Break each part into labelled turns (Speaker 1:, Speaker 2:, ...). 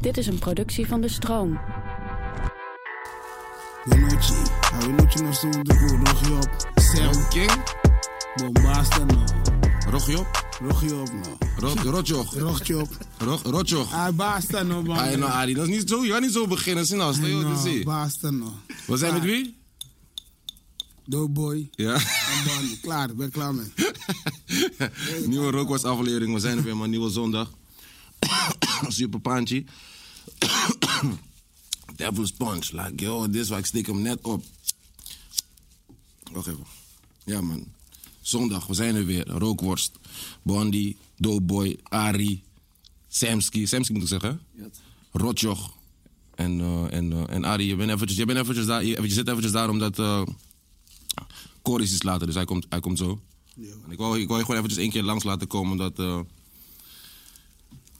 Speaker 1: Dit is een productie van De Stroom.
Speaker 2: Boa noite. A noite nós estamos do Rogiop. Céu,
Speaker 3: King,
Speaker 2: bombasta não.
Speaker 3: Rogjob,
Speaker 2: Rogiop não.
Speaker 3: Rotjoch,
Speaker 2: Rogiop.
Speaker 3: Rotjoch.
Speaker 2: nou. Ah, basta não, mano.
Speaker 3: Ah, nou Arie, dat is niet zo. Je gaat niet zo beginnen. Zie nou, stel je wat te
Speaker 2: Não,
Speaker 3: zien.
Speaker 2: basta não.
Speaker 3: We zijn met wie?
Speaker 2: Doughboy.
Speaker 3: Ja.
Speaker 2: En Bonnie. Klaar, ben klaar mee.
Speaker 3: nieuwe Rookwas aflevering. We zijn er weer, man. Nieuwe zondag. Super Panchi. Devil's Punch. Like, yo, dit is waar ik steek hem net op. Wacht even. Ja, man. Zondag, we zijn er weer. Rookworst. Bondi, Doughboy, Ari, Samski. Samski moet ik zeggen, hè? Rotjoch. En, eh, en, eh, en Arie, je bent eventjes, je bent eventjes daar. Je, je zit eventjes daar omdat eh Corey is iets later, dus hij komt, hij komt zo. En ik, wou, ik wou je gewoon eventjes één keer langs laten komen omdat... eh,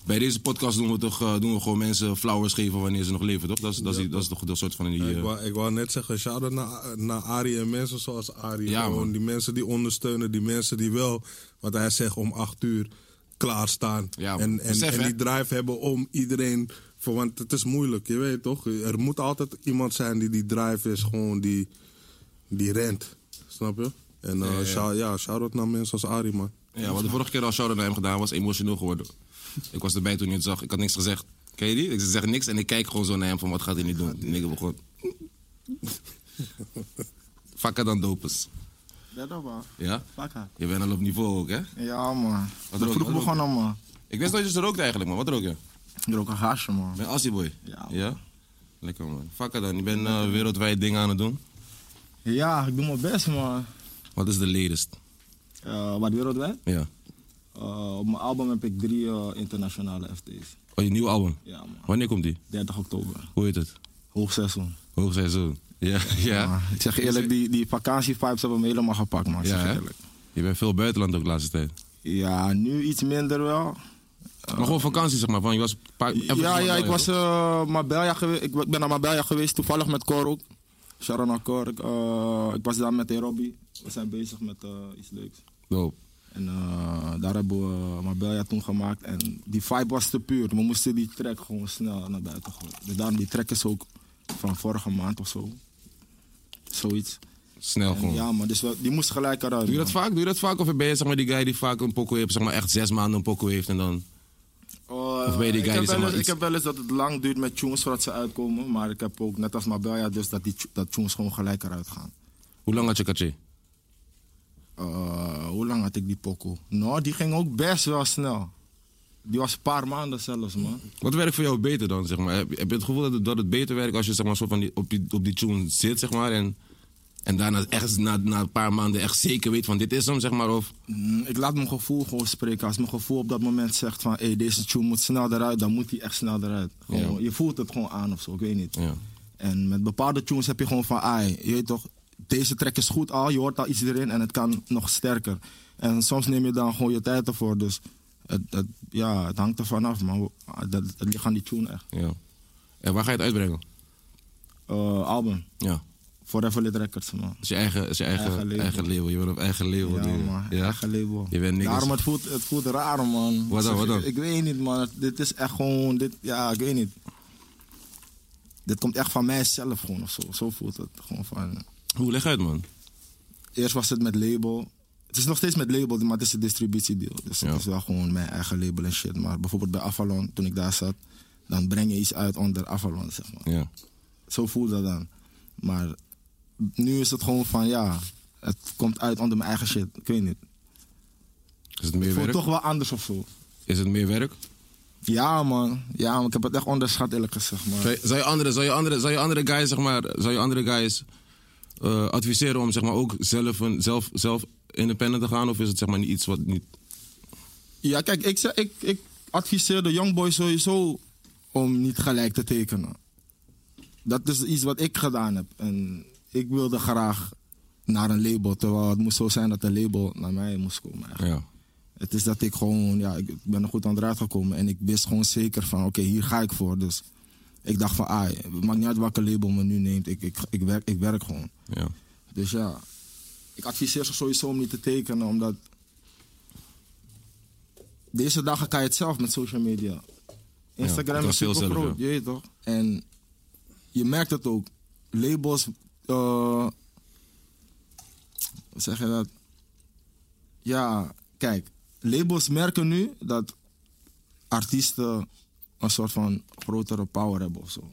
Speaker 3: bij deze podcast doen we toch eh, doen we gewoon mensen flowers geven wanneer ze nog leven, toch? Dat is, dat is, die- dat is toch een soort van die...
Speaker 4: Ik
Speaker 3: eh,
Speaker 4: wou, ik wou net zeggen, shout-out naar, naar Arie en mensen zoals Arie.
Speaker 3: Ja,
Speaker 4: Gewoon
Speaker 3: man.
Speaker 4: die mensen die ondersteunen, die mensen die wel, wat hij zegt, om acht uur klaarstaan.
Speaker 3: Ja, man.
Speaker 4: en, en,
Speaker 3: Besef,
Speaker 4: en
Speaker 3: hè?
Speaker 4: die drive hebben om iedereen, voor, want het is moeilijk, je weet toch? Er moet altijd iemand zijn die die drive is, gewoon die, die rent. Snap je? En eh, shout- ja, shout-out naar mensen als Arie, man.
Speaker 3: Ja, wat de vorige keer al shout-out naar hem gedaan was, emotioneel geworden. Ik was erbij toen hij het zag, ik had niks gezegd. Ken je die? Ik zeg niks en ik kijk gewoon zo naar hem van wat gaat hij niet doen. En ik heb gewoon... Vakker dan dopers.
Speaker 5: Dat op, man.
Speaker 3: Ja?
Speaker 5: Vakker.
Speaker 3: Je bent al op niveau ook, hè?
Speaker 5: Ja, man.
Speaker 3: Wat
Speaker 5: Wat
Speaker 3: rook-
Speaker 5: vroeg
Speaker 3: wat rook-
Speaker 5: begonnen, man.
Speaker 3: Ik wist nooit dat je rookt eigenlijk, man. Wat rook je?
Speaker 5: Ik rook een gaasje, man.
Speaker 3: Ik ben Assie Boy.
Speaker 5: Ja, man.
Speaker 3: Ja? Lekker, man. Vakker dan. Je bent eh, wereldwijd dingen aan het doen.
Speaker 5: Ja, ik doe mijn best, man.
Speaker 3: Wat is de latest?
Speaker 5: Eh wat wereldwijd?
Speaker 3: Ja.
Speaker 5: Eh, op mijn album heb ik drie eh, internationale FT's.
Speaker 3: Oh, je nieuwe album.
Speaker 5: Ja, man.
Speaker 3: Wanneer komt die?
Speaker 5: 30 oktober.
Speaker 3: Hoe heet het?
Speaker 5: Hoogseizoen.
Speaker 3: Hoogseizoen. Ja, ja.
Speaker 5: Maar ik zeg je eerlijk, die, die vakantievibes hebben me helemaal gepakt, man. Ik
Speaker 3: Ja,
Speaker 5: zeg je
Speaker 3: hè?
Speaker 5: eerlijk.
Speaker 3: Je bent veel buitenland ook de laatste tijd.
Speaker 5: Ja, nu iets minder wel.
Speaker 3: Maar gewoon vakantie, zeg maar. Van, je was een paar, even
Speaker 5: ja,
Speaker 3: naar
Speaker 5: ja,
Speaker 3: Marbella,
Speaker 5: ik was
Speaker 3: toch?
Speaker 5: eh, Marbella geweest. Ik ben naar Marbella geweest, toevallig met Cor ook. Sharon en Cor. Ik, eh, ik was daar met Robbie. We zijn bezig met eh, iets leuks.
Speaker 3: Dope.
Speaker 5: En eh, daar hebben we Marbella toen gemaakt. En die vibe was te puur. We moesten die track gewoon snel naar buiten gooien. Dus daarom die track is ook van vorige maand of zo. Zoiets.
Speaker 3: Snel
Speaker 5: En
Speaker 3: gewoon.
Speaker 5: ja, maar dus we- die moest gelijk eruit.
Speaker 3: Doe je dat
Speaker 5: man.
Speaker 3: vaak? Doe je dat vaak? Of ben je zeg maar, die guy die vaak een pokoe heeft, zeg maar echt zes maanden een pokoe heeft en dan...
Speaker 5: Eh,
Speaker 3: Of ben je die guy die
Speaker 5: ik, heb
Speaker 3: zeg maar
Speaker 5: wel eens,
Speaker 3: iets-
Speaker 5: ik heb wel eens dat het lang duurt met tunes voordat ze uitkomen. Maar ik heb ook, net als Marbella, dus dat, die, tu- dat tunes gewoon gelijk eruit gaan.
Speaker 3: Hoe lang had je katje?
Speaker 5: Eh, hoe lang had ik die pokoe? Nou, die ging ook best wel snel. Die was een paar maanden zelfs, man.
Speaker 3: Wat werkt voor jou beter dan, zeg maar? Heb, heb je het gevoel dat het, dat het beter werkt als je zeg maar, soort van die, op, die, op die tune zit, zeg maar? En, en daarna echt na, na een paar maanden echt zeker weet van dit is hem, zeg maar? Of
Speaker 5: Mm, Ik laat mijn gevoel gewoon spreken. Als mijn gevoel op dat moment zegt van hey, deze tune moet snel eruit, dan moet die echt snel eruit. Gewoon, Je voelt het gewoon aan of zo, ik weet niet.
Speaker 3: Ja.
Speaker 5: En met bepaalde tunes heb je gewoon van ai, je weet toch, deze track is goed al, je hoort al iets erin en het kan nog sterker. En soms neem je dan gewoon je tijd ervoor. Dus het, het, ja, het hangt er vanaf, maar hoe- dat, het ligt aan die tune echt.
Speaker 3: ja. En waar ga je het uitbrengen?
Speaker 5: Eh, album,
Speaker 3: Ja.
Speaker 5: Forever Lit Records, man.
Speaker 3: Het is je eigen, is je eigen, eigen,
Speaker 5: Eigen
Speaker 3: label.
Speaker 5: label.
Speaker 3: Je bent op eigen label.
Speaker 5: Ja,
Speaker 3: nu.
Speaker 5: man.
Speaker 3: Ja?
Speaker 5: Eigen label.
Speaker 3: Je bent niks.
Speaker 5: Daarom, het voelt, het voelt raar, man.
Speaker 3: Wat dan, wat dan?
Speaker 5: Ik, ik weet niet, man. Het- Dit is echt gewoon... Dit, ja, ik weet niet. Dit komt echt van mijzelf gewoon of zo. Zo voelt het gewoon van...
Speaker 3: Hoe leg uit, man?
Speaker 5: Eerst was het met label. Het is nog steeds met label, maar het is een distributiedeel. Dus
Speaker 3: Ja.
Speaker 5: het is wel gewoon mijn eigen label en shit. Maar bijvoorbeeld bij Avalon, toen ik daar zat... Dan breng je iets uit onder Avalon, zeg maar.
Speaker 3: Ja.
Speaker 5: Zo voelt dat dan. Maar nu is het gewoon van, ja... Het komt uit onder mijn eigen shit. Ik weet niet.
Speaker 3: Is het meer
Speaker 5: Het voelt
Speaker 3: werk?
Speaker 5: toch wel anders of zo.
Speaker 3: Is het meer werk?
Speaker 5: Ja, man. Ja, man. Ik heb het echt onderschat, eerlijk gezegd, man.
Speaker 3: Zou je, zou je andere, zou je andere, zou je andere guys, zeg maar, zou je andere guys eh, adviseren om zeg maar ook zelf, een, zelf, zelf independent te gaan? Of is het zeg maar niet iets wat niet...
Speaker 5: Ja, kijk, ik, zeg- ik, ik adviseer de youngboy sowieso om niet gelijk te tekenen. Dat is iets wat ik gedaan heb. En ik wilde graag naar een label, terwijl het moest zo zijn dat een label naar mij moest komen. eigenlijk.
Speaker 3: Ja.
Speaker 5: Het is dat ik gewoon, ja, ik ben er goed aan eruit gekomen. En ik wist gewoon zeker van, oké, hier ga ik voor. Dus ik dacht van, ah, het maakt niet uit welke label me nu neemt. Ik, ik, ik, werk, ik werk gewoon.
Speaker 3: ja.
Speaker 5: Dus ja, ik adviseer ze sowieso om niet te tekenen, omdat deze dagen kan je het zelf met social media. Instagram
Speaker 3: het
Speaker 5: is
Speaker 3: was heel
Speaker 5: super groot,
Speaker 3: zelf, ja.
Speaker 5: je weet toch? En je merkt het ook. Labels, eh, hoe zeg je dat? Ja, kijk, labels merken nu dat artiesten een soort van grotere power hebben of zo.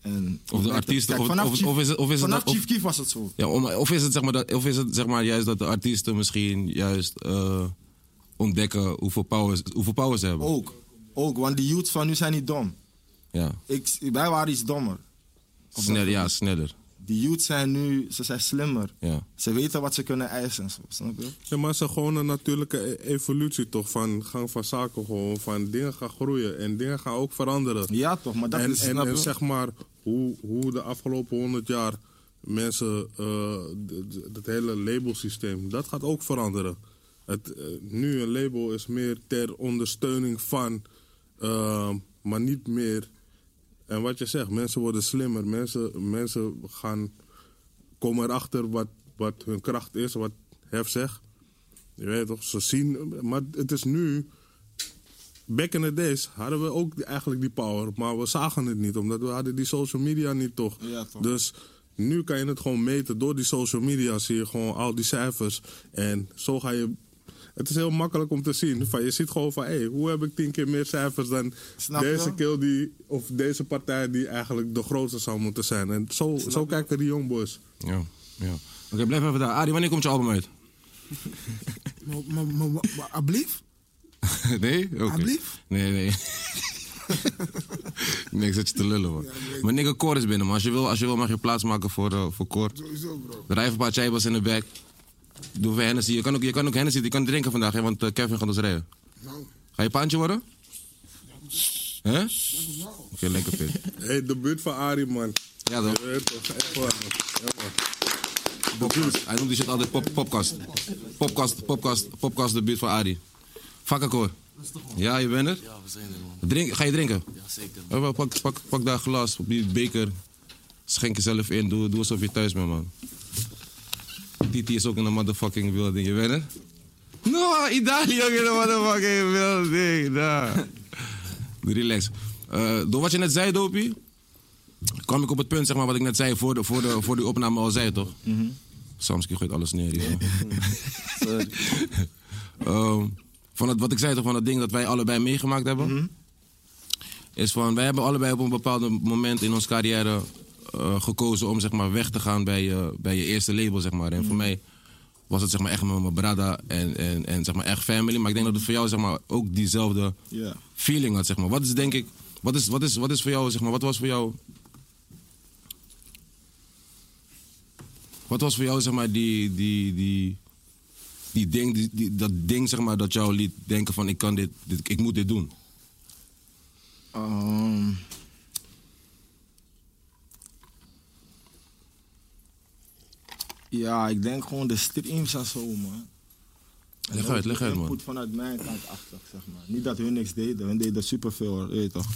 Speaker 5: En
Speaker 3: Of de artiesten, of-
Speaker 5: vanaf
Speaker 3: of-
Speaker 5: Chief-
Speaker 3: of is het- of is het
Speaker 5: vanaf
Speaker 3: dat- of-
Speaker 5: Chief Keef was het zo.
Speaker 3: Ja, om- of is het, zeg maar, dat, of is het zeg maar, juist dat de artiesten misschien juist eh, ontdekken hoeveel power, ze- hoeveel power ze hebben?
Speaker 5: Ook, ook, want die youths van nu zijn niet dom.
Speaker 3: Ja.
Speaker 5: Ik, wij waren iets dommer.
Speaker 3: Sneller, ja, sneller.
Speaker 5: Die youths zijn nu, ze zijn slimmer.
Speaker 3: Ja.
Speaker 5: Ze weten wat ze kunnen eisen en zo, snap je?
Speaker 4: Ja, maar het is gewoon een natuurlijke e- evolutie toch? Van gang van zaken gewoon. Van dingen gaan groeien en dingen gaan ook veranderen.
Speaker 5: Ja toch, maar dat
Speaker 4: en,
Speaker 5: is...
Speaker 4: en,
Speaker 5: snap
Speaker 4: en
Speaker 5: je?
Speaker 4: zeg maar hoe, hoe de afgelopen 100 jaar mensen, eh, d- d- dat hele labelsysteem, dat gaat ook veranderen. Het, eh, nu een label is meer ter ondersteuning van, eh, maar niet meer. En wat je zegt, mensen worden slimmer, mensen, mensen gaan, komen erachter wat, wat hun kracht is, wat Hef zegt. Je weet toch, ze zien, maar het is nu, back in the days hadden we ook die- eigenlijk die power, maar we zagen het niet, omdat we hadden die social media niet toch.
Speaker 5: Ja, toch.
Speaker 4: Dus nu kan je het gewoon meten door die social media, zie je gewoon al die cijfers en zo ga je. Het is heel makkelijk om te zien. Van, je ziet gewoon van, hé, hoe heb ik tien keer meer cijfers dan
Speaker 5: Snap je?
Speaker 4: deze kill die, of deze partij die eigenlijk de grootste zou moeten zijn. En zo, zo kijken die jongboys.
Speaker 3: Ja, ja. Oké, blijf even daar. Arie, wanneer komt je album uit?
Speaker 2: Maar- maar- maar- maar- maar- Alblief?
Speaker 3: nee? Oké.
Speaker 2: Ah, Alblief?
Speaker 3: Nee, nee. nee, ik zit je te lullen, man. maar nigga, Cor is binnen, man. Als je wil, als je wil mag je plaats maken voor, eh voor Cor.
Speaker 2: Sowieso, bro.
Speaker 3: Rij even een paar chibas in de back. Doe even Hennessy. Je kan ook, je kan ook Hennessy je kan drinken vandaag, hè, want eh, Kevin gaat ons rijden.
Speaker 2: Nou,
Speaker 3: Ga je paantje worden? Hè? Oké, lekker fit.
Speaker 4: hey, de buurt van Arie, man.
Speaker 3: Ja, toch?
Speaker 4: Je weet toch, echt waar, man. Ja, man.
Speaker 3: Popkast. Hij noemt die shit altijd pop, popkast. Popkast, popkast, popkast, de buurt van Adi. Vakkenkoor. Ja, je bent er?
Speaker 6: Ja, we zijn er, man.
Speaker 3: Drink, ga je drinken?
Speaker 6: Ja, zeker.
Speaker 3: Eh, wel, Pak, pak, pak daar een glas, op die beker. Schenk jezelf in, doe, doe alsof je thuis bent, man. Titi is ook in de motherfucking building, je bent er? No, Italië ook in de motherfucking building, daar. Relax. Eh, door wat je net zei, Dopie, kwam ik op het punt, zeg maar, wat ik net zei, voor de, voor de, voor die opname al zei, toch? Samsky gooit alles neer, joh. Ehm, van het, wat ik zei toch, van dat ding dat wij allebei meegemaakt hebben. Is van, wij hebben allebei op een bepaald moment in onze carrière eh, gekozen om zeg maar weg te gaan bij je, bij je eerste label, zeg maar. En voor mij was het zeg maar echt met mijn brada en, en, en zeg maar echt family. Maar ik denk dat het voor jou zeg maar ook diezelfde
Speaker 5: Ja.
Speaker 3: feeling had, zeg maar. Wat is denk ik, wat is, wat is, wat is voor jou, zeg maar, wat was voor jou... Wat was voor jou, zeg maar, die, die, die, die ding, die, die- dat ding, zeg maar, dat jou liet denken van, ik kan dit, dit ik moet dit doen?
Speaker 5: Ehm, ja, ik denk gewoon de streams en zo, man. En
Speaker 3: Leg
Speaker 5: ook
Speaker 3: uit,
Speaker 5: de
Speaker 3: leg uit, man.
Speaker 5: input vanuit mijn kant achter, zeg maar. Niet dat hun niks deden, hun deden superveel, hoor, weet je toch.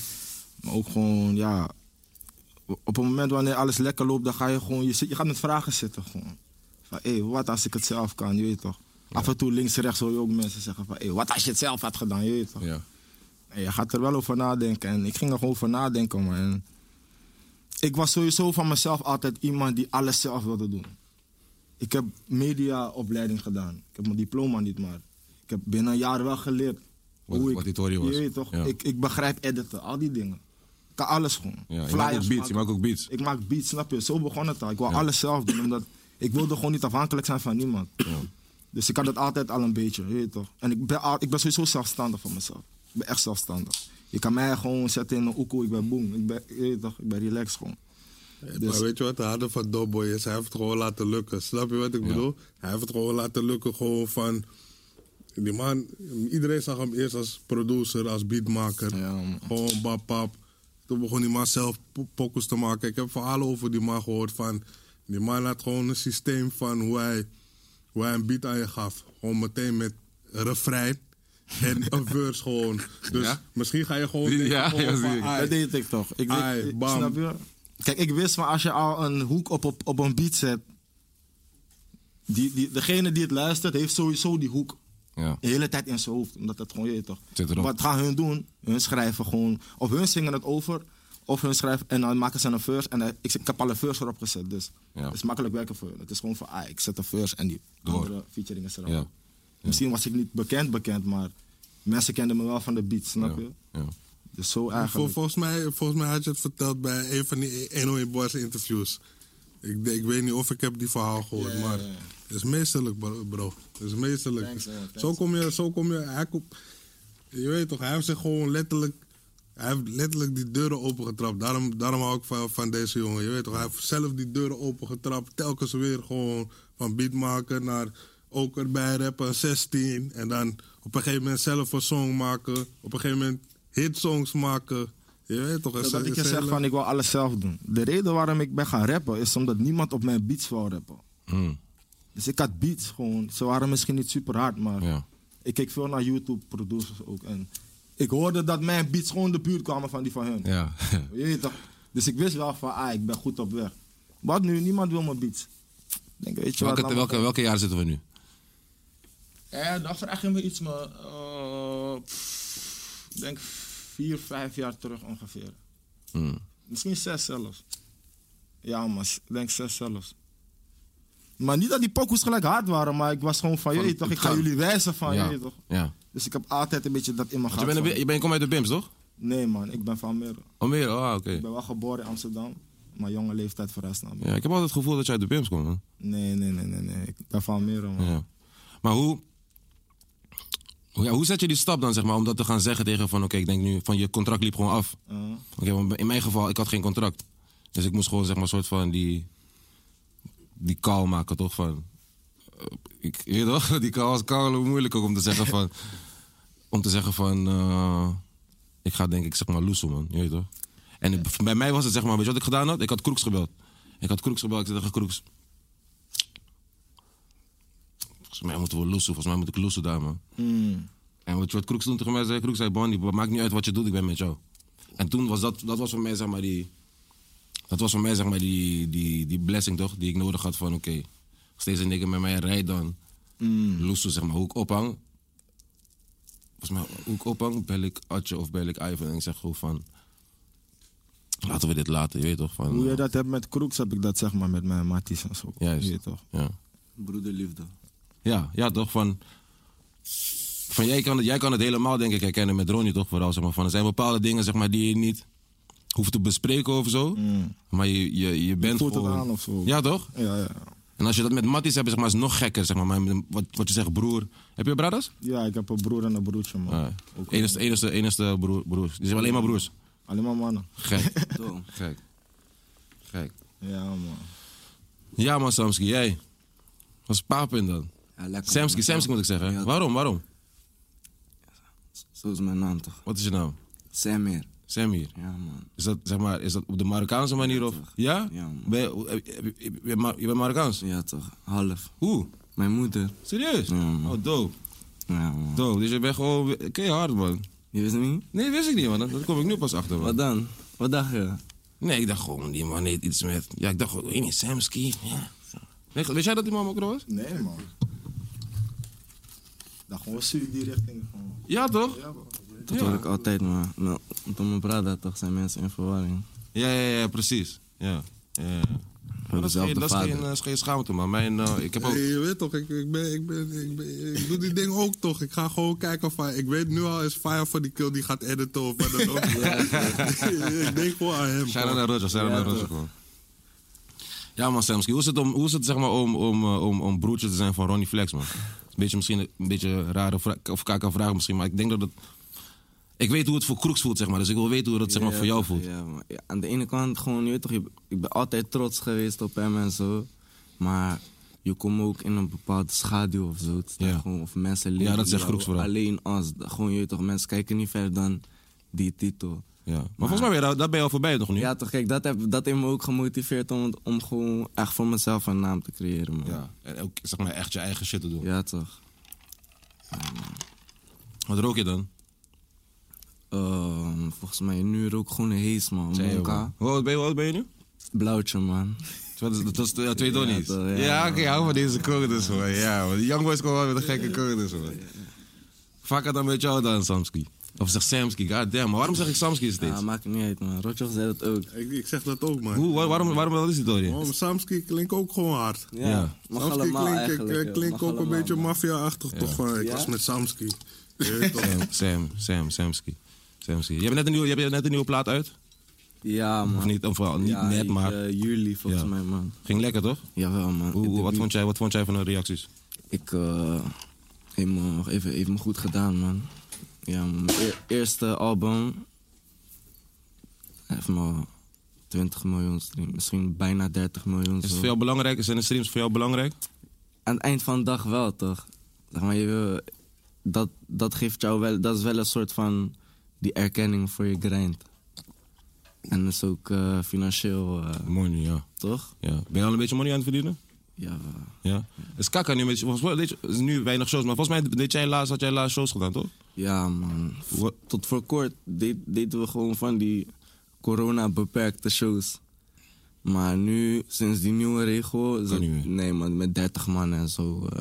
Speaker 5: Maar ook gewoon, ja... Op het moment wanneer alles lekker loopt, dan ga je gewoon... Je, zit, je gaat met vragen zitten, gewoon. Van, hé, wat als ik het zelf kan, je weet toch. Af en toe links en rechts hoor je ook mensen zeggen van... hé, wat als je het zelf had gedaan, je weet toch.
Speaker 3: Ja.
Speaker 5: En je gaat er wel over nadenken. En ik ging er gewoon over nadenken, man. En ik was sowieso van mezelf altijd iemand die alles zelf wilde doen. Ik heb mediaopleiding gedaan. Ik heb mijn diploma niet, maar ik heb binnen een jaar wel geleerd.
Speaker 3: Wat-
Speaker 5: hoe ik-
Speaker 3: wat die theorie was.
Speaker 5: Je weet toch?
Speaker 3: Ja.
Speaker 5: Ik, ik begrijp editen, al die dingen. Ik kan alles gewoon.
Speaker 3: Ja, je maakt
Speaker 5: Flyers
Speaker 3: ook beats, je
Speaker 5: maken.
Speaker 3: maakt ook beats.
Speaker 5: Ik maak beats, snap je? Zo begon het al. Ik wou
Speaker 3: Ja.
Speaker 5: alles zelf doen, omdat ik wilde gewoon niet afhankelijk zijn van niemand. Dus ik had het altijd al een beetje, je weet toch? En ik ben, al- ik ben sowieso zelfstandig van mezelf. Ik ben echt zelfstandig. Je kan mij gewoon zetten in een oekoe, ik ben boom. Ik ben, je weet toch? Ik ben relaxed gewoon.
Speaker 3: Dus-
Speaker 4: Maar weet je wat de harde van Dobboy is? Hij heeft het gewoon laten lukken. Snap je wat ik bedoel? Hij heeft het gewoon laten lukken. Gewoon van... Die man... Iedereen zag hem eerst als producer, als beatmaker.
Speaker 5: Ja, man.
Speaker 4: gewoon bap, bap. Toen begon die man zelf po- pokkels te maken. Ik heb verhalen over die man gehoord van... Die man had gewoon een systeem van hoe hij, hoe hij een beat aan je gaf. Gewoon meteen met refrein en een verse gewoon. Dus
Speaker 3: Ja?
Speaker 4: misschien ga je gewoon
Speaker 3: Ja,
Speaker 4: denken
Speaker 3: ja,
Speaker 4: gewoon van,
Speaker 3: zie ik.
Speaker 4: "Ai,
Speaker 5: Dat deed ik toch. Ik,
Speaker 4: Ai,
Speaker 5: ik- ik-
Speaker 4: bam.
Speaker 5: snap je? Kijk, ik wist van als je al een hoek op, op, op een beat zet, die, die, degene die het luistert heeft sowieso die hoek.
Speaker 3: Ja.
Speaker 5: De hele tijd in zijn hoofd, omdat dat gewoon, je weet toch.
Speaker 3: Zit erop.
Speaker 5: Wat gaan hun doen? Hun schrijven gewoon, of hun zingen het over, of hun schrijven en dan maken ze een verse. En dan- ik, ik heb al een verse erop gezet, dus
Speaker 3: Ja.
Speaker 5: het is makkelijk werken voor hun. Het is gewoon van, ah, ik zet een verse en die
Speaker 3: Door.
Speaker 5: andere featuring is erop.
Speaker 3: Ja.
Speaker 5: Misschien was ik niet bekend bekend, maar mensen kenden me wel van de beat, snap je?
Speaker 3: Ja.
Speaker 5: Dus zo
Speaker 4: Vol,
Speaker 5: eigenlijk.
Speaker 4: volgens, mij, volgens mij had je het verteld bij een van die 101 Boys interviews. Ik, denk- ik weet niet of ik heb die verhaal gehoord, maar het is meesterlijk, bro. bro. Het is meesterlijk.
Speaker 5: Thanks, man, thanks.
Speaker 4: Zo kom je, zo kom je, hij komt- je weet toch, hij heeft zich gewoon letterlijk, hij heeft letterlijk die deuren opengetrapt. Daarom, daarom hou ik van, van deze jongen, je weet toch, hij heeft zelf die deuren opengetrapt. Telkens weer gewoon van beat maken naar ook erbij rappen, 16. En dan op een gegeven moment zelf een song maken, op een gegeven moment hitsongs maken. Je weet toch, het
Speaker 5: Dat
Speaker 4: is-
Speaker 5: ik je
Speaker 4: het is
Speaker 5: zeg
Speaker 4: heel-
Speaker 5: van ik wil alles zelf doen. De reden waarom ik ben gaan rappen is omdat niemand op mijn beats wou rappen.
Speaker 3: Mm.
Speaker 5: Dus ik had beats gewoon. Ze waren misschien niet super hard, maar
Speaker 3: Ja.
Speaker 5: ik keek veel naar YouTube producers ook. En ik hoorde dat mijn beats gewoon de buurt kwamen van die van hun.
Speaker 3: Ja.
Speaker 5: Je weet toch? Dus ik wist wel van ah, ik ben goed op weg. Wat nu? Niemand wil mijn beats. Ik Denk, weet je wat,
Speaker 3: welke,
Speaker 5: laat
Speaker 3: welke,
Speaker 5: maar
Speaker 3: welke jaar zitten we nu?
Speaker 5: Ja, dan vraag je me iets, maar. eh, pff, Ik denk vier, vijf jaar terug ongeveer.
Speaker 3: Mm.
Speaker 5: Misschien zes zelfs. Ja, maar s- ik denk zes zelfs. Maar niet dat die pokoes gelijk hard waren, maar ik was gewoon van, je weet toch, ik ga
Speaker 3: kan.
Speaker 5: Oh, jullie wijzen van, je
Speaker 3: ja.
Speaker 5: weet toch.
Speaker 3: ja.
Speaker 5: Dus ik heb altijd een beetje dat in mijn
Speaker 3: Want je
Speaker 5: gehad.
Speaker 3: bent, een
Speaker 5: van-
Speaker 3: bi- je bent, je komt uit de BIMS, toch?
Speaker 5: Nee man, ik ben van Meer.
Speaker 3: Oh, meer? Oh, oké.
Speaker 5: Ik ben wel geboren in Amsterdam, maar jonge leeftijd verrast naar Almere.
Speaker 3: Ja, ik heb altijd het gevoel dat je uit de BIMS komt, man.
Speaker 5: Nee, nee, nee, nee, nee. Ik ben van Meer man.
Speaker 3: Ja. Maar hoe, hoe- ja, hoe zet je die stap dan, zeg maar, om dat te gaan zeggen tegen van, oké, ik denk nu van je contract liep gewoon af.
Speaker 5: Eh,
Speaker 3: Oké, want in mijn geval, ik had geen contract. Dus ik moest gewoon, zeg maar, soort van die, die kaal maken, toch? Van, eh, ik, je weet toch? Die kaal was kaal hoe moeilijk ook om te zeggen van, om te zeggen van, eh, ik ga denk ik, zeg maar, loesoe, man. Je weet toch? En het- bij mij was het, zeg maar, weet je wat ik gedaan had? Ik had Kroeks gebeld. Ik had Kroeks gebeld, ik zei tegen Kroeks, volgens mij moeten we loesoe, volgens mij moet ik loesoe daar, man.
Speaker 5: mm,
Speaker 3: En wat, wat Kroeks toen tegen mij zei, Kroeks zei, Bonnie, maakt niet uit wat je doet, ik ben met jou. En toen was dat, dat was voor mij zeg maar die, dat was voor mij zeg maar die, die, die blessing toch, die ik nodig had van oké, steeds een nigger met mij rijdt dan,
Speaker 5: mm.
Speaker 3: loesoe zeg maar, hoe ik ophang. Volgens mij, hoe ik ophang, bel ik Atje of bel ik Ivan en ik zeg gewoon van, laten we dit laten, je weet toch? Van,
Speaker 5: Hoe je
Speaker 3: eh,
Speaker 5: dat hebt met Kroeks, heb ik dat zeg maar met mijn matties en zo.
Speaker 3: Juist.
Speaker 5: Je weet toch.
Speaker 3: Ja.
Speaker 7: Broederliefde.
Speaker 3: Ja, ja, toch van. van jij, kan het, jij kan het helemaal, denk ik, herkennen met Ronnie, toch? Vooral, zeg maar. Van, er zijn bepaalde dingen zeg maar, die je niet hoeft te bespreken of zo.
Speaker 5: Mm.
Speaker 3: Maar je, je, je bent
Speaker 5: voelt het
Speaker 3: gewoon-
Speaker 5: aan of zo.
Speaker 3: Ja, toch?
Speaker 5: Ja, ja.
Speaker 3: En als je dat met Matties hebt, zeg maar, is het nog gekker, zeg maar. maar met- wat, wat je zegt, broer. Heb je brothers?
Speaker 5: ja, ik heb een broer en een broertje, man.
Speaker 3: Ja.
Speaker 5: Ook
Speaker 3: Enigste, enigste, enigste broer, broers. Die zijn alleen maar broers.
Speaker 5: Alleen maar mannen.
Speaker 3: Gek.
Speaker 7: Zo.
Speaker 3: Gek. Gek.
Speaker 5: Ja, man.
Speaker 3: Ja, man, Samski, jij. Wat is Papin dan?
Speaker 7: Ja, lekker.
Speaker 3: Samski,
Speaker 7: man.
Speaker 3: Samski moet ik zeggen.
Speaker 7: Ja,
Speaker 3: Waarom, waarom?
Speaker 7: Zo is mijn naam toch?
Speaker 3: Wat is nou? je naam?
Speaker 7: Samir.
Speaker 3: Sam hier.
Speaker 7: Ja, man.
Speaker 3: Is dat, zeg maar, is dat op de Marokkaanse manier of?
Speaker 7: toch.
Speaker 3: Ja?
Speaker 7: Ja, man.
Speaker 3: Ben je, heb je- heb je- je bent Mar- je bent Marokkaans?
Speaker 7: Ja, toch? Half.
Speaker 3: Hoe?
Speaker 7: Mijn moeder.
Speaker 3: Serieus?
Speaker 7: Ja, man.
Speaker 3: Oh, dope.
Speaker 7: Ja, man.
Speaker 3: Dope. Dus je bent gewoon keihard, man.
Speaker 7: Je wist het niet?
Speaker 3: Nee, wist ik niet, man. Daar kom ik nu pas achter, man.
Speaker 7: Wat dan? Wat dacht je?
Speaker 3: Nee, ik dacht gewoon, die man heeft iets met... Ja, ik dacht gewoon, weet niet, Samski. Ja. Nee, wist jij dat die man Marokkaan was?
Speaker 5: Nee, man. Dan gewoon zuur die richting. Gewoon.
Speaker 3: Ja, toch?
Speaker 7: Dat hoor ik altijd, maar nou, met mijn brada toch zijn mensen in verwarring.
Speaker 3: Ja, ja, ja, precies. Ja. ja, ja. Maar dat is
Speaker 7: dezelfde
Speaker 3: geen, dat is
Speaker 7: vader.
Speaker 3: geen, eh, is geen schaamte, man. Mijn, eh, ik heb ook...
Speaker 4: Hey, je weet toch, ik, ik, ben, ik, ben, ik, ben- ik doe die ding ook toch. Ik ga gewoon kijken of hij- Ik weet nu al is Fire voor die kill die gaat editen of wat dan ook. ik denk gewoon aan hem.
Speaker 3: Shout out
Speaker 4: man.
Speaker 3: naar Roger, shout out naar Roger gewoon. Ja man, Samski, hoe is het, om, hoe is het zeg maar, om, om, eh, om, om broertje te zijn van Ronnie Flex man? Beetje, misschien een beetje een rare vraag, of kaka vraag misschien, maar ik denk dat het... Ik weet hoe het voor Kroeks voelt, zeg maar, dus ik wil weten hoe dat zeg maar,
Speaker 7: Ja,
Speaker 3: voor jou
Speaker 7: toch,
Speaker 3: voelt.
Speaker 7: Ja, maar, ja, aan de ene kant gewoon, je weet toch, je- ik ben altijd trots geweest op hem en zo. Maar je komt ook in een bepaalde schaduw of zo. Het staat
Speaker 3: Ja.
Speaker 7: Gewoon, of mensen
Speaker 3: Ja,
Speaker 7: leven
Speaker 3: dat zegt Kroeks vooral.
Speaker 7: alleen als. Gewoon, je weet toch, mensen kijken niet verder dan die titel.
Speaker 3: Ja. Maar volgens mij ben je, daar- daar ben je al voorbij toch nu?
Speaker 7: Ja, toch, kijk, dat, heb, dat heeft me ook gemotiveerd om, om gewoon echt voor mezelf een naam te creëren, man.
Speaker 3: Ja. En ook zeg maar, echt je eigen shit te doen.
Speaker 7: Ja, toch.
Speaker 3: Wat rook je dan?
Speaker 7: Ehm, volgens mij nu rook gewoon een hees, man.
Speaker 3: Zei je,
Speaker 7: Monka.
Speaker 3: man. Hoe oud ben je, hoe oud ben je nu?
Speaker 7: Blauwtje, man.
Speaker 3: Dat is, dat is ja, twee
Speaker 7: Ja,
Speaker 3: donnies.
Speaker 7: toch,
Speaker 3: Ja,
Speaker 7: ja,
Speaker 3: oké, hou van deze codes man. Ja, man. Die youngboys komen wel met een gekke codes man. Vaak had dan met jou dan Samski. Of zeg Samski, goddamn. Maar waarom zeg ik Samski steeds?
Speaker 7: Ja, maakt niet uit, man. Rotjoch zei dat ook.
Speaker 4: Ik, ik zeg dat ook, man.
Speaker 3: Hoe, waar- waarom, waarom, wat is dit dan?
Speaker 4: Oh, maar Samski klinkt ook gewoon hard.
Speaker 7: Ja,
Speaker 3: Ja.
Speaker 7: mag
Speaker 4: Samski
Speaker 7: allemaal
Speaker 4: klinkt-
Speaker 7: eigenlijk.
Speaker 4: klinkt,
Speaker 7: joh.
Speaker 4: klinkt
Speaker 7: Mag
Speaker 4: ook een
Speaker 7: allemaal,
Speaker 4: beetje
Speaker 7: man.
Speaker 4: maffia-achtig toch? Van, ik
Speaker 7: Ja?
Speaker 4: was met Samski. Je weet toch?
Speaker 3: Sam, Sam, Sam, Samski. Samski. Je hebt net een nieuwe, je hebt net een nieuwe plaat uit?
Speaker 7: Ja, man.
Speaker 3: Of niet, of wel, niet
Speaker 7: Ja,
Speaker 3: net,
Speaker 7: in,
Speaker 3: maar...
Speaker 7: eh, juli volgens
Speaker 3: Ja.
Speaker 7: mij, man.
Speaker 3: Ging lekker, toch?
Speaker 7: Jawel, man.
Speaker 3: Hoe,
Speaker 7: Het
Speaker 3: hoe- wat,
Speaker 7: debuut.
Speaker 3: vond jij, wat vond jij van de reacties?
Speaker 7: Ik eh heeft me, heeft, heeft me goed gedaan, man. Ja, man, mijn eer- eerste album heeft me 20 miljoen streams. Misschien bijna 30 miljoen.
Speaker 3: Is
Speaker 7: zo.
Speaker 3: het voor jou belangrijk? Zijn de streams voor jou belangrijk?
Speaker 7: Aan het eind van de dag wel, toch? Zeg maar, je wil, dat, dat geeft jou wel... Dat is wel een soort van die erkenning voor je grind. En dat is ook eh, financieel, eh,
Speaker 3: Money, ja.
Speaker 7: toch?
Speaker 3: ja. Ben je al een beetje money aan het verdienen?
Speaker 7: Ja, eh, wel.
Speaker 3: Ja. Is Kaka nu een beetje... Volgens mij deed je- is nu weinig shows, maar volgens mij deed jij laatst, had jij laatst shows gedaan, toch?
Speaker 7: Ja, man. V-
Speaker 3: Wat-
Speaker 7: Tot voor kort deed- deden we gewoon van die corona-beperkte shows. Maar nu, sinds die nieuwe regel... is
Speaker 3: Kan
Speaker 7: het-
Speaker 3: niet meer.
Speaker 7: nee, man, met 30 man en zo. eh.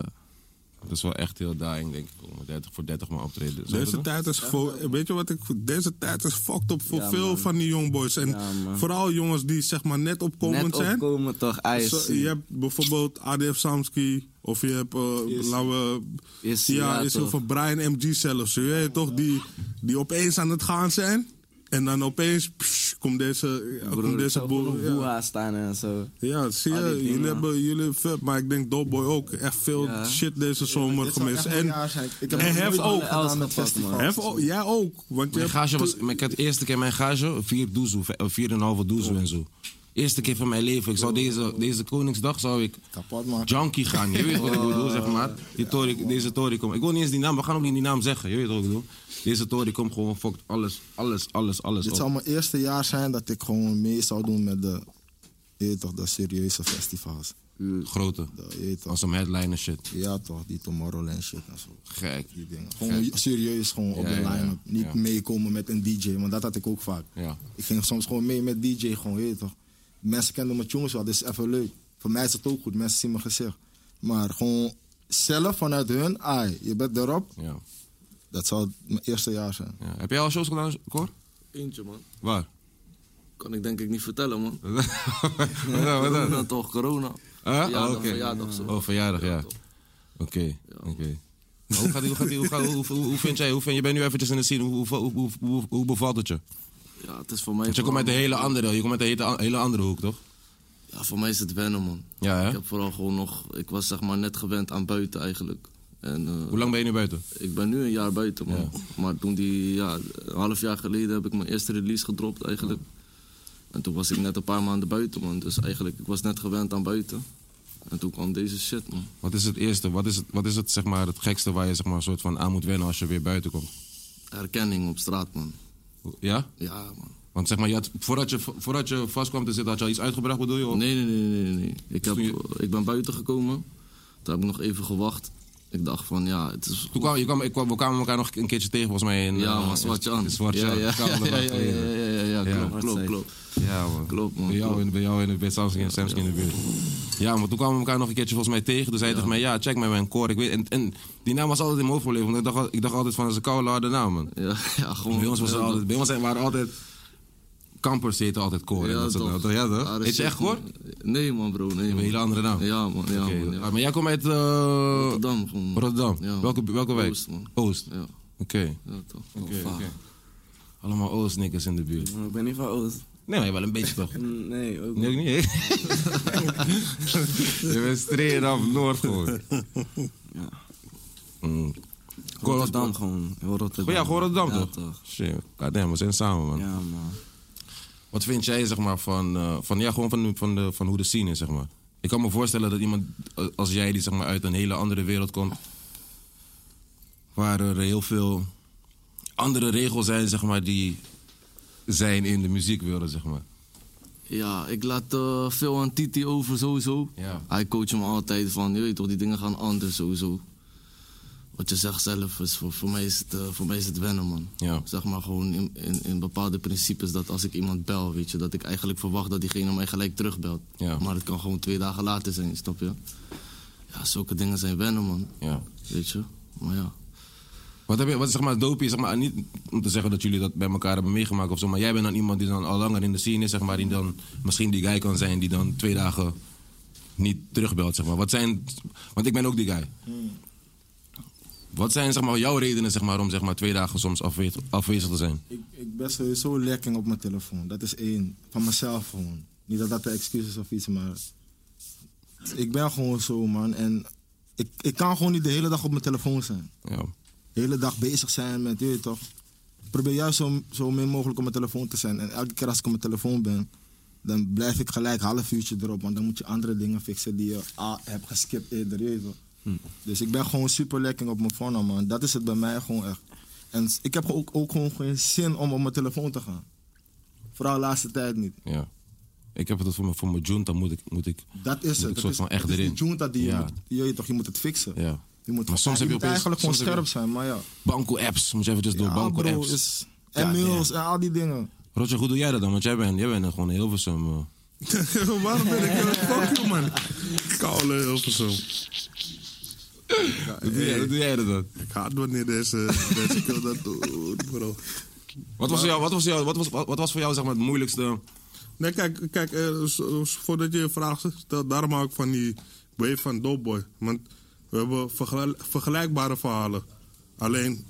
Speaker 3: Dat is wel echt heel dying, denk ik. Om 30 voor 30 man optreden. Zou
Speaker 4: Deze
Speaker 3: dat
Speaker 4: tijd is fo- weet je wat ik deze tijd is fucked up voor
Speaker 7: Ja,
Speaker 4: veel
Speaker 7: man.
Speaker 4: van die jongboys en
Speaker 7: Ja, man.
Speaker 4: vooral jongens die zeg maar net opkomend
Speaker 7: net
Speaker 4: zijn.
Speaker 7: opkomen toch, IC.
Speaker 4: Zo, je hebt bijvoorbeeld ADF Samski of je hebt eh
Speaker 7: Is-
Speaker 4: laten we
Speaker 7: is-
Speaker 4: ja,
Speaker 7: ja,
Speaker 4: is
Speaker 7: toch.
Speaker 4: heel veel Brian MG zelfs, je weet toch die die opeens aan het gaan zijn en dan opeens pss, komt deze ja, komt
Speaker 7: Broer,
Speaker 4: deze
Speaker 7: zo
Speaker 4: boel.
Speaker 7: boel,
Speaker 4: Ja.
Speaker 7: staan en zo.
Speaker 4: Ja, zie
Speaker 7: Al die
Speaker 4: je,
Speaker 7: dingen.
Speaker 4: jullie hebben jullie hebben vet, maar ik denk Doughboy ook echt veel
Speaker 7: Ja.
Speaker 4: shit deze zomer
Speaker 5: Dit zou
Speaker 4: gemist
Speaker 5: echt een
Speaker 4: en
Speaker 5: jaar zijn. Ik heb
Speaker 4: en
Speaker 5: nog
Speaker 4: Hef
Speaker 5: nooit
Speaker 4: ook.
Speaker 5: gedaan met
Speaker 7: Hef
Speaker 5: festivals.
Speaker 4: Hef, ook- jij ook, want je
Speaker 3: Mijn
Speaker 4: hebt
Speaker 3: gage was, ik had de eerste keer mijn gage, vier doezoe, v- eh, vier en een halve doezoe en zo. Eerste keer van mijn leven. Ik zou deze, deze Koningsdag zou ik
Speaker 5: Kapot, man.
Speaker 3: junkie gaan. Je weet wat ik bedoel, zeg maar. Die tori, deze Tory komt. Ik wil niet eens die naam, we gaan ook niet die naam zeggen. Je weet wat ik bedoel. Deze Tory komt gewoon fokt alles, alles, alles, alles
Speaker 5: Dit
Speaker 3: op.
Speaker 5: zou mijn eerste jaar zijn dat ik gewoon mee zou doen met de, je weet toch, de serieuze festivals.
Speaker 3: Grote.
Speaker 5: De, je weet toch,
Speaker 3: Als een headliner shit.
Speaker 5: ja toch, die Tomorrowland shit en zo.
Speaker 3: Gek.
Speaker 5: Die dingen. Gewoon serieus gewoon op
Speaker 3: Ja, ja,
Speaker 5: de
Speaker 3: ja.
Speaker 5: line-up. Niet
Speaker 3: Ja.
Speaker 5: meekomen met een DJ, want dat had ik ook vaak.
Speaker 3: Ja.
Speaker 5: Ik ging soms gewoon mee met DJ, gewoon, je weet toch. Mensen kenden mijn jongens wel, dus even leuk. Voor mij is het ook goed, mensen zien mijn gezicht. Maar gewoon zelf vanuit hun, ai, je bent erop.
Speaker 3: Ja.
Speaker 5: Dat zou mijn eerste jaar zijn.
Speaker 3: Ja. Heb jij al shows gedaan, Cor?
Speaker 7: Eentje, man.
Speaker 3: Waar?
Speaker 7: Kan ik denk ik niet vertellen, man.
Speaker 3: wat dan? Wat dan?
Speaker 7: Dat toch, corona.
Speaker 3: Ah,
Speaker 7: Verjaardag,
Speaker 3: oké.
Speaker 7: verjaardag, zo.
Speaker 3: Oh, verjaardag, ja. Oké, oké. Maar Hoe, gaat die- hoe, gaat die- hoe, gaat- hoe, hoe, hoe vind jij, hoe vind, je bent nu eventjes in de scene, hoe, hoe, hoe, hoe, hoe, hoe bevalt het je?
Speaker 7: Ja, het is voor mij...
Speaker 3: Want je komt uit een hele andere, je komt uit een hele, hele andere hoek, toch?
Speaker 7: Ja, voor mij is het wennen, man.
Speaker 3: Ja, hè?
Speaker 7: Ik heb vooral gewoon nog... Ik was zeg maar net gewend aan buiten eigenlijk. En eh,
Speaker 3: Hoe lang ben je nu buiten?
Speaker 7: ik ben nu een jaar buiten, man. Maar toen die... Ja, een half jaar geleden heb ik mijn eerste release gedropt eigenlijk. En toen was ik net een paar maanden buiten, man. Dus eigenlijk, ik was net gewend aan buiten. En toen kwam deze shit, man.
Speaker 3: Wat is het eerste, wat is het, wat is het, zeg maar, het gekste waar je zeg maar, een soort van aan moet wennen als je weer buiten komt?
Speaker 7: Herkenning op straat, man.
Speaker 3: Ja?
Speaker 7: Ja, man.
Speaker 3: Want zeg maar, je had, voordat, je, voordat je vast kwam te zitten, had je al iets uitgebracht, bedoel je? Of-
Speaker 7: Nee, nee, nee, nee, nee, nee. Ik, heb,
Speaker 3: toen je-
Speaker 7: ik ben buiten gekomen. Toen heb ik nog even gewacht. Ik dacht van, ja, het is...
Speaker 3: Toen kwam, je kwam, ik kwam, we kwamen elkaar nog een keertje tegen, volgens mij. In,
Speaker 7: Ja,
Speaker 3: eh,
Speaker 7: man, Zwartje aan.
Speaker 3: in Zwartje
Speaker 7: ja,
Speaker 3: Aan.
Speaker 7: ja,
Speaker 3: Kwamen we
Speaker 7: ja, ja,
Speaker 3: elkaar
Speaker 7: ja,
Speaker 3: tegen.
Speaker 7: ja, ja, ja,
Speaker 3: Ja.
Speaker 7: klopt, klopt, klopt.
Speaker 3: Ja, man.
Speaker 7: Klopt, man.
Speaker 3: Bij jou, in, bij jou in, bij Samsung en Samsung in de buurt. Ja, maar toen kwamen we elkaar nog een keertje volgens mij tegen. Toen zei hij tegen mij, ja, check mij mijn core. Ik weet, en, en die naam was altijd in mijn hoofd gebleven. Want ik dacht, al- ik dacht altijd van, dat is een koude harde naam, man.
Speaker 7: Ja, ja, gewoon.
Speaker 3: Bij ons, was het altijd, bij ons zijn- waren altijd... Kampers heten altijd core. en dat soort dingen. ja toch? Heet je echt core? Je
Speaker 7: Nee, man, bro. Nee,
Speaker 3: hebt
Speaker 7: man.
Speaker 3: een hele andere naam.
Speaker 7: Ja, man. Ja,
Speaker 3: Oké,
Speaker 7: man ja.
Speaker 3: ah, Maar jij komt uit... eh,
Speaker 7: Rotterdam, gewoon. man.
Speaker 3: Rotterdam.
Speaker 7: Ja, man.
Speaker 3: welke, welke wijk?
Speaker 7: Oost, man.
Speaker 3: Oost.
Speaker 7: Ja,
Speaker 3: Oké.
Speaker 7: ja, toch.
Speaker 3: Oké, oké. Allemaal Oost nikkers in de buurt.
Speaker 7: Ik ben niet van Oost.
Speaker 3: Nee, maar wel een beetje toch?
Speaker 7: Nee, ook
Speaker 3: Nee, ook niet, hè? je bent straight af Noord gewoon.
Speaker 7: Ja.
Speaker 3: Mm.
Speaker 7: Rotterdam, gewoon. Heel Rotterdam.
Speaker 3: Oh ja, gewoon Rotterdam
Speaker 7: Ja,
Speaker 3: toch? Shit, goddamn, we zijn samen, man.
Speaker 7: Ja, man.
Speaker 3: Wat vind jij, zeg maar, van, eh, van, ja, gewoon van, van, de, van hoe de scene is, zeg maar? Ik kan me voorstellen dat iemand eh, als jij, die zeg maar, uit een hele andere wereld komt... waar er heel veel andere regels zijn, zeg maar, die zijn in de muziekwereld, zeg maar.
Speaker 7: Ja, ik laat eh, veel aan Titi over sowieso.
Speaker 3: Ja.
Speaker 7: Hij coacht me altijd van, je weet toch, die dingen gaan anders sowieso. Wat je zegt zelf, is voor, voor, mij, is het, eh, voor mij is het wennen, man.
Speaker 3: Ja.
Speaker 7: Zeg maar gewoon in, in, in bepaalde principes dat als ik iemand bel, weet je, dat ik eigenlijk verwacht dat diegene mij gelijk terugbelt.
Speaker 3: Ja.
Speaker 7: Maar het kan gewoon twee dagen later zijn, snap je? Ja, zulke dingen zijn wennen, man.
Speaker 3: Ja.
Speaker 7: Weet je? Maar ja.
Speaker 3: Wat heb je, wat is, zeg maar, dopey, zeg maar, niet om te zeggen dat jullie dat bij elkaar hebben meegemaakt of zo, maar jij bent dan iemand die dan al langer in de scene is, zeg maar, die dan misschien die guy kan zijn die dan twee dagen niet terugbelt, zeg maar. Wat zijn, want ik ben ook die guy. Wat zijn, zeg maar, jouw redenen, zeg maar, om zeg maar twee dagen soms afwezig, afwezig te zijn?
Speaker 5: Ik, ik ben sowieso lekking op mijn telefoon. Dat is één. Van mezelf gewoon. Niet dat dat een excuus is of iets, maar... Ik ben gewoon zo, man. En ik, ik kan gewoon niet de hele dag op mijn telefoon zijn.
Speaker 3: Ja.
Speaker 5: De hele dag bezig zijn met, je weet toch... Ik probeer juist zo, zo min mogelijk op mijn telefoon te zijn. En elke keer als ik op mijn telefoon ben... Dan blijf ik gelijk een half uurtje erop. Want dan moet je andere dingen fixen die je ah, hebt geskipt eerder, je weet toch.
Speaker 3: Hmm.
Speaker 5: Dus ik ben gewoon super lekker op mijn phone, man. Dat is het bij mij gewoon echt. En s- ik heb ook, ook gewoon geen zin om op mijn telefoon te gaan. Vooral de laatste tijd niet.
Speaker 3: Ja. Ik heb het voor mijn, voor mijn junta moet ik, moet ik,
Speaker 5: Dat
Speaker 3: moet
Speaker 5: is het.
Speaker 3: ik
Speaker 5: Het
Speaker 3: soort
Speaker 5: is,
Speaker 3: van echt
Speaker 5: het is
Speaker 3: erin.
Speaker 5: die junta die je
Speaker 3: Ja.
Speaker 5: moet... Je, weet toch, je moet het fixen.
Speaker 3: Ja.
Speaker 5: Je moet,
Speaker 3: Maar soms
Speaker 5: je
Speaker 3: heb je
Speaker 5: moet
Speaker 3: opeens-
Speaker 5: eigenlijk gewoon
Speaker 3: soms heb je-
Speaker 5: scherp zijn, maar ja.
Speaker 3: Banco apps, moet je even dus door
Speaker 5: Ja,
Speaker 3: banco
Speaker 5: bro,
Speaker 3: apps.
Speaker 5: is-
Speaker 3: Ja,
Speaker 5: en mails en al die dingen.
Speaker 3: Roger, hoe doe jij dat dan? Want jij bent, jij bent gewoon heel eh. versum.
Speaker 4: Waarom ben ik eh, Fuck you, man. Koude Hilversum. Ja, hey,
Speaker 3: doe jij dat dan?
Speaker 4: ik haat wanneer deze, deze kill dat doet, bro.
Speaker 3: Wat was, voor jou, wat, was voor jou, wat, was, wat, wat was voor jou zeg maar, het moeilijkste?
Speaker 4: Nee, kijk, kijk eh, zo- zo- voordat je je vraag stelt, daarom hou ik van die wave van Doughboy. Want we hebben vergel- vergelijkbare verhalen. Alleen,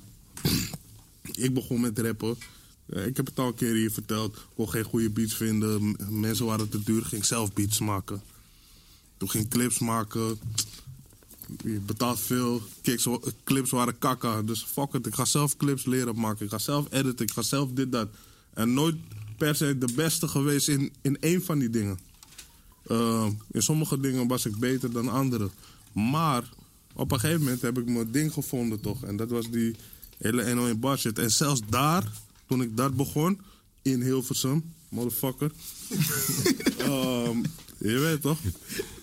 Speaker 4: ik begon met rappen. Eh, Ik heb het al een keer hier verteld. Ik kon geen goede beats vinden. M- Mensen waren te duur. Ging ik zelf beats maken. Toen ging ik clips maken. Je betaalt veel. Kicks, wa- clips waren kakka. Dus fuck it. Ik ga zelf clips leren maken. Ik ga zelf editen. Ik ga zelf dit, dat. En nooit per se de beste geweest in, in één van die dingen. Ehm, in sommige dingen was ik beter dan andere. Maar op een gegeven moment heb ik mijn ding gevonden toch. En dat was die hele NO in bar shit. En zelfs daar, toen ik dat begon, in Hilversum, motherfucker. Ehm, je weet toch?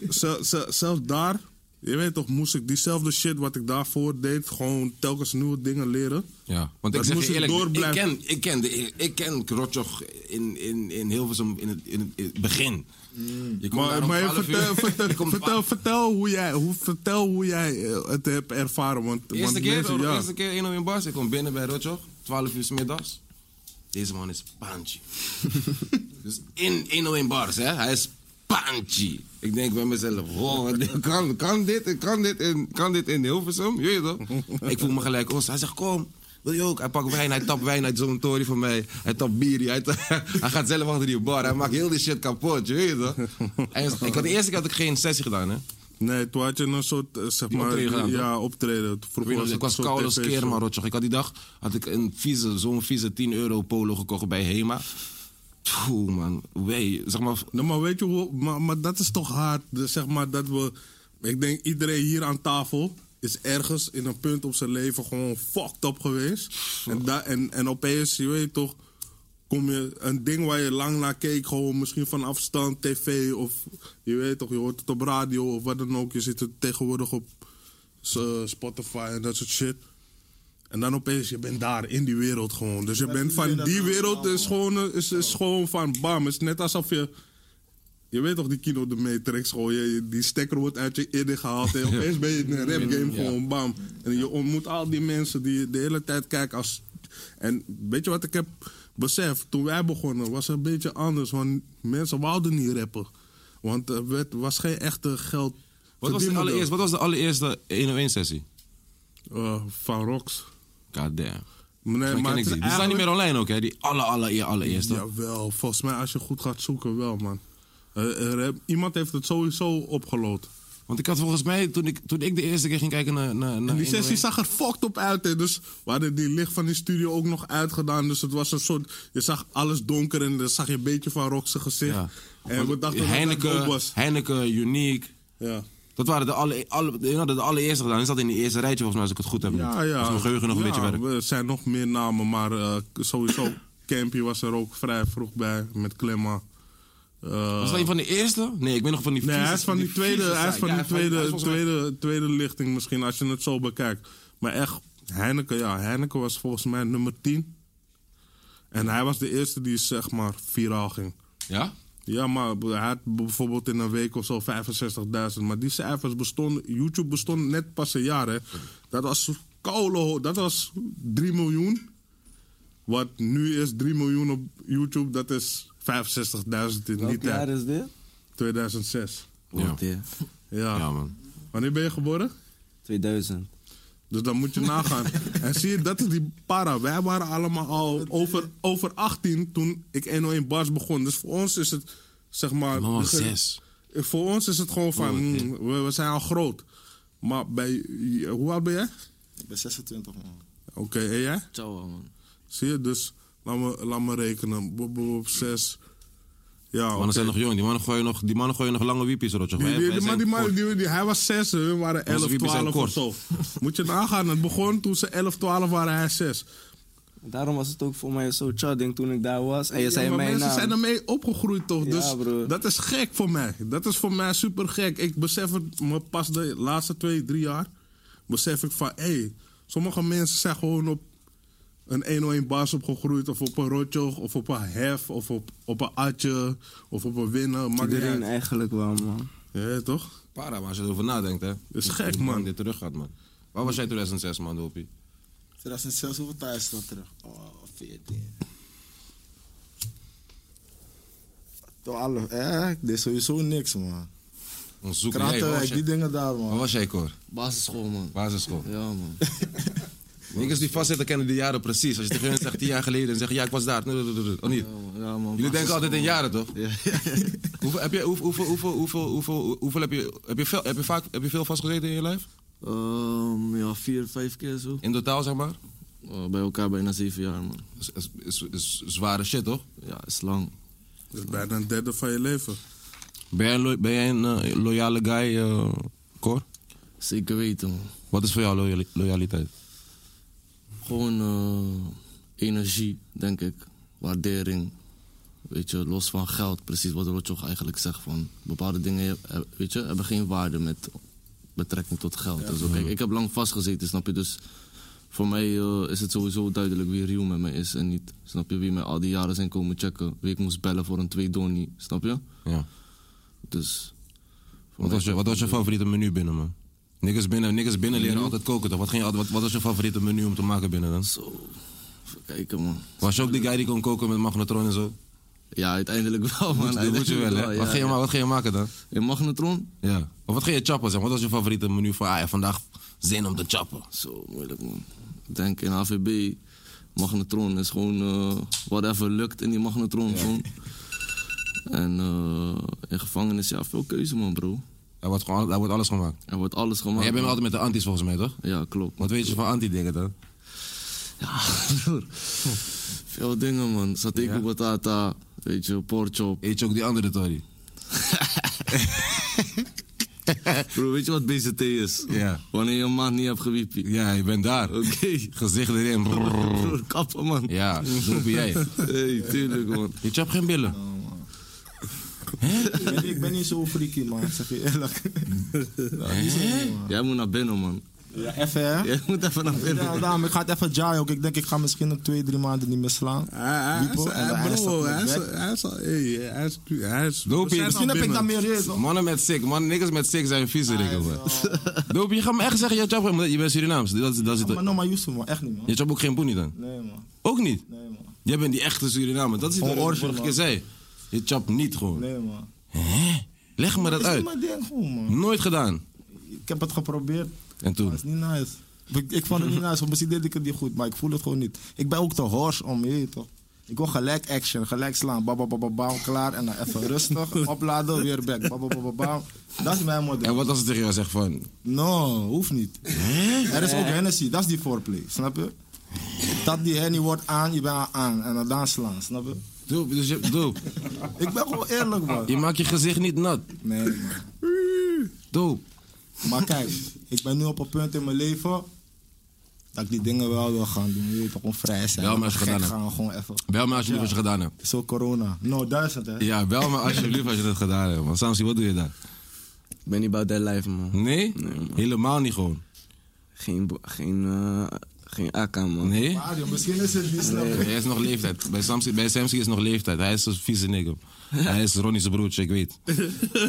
Speaker 4: Zel- zel- zelfs daar, je weet toch, moest ik diezelfde shit wat ik daarvoor deed, gewoon telkens nieuwe dingen leren.
Speaker 3: Ja, want ik
Speaker 4: Dat
Speaker 3: zeg
Speaker 4: moest
Speaker 3: je
Speaker 4: ik
Speaker 3: eerlijk,
Speaker 4: door
Speaker 3: ik
Speaker 4: blijven.
Speaker 3: ken, ik ken, de, ik ken Rotjoch in, in, in Hilversum in het, in het, in het begin. Je komt daar
Speaker 4: Eh, Maar,
Speaker 3: om
Speaker 4: maar
Speaker 3: 12 uur.
Speaker 4: vertel, vertel,
Speaker 3: Je komt
Speaker 4: vertel,
Speaker 3: om-
Speaker 4: vertel, hoe jij, hoe, vertel hoe jij eh, het hebt ervaren. Want,
Speaker 3: De eerste
Speaker 4: want
Speaker 3: keer,
Speaker 4: mensen,
Speaker 3: de
Speaker 4: ja.
Speaker 3: eerste keer 1 in bars. Ik kom binnen bij Rotjoch, 12 uur 's middags. Deze man is panchi. dus in 1 in bars, hè? Hij is panchi. Ik denk bij mezelf, wow, dit- kan, kan, dit, kan, dit in, kan dit in Hilversum? Je weet toch? ik voel me gelijk ons. Hij zegt, kom. Wil je ook? Hij pakt wijn, hij tapt wijn uit zo'n tory van mij. Hij tapt bier, hij, ta- hij gaat zelf achter die bar. Hij maakt heel die shit kapot, je weet toch? En ik had de eerste keer had ik geen sessie gedaan, hè?
Speaker 4: Nee, toen had je een soort, eh, zeg
Speaker 3: Die
Speaker 4: maar,
Speaker 3: optreden gedaan,
Speaker 4: ja, optreden.
Speaker 3: Ik
Speaker 4: Vroeger
Speaker 3: weet nog,
Speaker 4: was het
Speaker 3: ik was
Speaker 4: een soort
Speaker 3: koud als
Speaker 4: tv-show.
Speaker 3: keer, man, Rotjoch. Ik had die dag had ik een vieze, zo'n vieze 10 euro polo gekocht bij Hema. Poeh, man. Wee, zeg maar...
Speaker 4: Nou, maar weet je hoe, maar, maar dat is toch hard, dus zeg maar, dat we, ik denk iedereen hier aan tafel is ergens in een punt op zijn leven gewoon fucked up geweest. En, da, en, en opeens, je weet toch, kom je een ding waar je lang naar keek, gewoon misschien van afstand, tv of je weet toch, je hoort het op radio of wat dan ook. Je zit er tegenwoordig op eh, Spotify en dat soort shit. En dan opeens, je bent daar in die wereld gewoon. Dus je bent van die wereld, is gewoon, eh, is, is gewoon van bam. Het is net alsof je, je weet toch die kino de Matrix gewoon. Je, je- die stekker wordt uit je inning gehaald. En opeens ben je in een rap game gewoon bam. En je ontmoet al die mensen die je de hele tijd kijken als... En weet je wat ik heb beseft? Toen wij begonnen was het een beetje anders. Want mensen wouden niet rappen. Want er werd, was geen echte geld...
Speaker 3: Wat was, de
Speaker 4: verdienmodel.
Speaker 3: allereerste, wat was de allereerste 1-1-sessie?
Speaker 4: Eh, van Rox.
Speaker 3: God damn. maar ken
Speaker 4: Nee,
Speaker 3: ik die.
Speaker 4: het is
Speaker 3: Die staan niet meer
Speaker 4: Eh, eigenlijk-
Speaker 3: online ook, hè? Die alle, alle, allereerste.
Speaker 4: Jawel, volgens mij als je goed gaat zoeken wel, man. Eh, er heb- iemand heeft het sowieso opgelood.
Speaker 3: Want ik had volgens mij, toen ik, toen ik de eerste keer ging kijken naar... naar, naar
Speaker 4: En die
Speaker 3: 101
Speaker 4: sessie zag er fucked op uit. Hè. Dus we hadden die licht van die studio ook nog uitgedaan. Dus het was een soort... Je zag alles donker en dan zag je een beetje van Rox zijn gezicht.
Speaker 3: Ja.
Speaker 4: En Eh, we dachten dat het ook
Speaker 3: Heineken,
Speaker 4: was.
Speaker 3: Heineken, Unique.
Speaker 4: Ja.
Speaker 3: Dat waren de, alle, alle, die hadden de allereerste gedaan. Die zat in de eerste rijtje, volgens mij, als ik het goed heb.
Speaker 4: Ja, ja.
Speaker 3: Als mijn geheugen nog een beetje
Speaker 4: Ja,
Speaker 3: werkt.
Speaker 4: Er zijn nog meer namen, maar eh, sowieso... Campy was er ook vrij vroeg bij met Clemma. Eh,
Speaker 3: Was dat een van de eerste? Nee, ik ben nog van die
Speaker 4: Nee, hij is
Speaker 3: vieze-
Speaker 4: van die tweede,
Speaker 3: vieze
Speaker 4: hij is
Speaker 3: zaak.
Speaker 4: van
Speaker 3: Ja,
Speaker 4: die
Speaker 3: hij is
Speaker 4: tweede,
Speaker 3: volgens mij-
Speaker 4: tweede, tweede lichting misschien, als je het zo bekijkt. Maar echt, Heineken, ja, Heineken was volgens mij nummer 10. En hij was de eerste die, zeg maar, viraal ging.
Speaker 3: Ja?
Speaker 4: Ja, maar hij had bijvoorbeeld in een week of zo 65.000. Maar die cijfers bestonden, YouTube bestond net pas een jaar, hè. Dat was Koulo, dat was 3 miljoen. Wat nu is 3 miljoen op YouTube, dat is 65.000 in die
Speaker 8: Welk jaar
Speaker 4: tijd.
Speaker 8: is dit?
Speaker 4: 2006.
Speaker 3: Ja.
Speaker 8: Ja.
Speaker 4: Ja.
Speaker 3: ja, man.
Speaker 4: Wanneer ben je geboren?
Speaker 8: 2000.
Speaker 4: Dus dan moet je nagaan. en zie je, dat is die para. Wij waren allemaal al over, over 18 toen ik 101 bars begon. Dus voor ons is het, zeg maar...
Speaker 3: Man,
Speaker 4: de ge-
Speaker 3: zes.
Speaker 4: Voor ons is het gewoon van,
Speaker 3: Oh, oké.
Speaker 4: mm, we, we zijn al groot. Maar bij... Hoe oud ben jij?
Speaker 5: Ik ben 26 man.
Speaker 4: Oké, en jij?
Speaker 7: Ciao, man.
Speaker 4: Zie je, dus laat me, laat me rekenen. Bob, bob, bob, zes. Ja,
Speaker 3: Die
Speaker 4: oké.
Speaker 3: mannen zijn nog jong. Die mannen gooien nog, die mannen gooien nog lange wiepies, Rotjoch.
Speaker 4: Die,
Speaker 3: Wij-
Speaker 4: die,
Speaker 3: wij
Speaker 4: die,
Speaker 3: zijn
Speaker 4: man- die, man-
Speaker 3: kort.
Speaker 4: die- die- hij was zes, we waren 11,
Speaker 3: wiepjes zijn
Speaker 4: 12 of zo.
Speaker 3: kort.
Speaker 4: Moet je nagaan, het begon toen ze 11, 12 waren, hij 6.
Speaker 8: Daarom was het ook voor mij zo chudding toen ik daar was. En je
Speaker 4: Ja,
Speaker 8: zei nou,
Speaker 4: maar
Speaker 8: mijn
Speaker 4: mensen
Speaker 8: naam.
Speaker 4: zijn ermee opgegroeid toch?
Speaker 8: Ja,
Speaker 4: Dus
Speaker 8: broer.
Speaker 4: dat is gek voor mij. Dat is voor mij super gek. Ik besef het me pas de laatste twee, drie jaar. Besef ik van, hé, hey, sommige mensen zijn gewoon op een 101 baas opgegroeid. Of op een rotjoch, of op een hef, of op, op een atje, of op een winnen. Maakt niet
Speaker 8: Iedereen
Speaker 4: uit.
Speaker 8: eigenlijk wel, man.
Speaker 4: Ja, toch?
Speaker 3: Para, maar als je erover nadenkt, hè.
Speaker 4: is
Speaker 3: Hoe-
Speaker 4: gek,
Speaker 3: hoe lang
Speaker 4: man.
Speaker 3: dit terug gaat, man. Waar was jij 2006, man, Dopie?
Speaker 5: 2006, hoeveel tijd is dat terug? Oh, 14. 12, eh, ik deed sowieso niks man.
Speaker 3: Ons zoeken. Jij, waar, was
Speaker 5: Kratenwijk, die
Speaker 3: jij,
Speaker 5: dingen daar
Speaker 3: waar
Speaker 5: man.
Speaker 3: was jij, Cor?
Speaker 7: Basisschool, man.
Speaker 3: Basisschool.
Speaker 7: Ja, man.
Speaker 3: Niggas die vastzitten kennen die jaren precies. Als je tegen hun zegt, tien jaar geleden, en zegt, ja, ik was daar. Of niet?
Speaker 7: Ja, man. Ja, man.
Speaker 3: Jullie denken
Speaker 7: Basisschool,
Speaker 3: altijd in
Speaker 7: man.
Speaker 3: jaren, toch? Hoeveel heb je, hoeveel, hoeveel, hoeveel, hoeveel, hoeveel, hoeveel heb je, heb je, veel, heb je vaak, heb je veel vastgezeten in je lijf?
Speaker 7: Ehm, ja, vier, vijf keer zo.
Speaker 3: In totaal, zeg maar?
Speaker 7: Eh, bij elkaar bijna zeven jaar, man.
Speaker 3: Is, is, is, is zware shit, toch?
Speaker 7: Ja, is lang.
Speaker 4: Dat is bijna een derde van je leven.
Speaker 3: Ben jij, lo- ben jij een eh, loyale guy, eh Cor?
Speaker 7: Zeker weten, man.
Speaker 3: Wat is voor jou loyali- loyaliteit?
Speaker 7: Gewoon eh, energie, denk ik. Waardering. Weet je, los van geld. Precies wat Rotjoch eigenlijk zegt. Van bepaalde dingen eh, weet je, hebben geen waarde met betrekking tot geld. en zo. Kijk, ik heb lang vastgezeten, snap je? Dus voor mij eh, is het sowieso duidelijk wie real met me is en niet. Snap je? Wie mij al die jaren zijn komen checken. Wie ik moest bellen voor een twee donnie, snap je?
Speaker 3: Ja.
Speaker 7: Dus... voor
Speaker 3: Wat
Speaker 7: mij-
Speaker 3: was, je, wat was je favoriete menu binnen, man? Niggas binnen, niggas binnen leren altijd koken, toch? Wat, ging je, altijd- wat, wat was je favoriete menu om te maken binnen dan?
Speaker 7: Zo, even kijken man.
Speaker 3: Was je ook die guy die kon koken met magnetron en zo?
Speaker 7: Ja, uiteindelijk wel man.
Speaker 3: Moet, dat moet je wel, hè?
Speaker 7: Uiteindelijk
Speaker 3: wat,
Speaker 7: ja,
Speaker 3: ging je,
Speaker 7: ja.
Speaker 3: ma- wat ging je maken dan?
Speaker 7: In Magnetron?
Speaker 3: Ja. Of wat ging je chappen, zeg? Wat was je favoriete menu van, ah, ja, vandaag zin om te chappen?
Speaker 7: Zo moeilijk, man. Ik denk in HVB, magnetron is gewoon eh, whatever lukt in die magnetron. Gewoon. En eh, in gevangenis, ja, veel keuze, man, bro.
Speaker 3: Daar wordt, gewoon, daar wordt alles gemaakt.
Speaker 7: Er wordt alles gemaakt.
Speaker 3: Maar jij bent wel
Speaker 7: man.
Speaker 3: altijd met de antis volgens mij, toch?
Speaker 7: Ja, klopt.
Speaker 3: Wat weet je van anti-dingen dan?
Speaker 7: Ja, broer. Veel dingen, man. Sateku batata, weet je, porchop.
Speaker 3: Eet je ook die andere Tory?
Speaker 7: Bro, weet je wat BCT is?
Speaker 3: Ja.
Speaker 7: Wanneer je een maand niet hebt gewiepie.
Speaker 3: Ja, je bent daar.
Speaker 7: Oké.
Speaker 3: Gezicht erin. brrr.
Speaker 7: Broer, kappen, man.
Speaker 3: Ja, zo ben jij.
Speaker 7: Hey, tuurlijk, man.
Speaker 3: Je chapt geen billen.
Speaker 5: Ik ben, ik ben niet zo freaky man, ik zeg je eerlijk. Nou, niet zo, man.
Speaker 7: Jij moet naar binnen, man.
Speaker 5: Ja, even hè.
Speaker 7: Jij moet even naar binnen.
Speaker 5: Ja, daarom, ik ga het even jaaien ook. Ik denk ik ga misschien nog twee, drie maanden niet meer slaan.
Speaker 4: Hij, hij,
Speaker 5: Wiepo,
Speaker 4: is-
Speaker 5: en dan
Speaker 4: hij,
Speaker 5: is dat
Speaker 4: bro,
Speaker 5: met
Speaker 4: hij is,
Speaker 5: werk.
Speaker 4: hij is al... Hey, hij is... Hij is
Speaker 3: Doopie,
Speaker 4: we zijn al
Speaker 5: Misschien heb ik
Speaker 4: binnen.
Speaker 5: dan meer reet. hoor.
Speaker 3: Mannen met sick, mannen, niks met sick zijn vieze dingen, man. Doop, je gaat me echt zeggen, je chapt geen billen. Je bent Surinaams. Dat, dat is
Speaker 5: Maar
Speaker 3: het.
Speaker 5: no, maar Yusuf man, echt niet man.
Speaker 3: Je chapt ook geen boenie dan?
Speaker 5: Nee man,
Speaker 3: Ook niet.
Speaker 5: nee man,
Speaker 3: Jij bent die echte Surinamer. Dat is het
Speaker 5: Gewoon
Speaker 3: wat ik
Speaker 5: origin,
Speaker 3: vorige
Speaker 5: man.
Speaker 3: keer zei. Je chapt niet gewoon.
Speaker 5: nee man.
Speaker 3: Hè? Leg me dat
Speaker 5: is niet
Speaker 3: uit.
Speaker 5: mijn ding gewoon man.
Speaker 3: Nooit gedaan.
Speaker 5: Ik heb het geprobeerd,
Speaker 3: En
Speaker 5: maar
Speaker 3: toen?
Speaker 5: het is niet nice. Ik, ik vond het niet nice, of misschien deed ik het niet goed, maar ik voel het gewoon niet. Ik ben ook te hors om, je weet toch. Ik wil gelijk action, gelijk slaan, ba ba ba ba bam, klaar en dan even rustig, opladen, weer back, ba ba ba ba bam. Dat is mijn
Speaker 3: En
Speaker 5: model.
Speaker 3: wat als ze tegen jou zegt van...
Speaker 5: No, hoeft niet. Er is ook Hennessy, dat is die foreplay, snap je? Dat die Henny wordt aan, je bent aan en dan dan slaan, snap je?
Speaker 3: Doop, dus je, doop.
Speaker 5: Ik ben gewoon eerlijk man.
Speaker 3: Je maakt je gezicht niet nat.
Speaker 5: Nee man.
Speaker 3: Doop.
Speaker 5: Maar kijk, ik ben nu op een punt in mijn leven dat ik die dingen wel wil gaan doen. Je weet toch, gewoon vrij zijn.
Speaker 3: Ja, maar als je
Speaker 5: Gek
Speaker 3: gedaan hebt.
Speaker 5: gaan, gewoon even.
Speaker 3: Bel me als je het gedaan hebt.
Speaker 5: Zo corona. Nou, duizend hè.
Speaker 3: Ja, bel me alsjeblieft als je dat gedaan hebt. Want Samsi, wat doe je daar?
Speaker 8: Ik ben niet about that life, man.
Speaker 3: Nee? Helemaal niet gewoon.
Speaker 8: Geen, bo- geen, eh, geen AK, man.
Speaker 3: Nee?
Speaker 5: Mario, misschien is het niet snap je?
Speaker 3: Hij is nog leeftijd. Bij Samsi, bij Samsi is nog leeftijd. Hij is een vieze nigger. Hij is Ronnie's broertje, ik weet.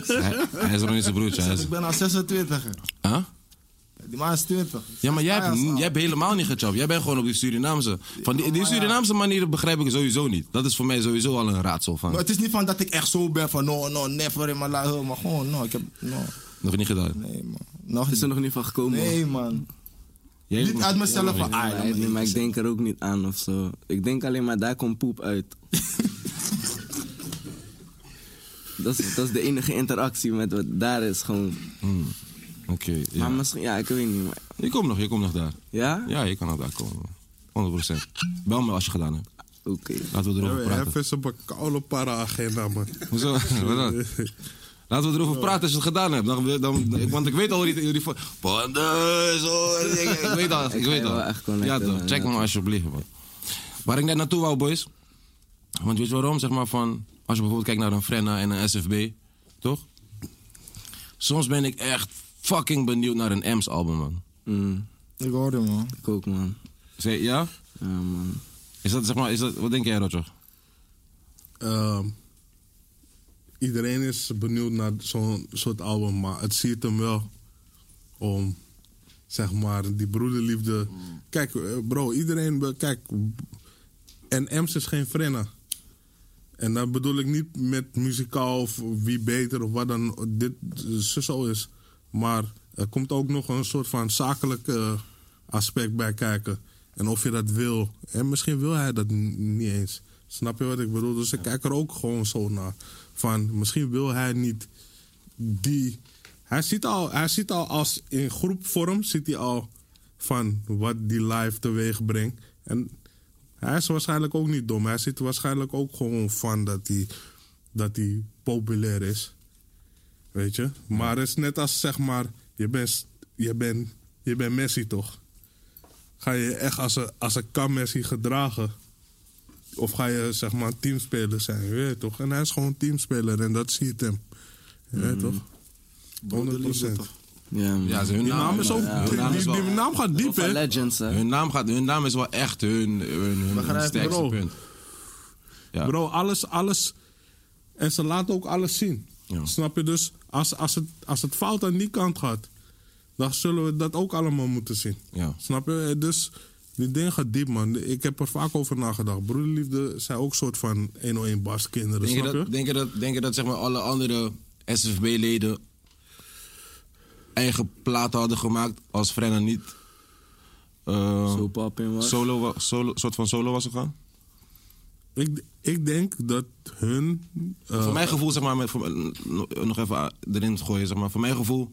Speaker 3: Hij, hij is Ronnie's broertje. Hij is,
Speaker 5: Ik ben al 26 hè.
Speaker 3: huh?
Speaker 5: Die man is 20.
Speaker 3: Ja, maar jij hebt,
Speaker 5: Ja, ja,
Speaker 3: jij hebt helemaal niet gechapt. Jij bent gewoon op die Surinaamse. Van die, die Surinaamse manier begrijp ik sowieso niet. Dat is voor mij sowieso al een raadsel
Speaker 5: Maar
Speaker 3: van.
Speaker 5: het is niet van dat ik echt zo ben van no, no, never in my life. Maar gewoon, no, ik heb, no.
Speaker 3: Nog niet gedaan.
Speaker 5: Nee, man. Nog
Speaker 7: is er nog niet van gekomen. man.
Speaker 5: Nee, man.
Speaker 3: Jij-
Speaker 5: Niet uit mezelf van, ah,
Speaker 7: Ja,
Speaker 5: ja,
Speaker 7: maar, nee, maar ik denk er ook niet aan of zo. Ik denk alleen maar daar komt poep uit. dat, is, dat is de enige interactie met wat daar is gewoon.
Speaker 3: Oké, ja.
Speaker 7: Maar misschien, ja, ik weet niet. Maar,
Speaker 3: Je komt nog, je komt nog daar.
Speaker 7: ja?
Speaker 3: Ja, je kan nog daar komen. 100%. Bel me als je gedaan hebt.
Speaker 7: Oké.
Speaker 3: Laten we
Speaker 4: Oh, Ja,
Speaker 3: erover
Speaker 4: maar
Speaker 3: praten.
Speaker 4: Hef is een bekoude para-agenda, man.
Speaker 3: Hoezo? Wat dan? Laten we erover praten als je het gedaan hebt. Dan, dan, want ik weet al jullie... jullie van- Pandas, oh, ik, ik weet al. Ik
Speaker 7: ga
Speaker 3: weet
Speaker 7: je
Speaker 3: al.
Speaker 7: wel echt connecten,
Speaker 3: Ja toch,
Speaker 7: man.
Speaker 3: check
Speaker 7: Ja,
Speaker 3: me alsjeblieft man. Waar ik net naartoe wou boys. Want weet je waarom? Zeg maar van... Als je bijvoorbeeld kijkt naar een Frenna en een SFB. Toch? Soms ben ik echt fucking benieuwd naar een M's album man.
Speaker 7: Mm,
Speaker 5: Ik hoorde, man.
Speaker 7: ik ook, man.
Speaker 3: Zeg, ja?
Speaker 7: Ja, man.
Speaker 3: Is dat zeg maar... Is dat, wat denk jij Roger?
Speaker 4: Ehm, iedereen is benieuwd naar zo'n soort album, maar het ziet hem wel om, zeg maar, die broederliefde. Kijk, eh, bro, iedereen, be- kijk, en Ems is geen frenna. En dat bedoel ik niet met muzikaal of wie beter of wat dan dit eh, zo is. Maar er komt ook nog een soort van zakelijk eh, aspect bij kijken. En of je dat wil. En misschien wil hij dat n- niet eens. Snap je wat ik bedoel? Dus ik kijk er ook gewoon zo naar. Van misschien wil hij niet die. Hij ziet al, hij ziet al als in groepvorm ziet hij al van wat die live teweeg brengt. En hij is waarschijnlijk ook niet dom. Hij ziet waarschijnlijk ook gewoon van dat hij, dat hij populair is. Weet je? Maar het is net als zeg maar, je bent, je bent, je bent Messi toch? Ga je echt als een, als een kan Messi gedragen? Of ga je zeg maar teamspeler zijn? Je weet toch? En hij is gewoon teamspeler en dat ziet hem. Je weet toch? 100%.
Speaker 7: Ja, man.
Speaker 3: Ja, ze- hun
Speaker 4: Die naam is ook.
Speaker 3: ja, hun
Speaker 4: die,
Speaker 3: naam is
Speaker 4: die-
Speaker 3: wel-
Speaker 4: die naam gaat diep,
Speaker 7: Of van
Speaker 4: hè?
Speaker 7: Legends, hè.
Speaker 3: Hun naam, gaat, hun naam is wel echt hun, hun, hun, hun
Speaker 4: Begrijp je,
Speaker 3: sterkste
Speaker 4: bro?
Speaker 3: punt. Ja.
Speaker 4: Bro, alles, alles. En ze laten ook alles zien.
Speaker 3: Ja.
Speaker 4: Snap je? Dus als, als, het, als het fout aan die kant gaat, dan zullen we dat ook allemaal moeten zien.
Speaker 3: Ja.
Speaker 4: Snap je? Dus die ding gaat diep, man. Ik heb er vaak over nagedacht. Broederliefde zijn ook soort van 101 barst kinderen,
Speaker 3: Denk je,
Speaker 4: snap je?
Speaker 3: dat, denk, je dat, denk je dat zeg maar alle andere SFB-leden eigen platen hadden gemaakt als Frenna niet eh,
Speaker 7: Zo pap in was.
Speaker 3: solo, wa- solo, soort van solo was gegaan?
Speaker 4: Ik, ik denk dat hun. eh,
Speaker 3: voor mijn gevoel, zeg maar, met, voor- eh, nog even erin te gooien, zeg maar. Voor mijn gevoel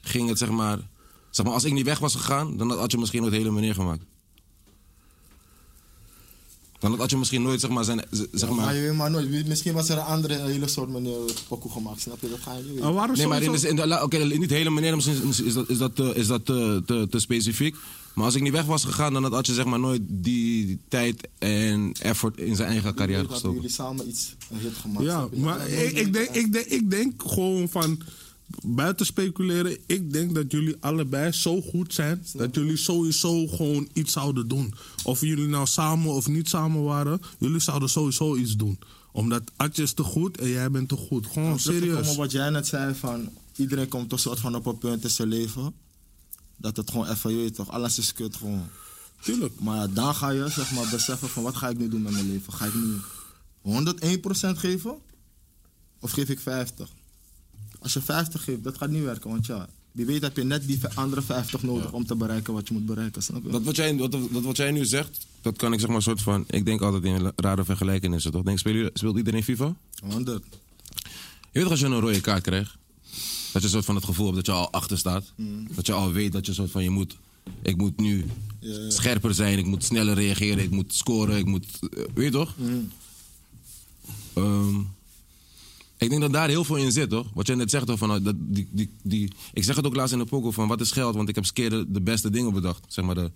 Speaker 3: ging het, zeg maar, zeg maar, als ik niet weg was gegaan, dan had je misschien nooit de hele meneer gemaakt. Dan had je misschien nooit, zeg maar, zijn, z- zeg
Speaker 5: Maar
Speaker 3: maar
Speaker 5: je weet maar nooit. Misschien was er een andere een hele soort manier pokoe gemaakt. Snap je? Dat ga je niet weten.
Speaker 4: er waren
Speaker 3: Nee, maar in
Speaker 4: sowieso-
Speaker 3: de, in de- la- oké, niet de hele meneer, misschien is, is dat, is dat, te, is dat te, te, te specifiek. Maar als ik niet weg was gegaan, dan had je zeg maar nooit die tijd en effort in zijn eigen
Speaker 5: Ik
Speaker 3: carrière
Speaker 5: weet dat
Speaker 3: gestoken.
Speaker 5: jullie samen iets een hit gemaakt.
Speaker 4: Ja,
Speaker 5: snap je?
Speaker 4: maar
Speaker 5: Dat
Speaker 4: ik,
Speaker 5: nooit-
Speaker 4: ik, denk, ik, denk, ik denk gewoon van buiten speculeren. Ik denk dat jullie allebei zo goed zijn dat jullie sowieso gewoon iets zouden doen. Of jullie nou samen of niet samen waren, jullie zouden sowieso iets doen. Omdat Atje is te goed en jij bent te goed. Gewoon
Speaker 5: Om terug te komen
Speaker 4: serieus.
Speaker 5: op wat jij net zei van iedereen komt toch soort van op een punt in zijn leven dat het gewoon even je weet toch alles is kut gewoon.
Speaker 4: Tuurlijk.
Speaker 5: Maar ja, daar ga je zeg maar beseffen van wat ga ik nu doen met mijn leven? Ga ik nu 101% geven of geef ik 50? Als je 50 geeft, dat gaat niet werken, want ja, wie weet heb je net die andere 50 nodig om te bereiken wat je moet bereiken, snap je?
Speaker 3: Dat wat, jij, dat, dat wat jij nu zegt, dat kan ik zeg maar een soort van... Ik denk altijd in rare vergelijkenissen, toch? Denk, speel, speelt iedereen FIFA?
Speaker 5: 100.
Speaker 3: Je weet toch als je een rode kaart krijgt, dat je een soort van het gevoel hebt dat je al achter staat. Dat je al weet dat je een soort van je moet, ik moet nu scherper zijn, ik moet sneller reageren, ik moet scoren, ik moet, eh, weet je toch? Ehm, ik denk dat daar heel veel in zit, toch? Wat jij net zegt, toch? Van, eh, dat, die, die, die, ik zeg het ook laatst in de poko van wat is geld, want ik heb skeer de, de beste dingen bedacht, zeg maar. De,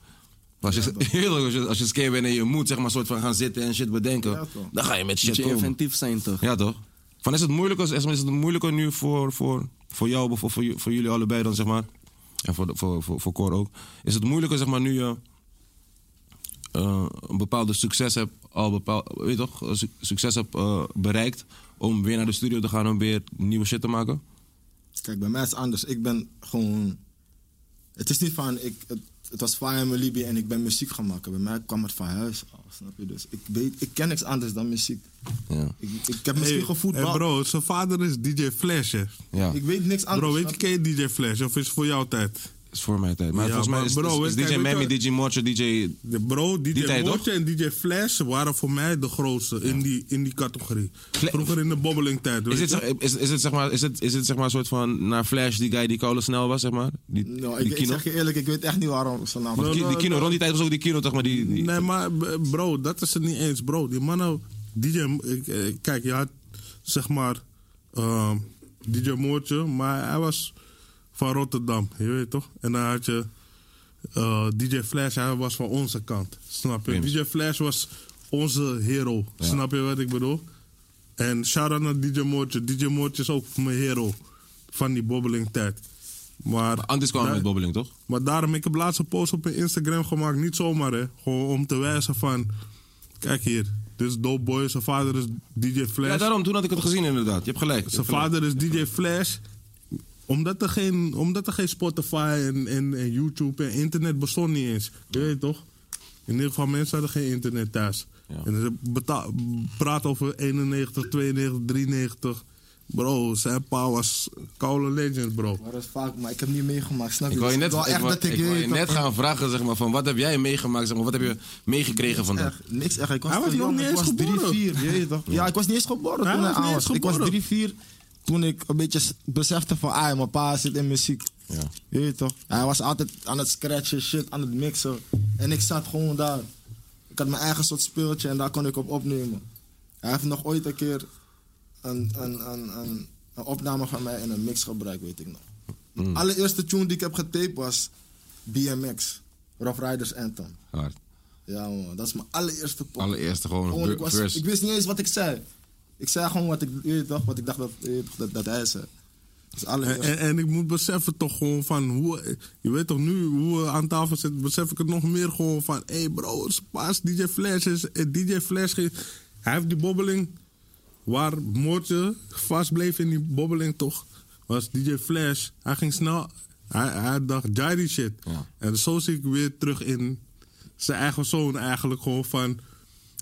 Speaker 3: als je, Eerlijk, als je, als je skeer bent en je moet zeg maar soort van gaan zitten en shit bedenken, dan ga je met shit
Speaker 7: Moet je
Speaker 3: komen.
Speaker 7: inventief zijn, toch?
Speaker 3: Ja, toch? Van is het moeilijker, is is het moeilijker nu voor, voor, voor jou, bijvoorbeeld voor, ju- voor jullie allebei dan, zeg maar. En voor, de- voor, voor, voor Cor ook. Is het moeilijker, zeg maar, nu je eh, een bepaalde succes hebt, al bepaald, weet je toch, eh, su- succes hebt eh, bereikt, om weer naar de studio te gaan om weer nieuwe shit te maken?
Speaker 5: Kijk, bij mij is het anders. Ik ben gewoon. Het is niet van, ik, het, het was Fire in mijn Libi en ik ben muziek gaan maken. Bij mij kwam het van huis af, snap je? Dus ik, weet, ik ken niks anders dan muziek.
Speaker 3: Ja.
Speaker 5: Ik, ik heb misschien
Speaker 4: hey,
Speaker 5: gevoetbald.
Speaker 4: bro, zijn vader is DJ Flash, hè.
Speaker 3: Ja,
Speaker 5: Ik weet niks anders.
Speaker 4: Bro, weet je,
Speaker 5: snap
Speaker 4: ken je DJ Flash? Of is het voor jouw tijd?
Speaker 3: is voor mijn tijd. Maar
Speaker 4: Ja,
Speaker 3: volgens mij
Speaker 4: maar
Speaker 3: is,
Speaker 4: bro,
Speaker 3: is, is
Speaker 4: kijk,
Speaker 3: DJ
Speaker 4: weet je
Speaker 3: Mammy,
Speaker 4: wat-
Speaker 3: DJ Mortje, DJ...
Speaker 4: De bro, DJ
Speaker 3: tijd,
Speaker 4: Moortje en DJ Flash waren voor mij de grootste in, die, in die categorie.
Speaker 3: Fla-
Speaker 4: Vroeger in de bobbelingtijd, weet
Speaker 3: Is het,
Speaker 4: je.
Speaker 3: zeg- is, is het zeg maar, is het, is het zeg maar een soort van, naar Flash, die guy die koude snel was, zeg maar? Die,
Speaker 5: Nou,
Speaker 3: die
Speaker 5: ik, ik zeg je eerlijk, ik weet echt niet waarom ze naam.
Speaker 4: Nou,
Speaker 3: Ki-
Speaker 4: nou,
Speaker 3: die kino,
Speaker 4: nou.
Speaker 3: rond die tijd was ook die kino, toch maar die... die-
Speaker 4: Nee, maar b- bro, dat is het niet eens, bro. Die mannen, DJ, M- ik- eh, kijk, je had zeg maar ehm, DJ Moortje, maar hij was van Rotterdam, je weet toch? En dan had je eh, DJ Flash, hij was van onze kant, snap je?
Speaker 3: Prima.
Speaker 4: DJ Flash was onze hero, snap je wat ik bedoel? En shout-out naar DJ Moortje. DJ Moortje is ook mijn hero van die bobbelingtijd. Maar
Speaker 3: Anders kwam
Speaker 4: daar-
Speaker 3: met bobbeling, toch?
Speaker 4: maar daarom, ik heb laatst een post op mijn Instagram gemaakt. Niet zomaar, hè. Gewoon om te wijzen van... Kijk hier, dit is Dope Boy. Zijn vader is DJ Flash.
Speaker 3: Ja, daarom, toen had ik het gezien inderdaad. Je hebt gelijk. Je
Speaker 4: Zijn
Speaker 3: hebt gelijk.
Speaker 4: vader is DJ Flash. Omdat er geen, omdat er geen Spotify en, en, en YouTube en internet bestond niet eens. Je weet toch? In ieder geval, mensen hadden geen internet thuis.
Speaker 3: Ja.
Speaker 4: En ze beta- praat over 91, 92, 93. Bro, zijn pa was koude legend, bro.
Speaker 5: Maar dat is vaak, maar ik heb niet meegemaakt, snap je?
Speaker 3: Ik wou je
Speaker 5: Dus
Speaker 3: net,
Speaker 5: het is
Speaker 3: ik
Speaker 5: wel echt
Speaker 3: wou-
Speaker 5: dat ik,
Speaker 3: ik wou je
Speaker 5: weet
Speaker 3: net
Speaker 5: dat-
Speaker 3: gaan vragen, zeg maar, van wat heb jij meegemaakt, zeg maar, wat heb je meegekregen van dat?
Speaker 5: Echt, niks echt. Ik was
Speaker 4: Hij was
Speaker 5: te
Speaker 4: nog
Speaker 5: jong,
Speaker 4: niet
Speaker 5: ik
Speaker 4: eens
Speaker 5: was
Speaker 4: geboren.
Speaker 5: Drie, vier, je weet toch? Ja, ik was niet eens geboren
Speaker 4: Hij
Speaker 5: toen
Speaker 4: was
Speaker 5: hij
Speaker 4: niet
Speaker 5: aan
Speaker 4: eens
Speaker 5: was. Ik was
Speaker 4: geboren.
Speaker 5: drie, vier toen ik een beetje s- besefte van, ah, mijn pa zit in muziek.
Speaker 3: Ja.
Speaker 5: Je weet toch? Hij was altijd aan het scratchen, shit, aan het mixen. En ik zat gewoon daar. Ik had mijn eigen soort speeltje en daar kon ik op opnemen. Hij heeft nog ooit een keer een, een, een, een, een opname van mij in een mix gebruikt, weet ik nog.
Speaker 3: Mm.
Speaker 5: De allereerste tune die ik heb getaped was BMX, Rough Riders Anthem.
Speaker 3: Hard.
Speaker 5: Ja, man, dat is mijn allereerste pop.
Speaker 3: Allereerste gewoon,
Speaker 5: Gewoon, ik,
Speaker 3: ver-
Speaker 5: was,
Speaker 3: verse.
Speaker 5: ik wist niet eens wat ik zei. Ik zei gewoon wat ik, je weet toch, wat ik dacht dat, je weet toch, dat, dat hij zei. Dus
Speaker 4: En,
Speaker 5: allereerste.
Speaker 4: en, en ik moet beseffen toch gewoon van hoe... Je weet toch nu hoe we aan tafel zitten, besef ik het nog meer gewoon van... Hé hey bro, Spaas, DJ Flash is... eh, DJ Flash, ge- hij heeft die bobbeling... Waar Moortje vast bleef in die bobbeling toch, was DJ Flash. Hij ging snel... Hij, hij dacht, Jari shit.
Speaker 3: Ja.
Speaker 4: En zo zie ik weer terug in zijn eigen zoon eigenlijk gewoon van...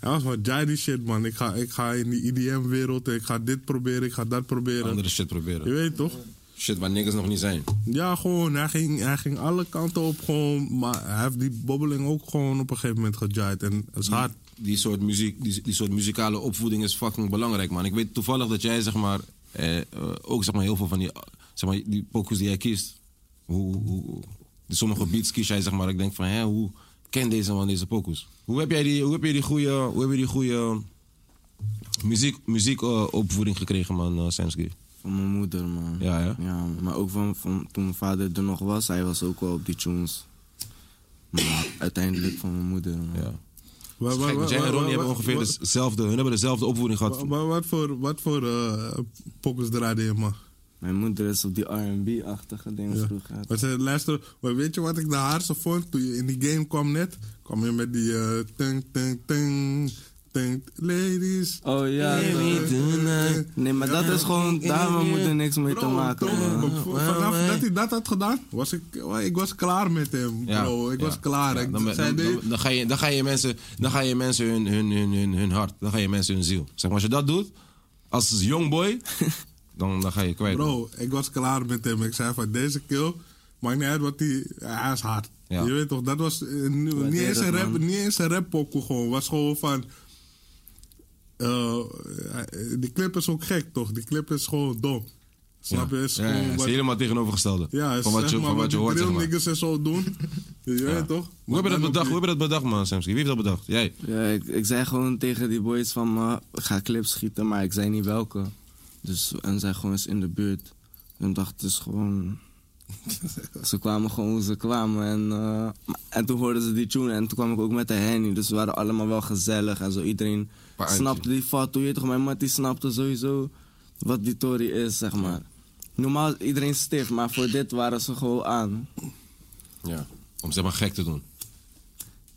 Speaker 4: Hij was van, Jari shit man, ik ga, ik ga in die IDM-wereld, ik ga dit proberen, ik ga dat proberen.
Speaker 3: Andere shit
Speaker 4: Je
Speaker 3: proberen.
Speaker 4: weet toch?
Speaker 3: Shit waar niggas nog niet zijn.
Speaker 4: Ja, gewoon. Hij ging, hij ging alle kanten op. Gewoon, maar hij heeft die bobbeling ook gewoon op een gegeven moment gejaaid. En het is
Speaker 3: Mm.
Speaker 4: hard.
Speaker 3: die soort, muziek, die, die soort muzikale opvoeding is fucking belangrijk, man. Ik weet toevallig dat jij, zeg maar, eh, eh, ook zeg maar, heel veel van die, zeg maar, die pokus die jij kiest. Hoe, hoe, die sommige beats kies jij, zeg maar. Ik denk van, hè, hoe ken deze man deze pokus? Hoe heb jij die, hoe heb jij die goede, hoe heb je die goede muziek, muziek eh, opvoeding gekregen, man, eh, Samsky?
Speaker 7: Van mijn moeder, man.
Speaker 3: Ja, hè?
Speaker 7: Ja, maar ook van, van toen mijn vader er nog was, hij was ook wel op die tunes. Maar uiteindelijk van mijn moeder, man.
Speaker 3: Ja.
Speaker 4: Wa-
Speaker 3: Dat is
Speaker 4: wa-
Speaker 3: gek, want jij
Speaker 4: wa-
Speaker 3: en
Speaker 4: wa-
Speaker 3: Ronnie hebben
Speaker 4: wa-
Speaker 3: ongeveer
Speaker 4: wa-
Speaker 3: dezelfde, hun hebben dezelfde opvoeding gehad.
Speaker 4: wa- wa- Wat voor, wat voor eh, pokkers draaide je, man?
Speaker 7: Mijn moeder is op die R&B-achtige dingen
Speaker 4: Ja.
Speaker 7: vroeger.
Speaker 4: Maar ze luisteren- maar weet je wat ik de haarse vond toen je in die game kwam net? Kwam je met die... eh, ting, ting, ting, ting, ladies.
Speaker 7: Oh ja,
Speaker 4: Baby tonight.
Speaker 7: nee, maar dat is gewoon, daar mijn moeder niks mee te
Speaker 4: Bro,
Speaker 7: maken.
Speaker 4: toch,
Speaker 7: man.
Speaker 4: v- Vanaf dat hij dat had gedaan, was ik, ik was klaar met hem, bro. Ik
Speaker 3: ja.
Speaker 4: was klaar.
Speaker 3: Ja,
Speaker 4: ik
Speaker 3: dan,
Speaker 4: zei,
Speaker 3: dan,
Speaker 4: nee,
Speaker 3: dan, dan ga je, dan ga je mensen, dan ga je mensen hun, hun, hun, hun, hun hart, dan ga je mensen hun ziel. Zeg maar, als je dat doet, als young boy, dan, dan ga je kwijt.
Speaker 4: Bro, ik was klaar met hem. Ik zei van deze kill, maakt niet uit wat hij. Hij is hard.
Speaker 3: Ja.
Speaker 4: Je weet toch, dat was eh, nu- niet,
Speaker 7: Waardeer
Speaker 4: eens een
Speaker 7: het,
Speaker 4: rap,
Speaker 7: man.
Speaker 4: niet eens een rap gewoon. Was gewoon van. eh, eh, die clip is ook gek toch? Die clip is gewoon dom. Snap je? Is
Speaker 3: Ja, ja, ja,
Speaker 4: gewoon
Speaker 3: het is
Speaker 4: wat-
Speaker 3: helemaal tegenovergestelde.
Speaker 4: ja,
Speaker 3: van wat je,
Speaker 4: zeg maar
Speaker 3: van wat
Speaker 4: wat
Speaker 3: je
Speaker 4: die
Speaker 3: hoort, zeg
Speaker 4: drill
Speaker 3: maar.
Speaker 4: niggas en zo doen. Je weet toch?
Speaker 3: Hoe heb je dat
Speaker 4: dan op
Speaker 3: bedacht? Hoe
Speaker 4: die-
Speaker 3: heb je dat bedacht, man, Samsky? Wie heeft dat bedacht? Jij?
Speaker 7: Ja, ik, ik zei gewoon tegen die boys van, ma, ga clips schieten, maar ik zei niet welke. Dus, en zij gewoon eens in de buurt. En dacht dus gewoon... ze kwamen gewoon hoe ze kwamen. En, eh, en toen hoorden ze die tune en toen kwam ik ook met de Henny. Dus we waren allemaal wel gezellig en zo. Iedereen
Speaker 3: Paar
Speaker 7: snapte die vat. Hoe je toch, mijn mat die snapte sowieso wat die Tory is, zeg maar. Normaal is iedereen stif, maar voor dit waren ze gewoon aan.
Speaker 3: Ja. Om zeg maar gek te doen.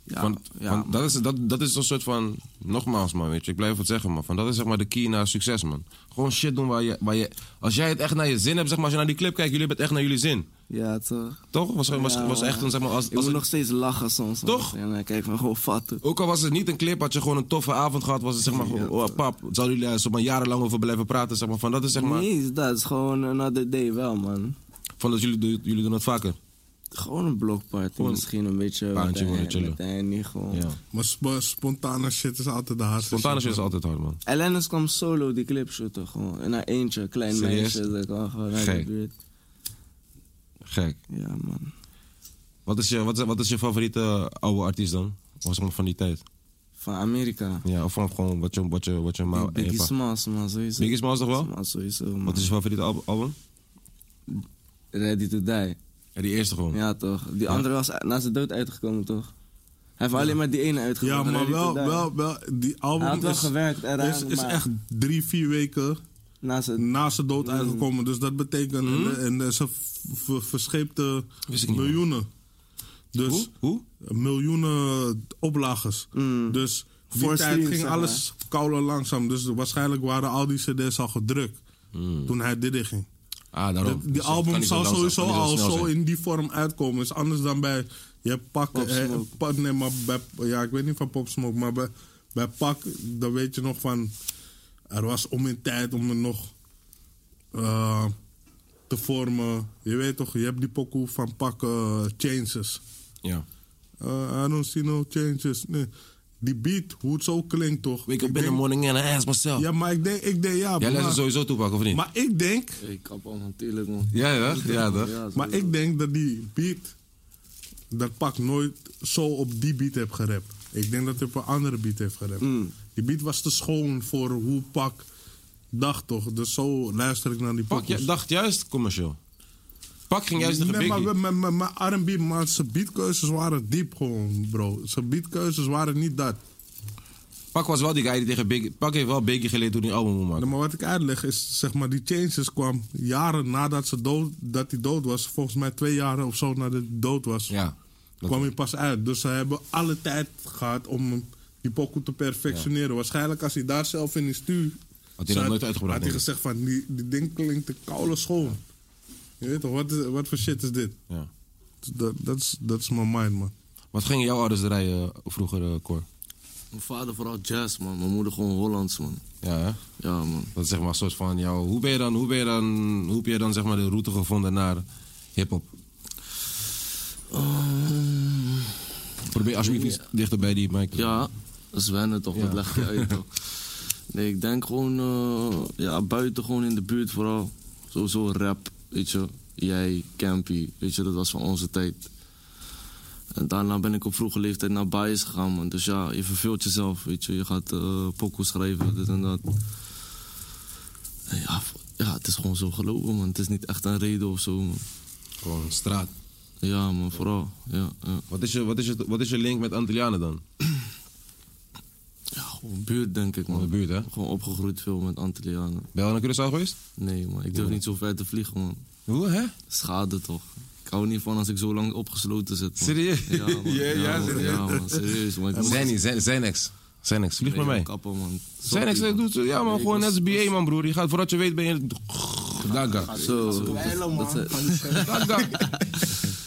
Speaker 7: Ja,
Speaker 3: want
Speaker 7: ja,
Speaker 3: want dat, is, dat, dat is een soort van, nogmaals man, weet je, ik blijf het zeggen man. Van dat is zeg maar de key naar succes man. Gewoon shit doen waar je, waar je, als jij het echt naar je zin hebt, zeg maar, als je naar die clip kijkt, jullie hebben het echt naar jullie zin.
Speaker 7: Ja, toch?
Speaker 3: Toch? Was, was, was echt een, zeg maar, als, als
Speaker 7: Ik moet
Speaker 3: het-
Speaker 7: nog steeds lachen soms. man.
Speaker 3: Toch?
Speaker 7: En dan kijk ik me gewoon vatten.
Speaker 3: Ook al was het niet een clip, had je gewoon een toffe avond gehad. Was het zeg maar gewoon, oh pap, zouden jullie daar zeg maar, jarenlang over blijven praten? Zeg maar, van, dat is zeg maar,
Speaker 7: Nee, is dat is gewoon another day wel, man.
Speaker 3: van dat jullie, doen- jullie doen het vaker.
Speaker 7: Gewoon een blokparty.
Speaker 3: Gewoon
Speaker 7: Misschien een beetje.
Speaker 3: paantje
Speaker 7: met
Speaker 3: gewoon
Speaker 7: de-
Speaker 3: chillen.
Speaker 7: Met de Henny gewoon.
Speaker 3: Ja.
Speaker 4: Maar sp- spontane shit is altijd de hardste.
Speaker 3: Spontane
Speaker 4: shit,
Speaker 3: shit is
Speaker 4: man.
Speaker 3: altijd hard, man.
Speaker 7: Ellenis kwam solo die clip shooten gewoon. En haar eentje, klein
Speaker 3: Serieus?
Speaker 7: meisje. Dat kwam gewoon uit de
Speaker 3: Gek.
Speaker 7: buurt.
Speaker 3: Gek.
Speaker 7: Ja, man.
Speaker 3: Wat is je, wat is, wat is je favoriete eh, oude artiest dan? Of zeg maar van die tijd?
Speaker 7: Van Amerika.
Speaker 3: Ja, of van gewoon wat je, wat je, wat je maar...
Speaker 7: Biggie
Speaker 3: eh,
Speaker 7: Smalls, man, sowieso.
Speaker 3: Biggie Smalls toch wel?
Speaker 7: Smalls, sowieso, man.
Speaker 3: Wat is je favoriete al- album?
Speaker 7: Ready to Die.
Speaker 3: Ja, die eerste gewoon.
Speaker 7: Ja, toch. Die andere was na zijn dood uitgekomen, toch? Hij heeft alleen maar die ene
Speaker 4: Ja,
Speaker 7: uitgekomen.
Speaker 4: maar wel, wel, wel, die
Speaker 7: Hij had
Speaker 4: album
Speaker 7: wel
Speaker 4: is,
Speaker 7: gewerkt en hij
Speaker 4: is,
Speaker 7: had
Speaker 4: is
Speaker 7: maar-
Speaker 4: echt drie, vier weken
Speaker 7: Na zijn...
Speaker 4: na zijn
Speaker 7: Mm.
Speaker 4: dood uitgekomen. Dus dat betekent, en, en ze v- v- verscheepte
Speaker 3: Mm. Wist ik niet, man.
Speaker 4: miljoenen. Dus
Speaker 3: Hoe? Hoe?
Speaker 4: miljoenen oplagers. Dus die
Speaker 7: Mm. Voor
Speaker 4: tijd
Speaker 7: streams,
Speaker 4: ging
Speaker 7: zeg
Speaker 4: alles kouder langzaam. Dus waarschijnlijk waren al die cd's al gedrukt
Speaker 3: Mm.
Speaker 4: toen hij dit in ging.
Speaker 3: Ah, daarom.
Speaker 4: Dat- die
Speaker 3: Dus het kan
Speaker 4: album
Speaker 3: niet
Speaker 4: zou
Speaker 3: lang zijn,
Speaker 4: sowieso
Speaker 3: kan niet
Speaker 4: al
Speaker 3: snel
Speaker 4: zo
Speaker 3: zijn.
Speaker 4: in die vorm uitkomen. Is anders dan bij je pak.
Speaker 7: Pop
Speaker 4: eh,
Speaker 7: Smoke.
Speaker 4: pak- nee, maar bij, ja, ik weet niet van Pop Smoke, maar bij, bij pak, dan weet je nog van. Er was om in tijd om het nog eh, te vormen. Je weet toch, je hebt die pokoe van pak eh, Changes.
Speaker 3: Ja.
Speaker 4: Eh, I don't see no changes. Nee. Die beat, hoe het zo klinkt toch?
Speaker 3: Wake
Speaker 4: Ik
Speaker 3: up in the
Speaker 4: denk-
Speaker 3: morning and I ask myself.
Speaker 4: Ja, maar ik denk, ik denk ja.
Speaker 3: Jij luistert
Speaker 4: maar,
Speaker 3: sowieso toepak, of niet?
Speaker 4: maar ik denk
Speaker 9: Ik kap al natuurlijk, man.
Speaker 3: ja, ja, ja, toch?
Speaker 9: Ja,
Speaker 4: Maar ik denk dat die beat, dat Pak nooit zo op die beat heeft gerapt. Ik denk dat hij op een andere beat heeft gerapt.
Speaker 3: Mm.
Speaker 4: Die beat was te schoon voor hoe Pak dacht toch. Dus zo luister ik naar die
Speaker 3: Pak
Speaker 4: pokoes.
Speaker 3: ju- dacht juist commercieel. Pak ging juist tegen
Speaker 4: Nee,
Speaker 3: Biggie.
Speaker 4: maar mijn- mijn- mijn R&B, maar zijn beatkeuzes waren diep gewoon, bro. Zijn beatkeuzes waren niet dat.
Speaker 3: Pak was wel die guy die tegen Biggie... Pak heeft wel Biggie geleerd hoe hij een album moet maken.
Speaker 4: Nee, Maar wat ik uitleg is, zeg maar, die changes kwam jaren nadat ze dood, dat hij dood was. Volgens mij twee jaren of zo nadat hij dood was.
Speaker 3: Ja. Dat-
Speaker 4: kwam hij pas uit. Dus ze hebben alle tijd gehad om hem- die pokoe te perfectioneren. Waarschijnlijk als hij daar zelf in die stuur...
Speaker 3: Had hij dat
Speaker 4: zat,
Speaker 3: nooit uitgebracht,
Speaker 4: Had hij
Speaker 3: denk ik.
Speaker 4: gezegd van, die, die ding klinkt te koude schoon. Je weet toch, wat, is- wat voor shit is dit?
Speaker 3: ja.
Speaker 4: Dat dat is- dat is mijn mind, man.
Speaker 3: Wat gingen jouw ouders rijden vroeger, eh, Cor?
Speaker 9: Mijn vader vooral jazz, man. Mijn moeder gewoon Hollands, man.
Speaker 3: Ja, hè?
Speaker 9: Ja, man.
Speaker 3: Dat is zeg maar een soort van jou. Hoe ben je dan, hoe ben je dan, hoe heb je dan zeg maar de route gevonden naar hip-hop? Probeer alsjeblieft iets dichter bij die mic. te-
Speaker 9: Eh, Ja, zwennen toch, dat leg je uit toch. Nee, ik denk gewoon, eh, ja, buiten gewoon in de buurt vooral. Sowieso rap, weet je. Jij, Campy, weet je, dat was van onze tijd. En daarna ben ik op vroege leeftijd naar Bias gegaan, man. Dus ja, je verveelt jezelf, weet je. Je gaat eh pokoes schrijven, dit en dat. En ja, v- ja, het is gewoon zo gelopen, man. Het is niet echt een reden of zo, man.
Speaker 3: Gewoon straat.
Speaker 9: Ja, man, vooral. Ja, ja.
Speaker 3: Wat is je, wat is je, wat is je link met Antillianen dan?
Speaker 9: ja gewoon buurt, denk ik, man.
Speaker 3: Van de buurt, hè?
Speaker 9: Gewoon opgegroeid veel met Antillianen.
Speaker 3: Ben je al naar Curaçao geweest?
Speaker 9: Nee, man, ik durf niet zo ver te vliegen, man.
Speaker 3: Hoe, hè?
Speaker 9: Schade toch. Ik hou er niet van als ik zo lang opgesloten zit. Man.
Speaker 3: Serieus?
Speaker 9: Ja, man.
Speaker 3: Ja,
Speaker 9: Ja,
Speaker 3: ja,
Speaker 9: man.
Speaker 3: serieus.
Speaker 9: Ja, man. Serieus, man. Ik moet-
Speaker 3: Zijn zijn Zijnex. Zijnex, vlieg
Speaker 9: Nee,
Speaker 3: met mij.
Speaker 9: man, Kappen, man. Sorry,
Speaker 3: Zijnex eh,
Speaker 9: man.
Speaker 3: doet, ja man,
Speaker 9: Nee,
Speaker 3: gewoon
Speaker 9: ik was-
Speaker 3: SBA man broer. Je gaat, voordat je weet ben je... Daga.
Speaker 9: Zo. dat- dat-
Speaker 3: Daga.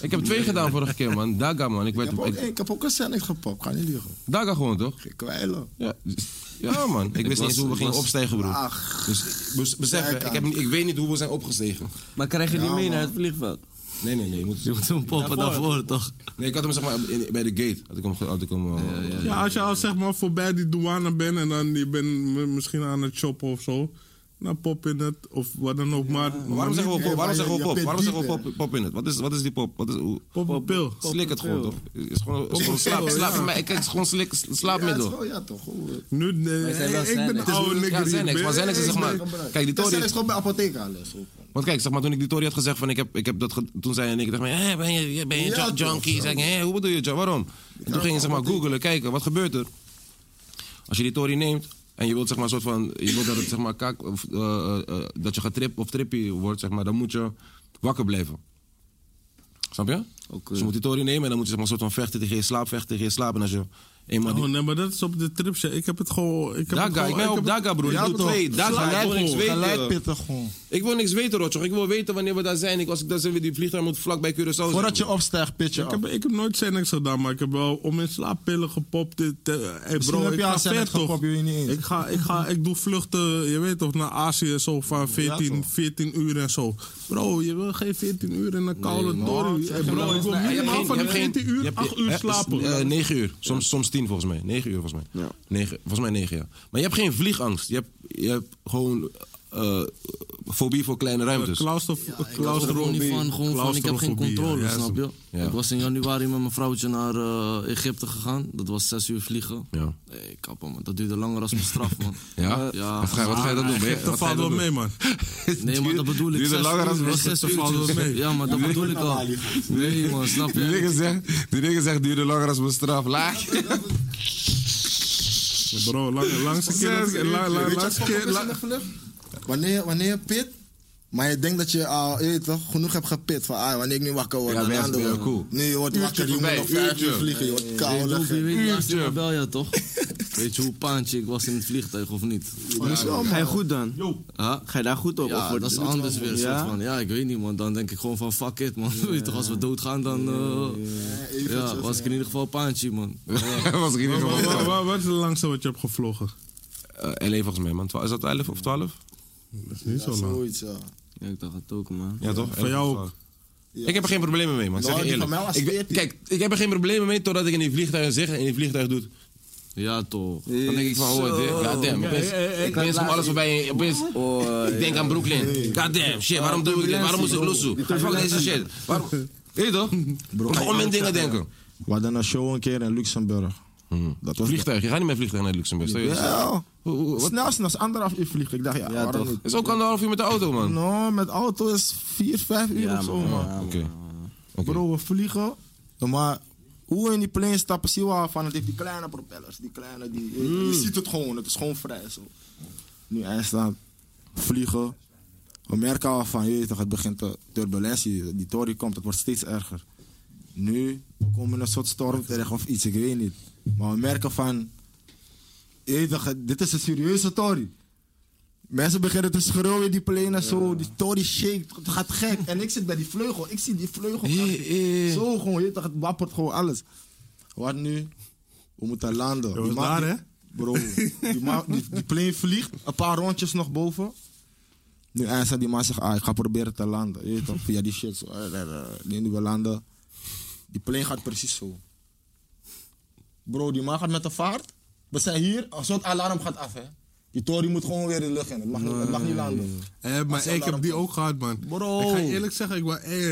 Speaker 3: Ik heb twee gedaan vorige keer man. Daga man. Ik werd,
Speaker 5: Ik heb ook,
Speaker 3: ik-
Speaker 5: ik heb ook een scène gepakt, ga niet liegen.
Speaker 3: Daga gewoon toch?
Speaker 5: Ik kwijlen.
Speaker 3: Ja, ja man, ik, wist niet
Speaker 9: was-
Speaker 3: eens hoe we
Speaker 9: ik
Speaker 3: gingen
Speaker 9: was-
Speaker 3: opstijgen, broer.
Speaker 5: Ach.
Speaker 3: Dus bes- besef, hè,
Speaker 5: Kijk
Speaker 3: ik,
Speaker 5: aan.
Speaker 3: heb, niet- ik weet niet hoe we zijn opgestegen.
Speaker 7: Maar krijg je die mee naar het vliegveld?
Speaker 3: Nee, nee, nee. je moet-
Speaker 9: Je moet hem poppen daarvoor, toch?
Speaker 3: nee ik had hem zeg maar in- bij de gate. Had ik hem, ge- had ik hem, eh,
Speaker 4: Ja, als je al zeg maar voorbij die douane bent en dan je bent m- misschien aan het shoppen of zo. Dan pop in het of wat dan ook. Maar,
Speaker 3: Maar Waarom zeggen we pop? Waarom zeggen we pop? Waarom zeggen we
Speaker 5: diep,
Speaker 3: pop, pop in het? Wat is, wat is die pop? Wat is, hoe?
Speaker 4: Pop een pil.
Speaker 3: Slik het gewoon, toch? Is gewoon, is gewoon slaap, slaap met mij. Ik kijk, gewoon slik, slaapmiddel.
Speaker 5: oh Ja, ja toch. goed.
Speaker 4: Nu, nee,
Speaker 7: zijn
Speaker 4: ik
Speaker 7: wel
Speaker 4: ben
Speaker 7: Xanax.
Speaker 4: een
Speaker 7: Het is
Speaker 4: oude nigger.
Speaker 3: Ja,
Speaker 4: die
Speaker 3: Xanax,
Speaker 4: ben-
Speaker 3: maar Xanax is zeg maar... Kijk, die
Speaker 5: Dat
Speaker 3: Tory...
Speaker 5: zijn gewoon bij apotheek halen. zo.
Speaker 3: Want kijk, zeg maar, toen ik die Tory had gezegd van... Ik heb, ik heb dat ge- toen zei en ik tegen mij... Hé, ben je, ben je
Speaker 5: Ja,
Speaker 3: junk-
Speaker 5: toch,
Speaker 3: junkie? Zeg ik, hé, hoe bedoel je, junk? waarom? En toen ging je zeg maar googelen, kijken, wat gebeurt er? Als je die Tory neemt... En je wilt zeg maar een soort van... Je wilt dat het zeg maar kak... Of, eh, eh, eh, dat je getrip of trippy wordt, zeg maar... Dan moet je wakker blijven. Snap je?
Speaker 9: Oké.
Speaker 4: eh,
Speaker 3: Dus je moet die toren nemen en dan moet je zeg maar, een soort van vechten tegen je slaap, vechten tegen je slaap. En als je Eenmaal die-
Speaker 4: Oh, nee, maar dat is op de trip. zeg. Ik heb het gewoon... Ik heb het
Speaker 3: Daga,
Speaker 4: gewoon-
Speaker 3: ik ben
Speaker 4: ik
Speaker 3: op
Speaker 4: heb het-
Speaker 3: Daga, broer.
Speaker 4: Ja,
Speaker 3: ik doe
Speaker 4: toch.
Speaker 3: twee. Daga, ik wil niks
Speaker 5: Gelijk
Speaker 3: weten.
Speaker 5: pittig gewoon.
Speaker 3: Ik wil niks weten, Rotjoch. Ik wil weten wanneer we daar zijn. Ik, als ik daar zit, die vliegtuig moet vlakbij Curaçao zijn.
Speaker 5: Voordat je opstijgt, pitch je
Speaker 4: Ik
Speaker 5: af.
Speaker 4: heb, ik heb nooit Xanax gedaan, maar ik heb wel om in slaap pillen gepopt. Dit, eh, hey bro,
Speaker 5: heb
Speaker 4: ik
Speaker 5: je al
Speaker 4: ga
Speaker 5: Xanax
Speaker 4: ver toch.
Speaker 5: gepopt, je weet niet eens.
Speaker 4: Ik, ga, ik, ga, ik doe vluchten, je weet toch, naar Azië zo van 14, 14 uur en zo. Bro, je wil geen 14 uur in een koude nee, Hey bro, ik
Speaker 3: nou- Je
Speaker 4: wil
Speaker 3: hebt
Speaker 4: minimaal
Speaker 3: geen-
Speaker 4: van
Speaker 3: je hebt
Speaker 4: die
Speaker 3: geen-
Speaker 4: 14
Speaker 3: je
Speaker 4: uur,
Speaker 3: hebt-
Speaker 4: 8
Speaker 3: eh,
Speaker 4: uur
Speaker 3: eh,
Speaker 4: slapen.
Speaker 3: eh, 9 uur. Soms, soms 10 volgens mij. 9 uur volgens mij.
Speaker 7: Ja.
Speaker 3: 9, volgens mij 9 ja. Maar je hebt geen vliegangst. Je hebt, je hebt gewoon eh, fobie voor kleine ruimtes.
Speaker 4: Claustrof-
Speaker 9: Ik was er gewoon niet
Speaker 4: claustrofobie.
Speaker 9: van, gewoon van, ik heb geen
Speaker 4: Claustrofobie,
Speaker 9: controle,
Speaker 4: ja,
Speaker 9: snap je?
Speaker 3: Ja.
Speaker 9: Ik was in januari met mijn vrouwtje naar eh, Egypte gegaan. Dat was zes uur vliegen.
Speaker 3: Ja.
Speaker 9: Nee, kappen man, dat duurde langer als mijn straf man.
Speaker 3: Ja?
Speaker 9: Ja.
Speaker 3: Wat ga, wat ga je dan doen? Ben je-
Speaker 4: Egypte
Speaker 3: wat ga je dan
Speaker 4: valt wel
Speaker 3: doen?
Speaker 4: mee, man.
Speaker 9: Nee maar dat bedoel ik.
Speaker 3: duurde
Speaker 9: zes
Speaker 3: langer
Speaker 9: uur,
Speaker 3: als
Speaker 9: het was
Speaker 3: mijn
Speaker 4: straf,
Speaker 9: zes uurtjes.
Speaker 4: valt wel mee.
Speaker 9: Ja maar dat bedoel ik al. Nee man, snap
Speaker 3: Die
Speaker 9: je?
Speaker 3: nigger zegt, die nigger zegt, duurde langer als mijn straf. Laag.
Speaker 4: Bro, lang, langste keer... dat ik- la- la- Langste keer... la-
Speaker 10: Wanneer, wanneer je pit, maar je denkt dat je al je weet toch, genoeg hebt gepit. Van ah, wanneer ik nu wakker word,
Speaker 3: Ja,
Speaker 10: dan
Speaker 3: ben je-
Speaker 10: aan de
Speaker 3: ben je
Speaker 10: word.
Speaker 3: cool.
Speaker 10: Nu je wordt wakker, je moet
Speaker 3: voorbij,
Speaker 10: nog vijf uur
Speaker 3: uurtje.
Speaker 10: vliegen, je wordt koud.
Speaker 9: Ik
Speaker 10: leggen.
Speaker 9: doe, wie weet, laatst
Speaker 3: Uurtje.
Speaker 9: eh, bel je toch? Weet je hoe paantje ik was in het vliegtuig of niet?
Speaker 7: Ga je goed dan?
Speaker 9: Huh?
Speaker 7: Ga je daar goed op? of
Speaker 9: Ja,
Speaker 7: wordt-
Speaker 9: dat is anders weer.
Speaker 7: Ja?
Speaker 9: soort van. ja, ik weet niet, man. Dan denk ik gewoon van fuck it, man. Weet je toch, als we doodgaan, dan. eh, ja, was ik in ieder geval paantje, man.
Speaker 3: was ik in ieder
Speaker 4: Wa- wa-
Speaker 3: geval.
Speaker 4: wa- Wat is het langste wat je hebt gevlogen?
Speaker 3: Eh, LA volgens mij, man. Twa- Is dat 11 of 12?
Speaker 4: Dat is niet zo lang.
Speaker 10: Zoiets, ja.
Speaker 7: Ja, ik dacht het ook, man.
Speaker 3: Ja, toch?
Speaker 4: Van jou ook.
Speaker 3: Ik heb er geen problemen mee, man. Ik Zeg
Speaker 10: Nou,
Speaker 3: je
Speaker 10: die van mij
Speaker 3: eerlijk.
Speaker 10: was
Speaker 3: Ik, ben-
Speaker 10: 14.
Speaker 3: kijk, ik heb er geen problemen mee totdat ik in die vliegtuig zeg en in die vliegtuig doet.
Speaker 9: Ja, toch.
Speaker 3: Dan denk ik van, oh, dit- goddamn. opeens- Ik ben om alles voorbij. opeens- Ik denk aan Brooklyn. Goddamn, shit, waarom doe ik dit? Waarom moest ik lossen? Fuck deze shit. Waarom? Weet je toch? Ik ga om mijn dingen denken.
Speaker 5: We hadden een show een keer in Luxemburg. Dat was
Speaker 3: Hmm. Vliegtuig, je gaat niet met vliegtuig naar Luxemburg. stel je eens.
Speaker 5: Ja.
Speaker 3: Hoe- hoe- wat-
Speaker 5: Snel, snel, is anderhalf uur vliegen. Ik dacht, ja, waarom niet?
Speaker 3: Het is ook anderhalf uur met de auto, man.
Speaker 5: Nou, met auto is vier, vijf uur of zo, man.
Speaker 3: Oké. Oké.
Speaker 5: Bro, we vliegen. Maar hoe we in die plane stappen, zie je wel van het heeft die kleine propellers. Die kleine, die, je, je ziet het gewoon, het is gewoon vrij zo. Nu eindstand, vliegen. We merken al van, je weet toch, het begint de turbulentie. Die toren komt, het wordt steeds erger. Nu komen we in een soort storm terecht of iets, ik weet niet. Maar we merken van, je weet toch, het- dit is een serieuze tory. Mensen beginnen te schreeuwen in die plane en zo. Die tory shake, het gaat gek. En ik zit bij die vleugel, ik zie die vleugel.
Speaker 10: eh.
Speaker 5: Zo gewoon, je weet toch, het wappert gewoon alles. Wat nu? We moeten landen.
Speaker 4: was
Speaker 5: Die
Speaker 4: daar,
Speaker 5: ma- die-
Speaker 4: hè?
Speaker 5: Bro, die, ma- die, die plane vliegt, een paar rondjes nog boven. Nu eindstand die man zegt, ah, ik ga proberen te landen. Je weet toch, via die shit. Zo. eh, eh, eh. Nu we landen. Die plane gaat precies zo. Bro, die man gaat met de vaart. We zijn hier, een soort alarm gaat af, hè. Die tory moet gewoon weer de lucht in. Het mag niet, het mag niet landen.
Speaker 4: Eh, maar ik heb die ook gehad, man.
Speaker 5: Bro.
Speaker 4: Ik ga je eerlijk zeggen, ik, wa- eh,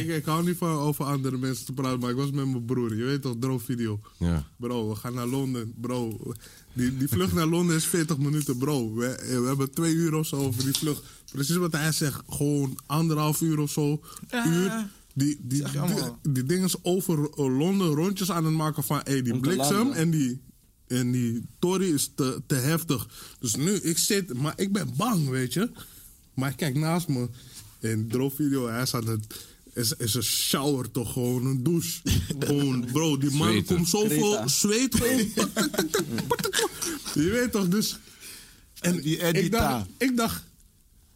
Speaker 4: ik, ik hou niet van over andere mensen te praten, maar ik was met mijn broer. Je weet toch, droomvideo.
Speaker 3: Ja.
Speaker 4: Bro, we gaan naar Londen. Bro, die, die vlucht naar Londen is 40 minuten, bro. We, eh, we hebben twee uur of zo over die vlucht. Precies wat hij zegt, gewoon anderhalf uur of zo. Uur. Die, die, die, die, ding is over eh, Londen rondjes aan het maken van hey, die bliksem en die, en die tory is te, te heftig. Dus nu, ik zit, maar ik ben bang, weet je. Maar ik kijk naast me in droogvideo, hij is aan het... Is, is een shower toch gewoon een douche. Gewoon, bro, die man
Speaker 3: Zweten.
Speaker 4: komt zoveel zweet
Speaker 5: Mm.
Speaker 4: gewoon. Je weet toch, dus... En
Speaker 5: Die
Speaker 4: ik
Speaker 5: Edita.
Speaker 4: dacht, ik dacht,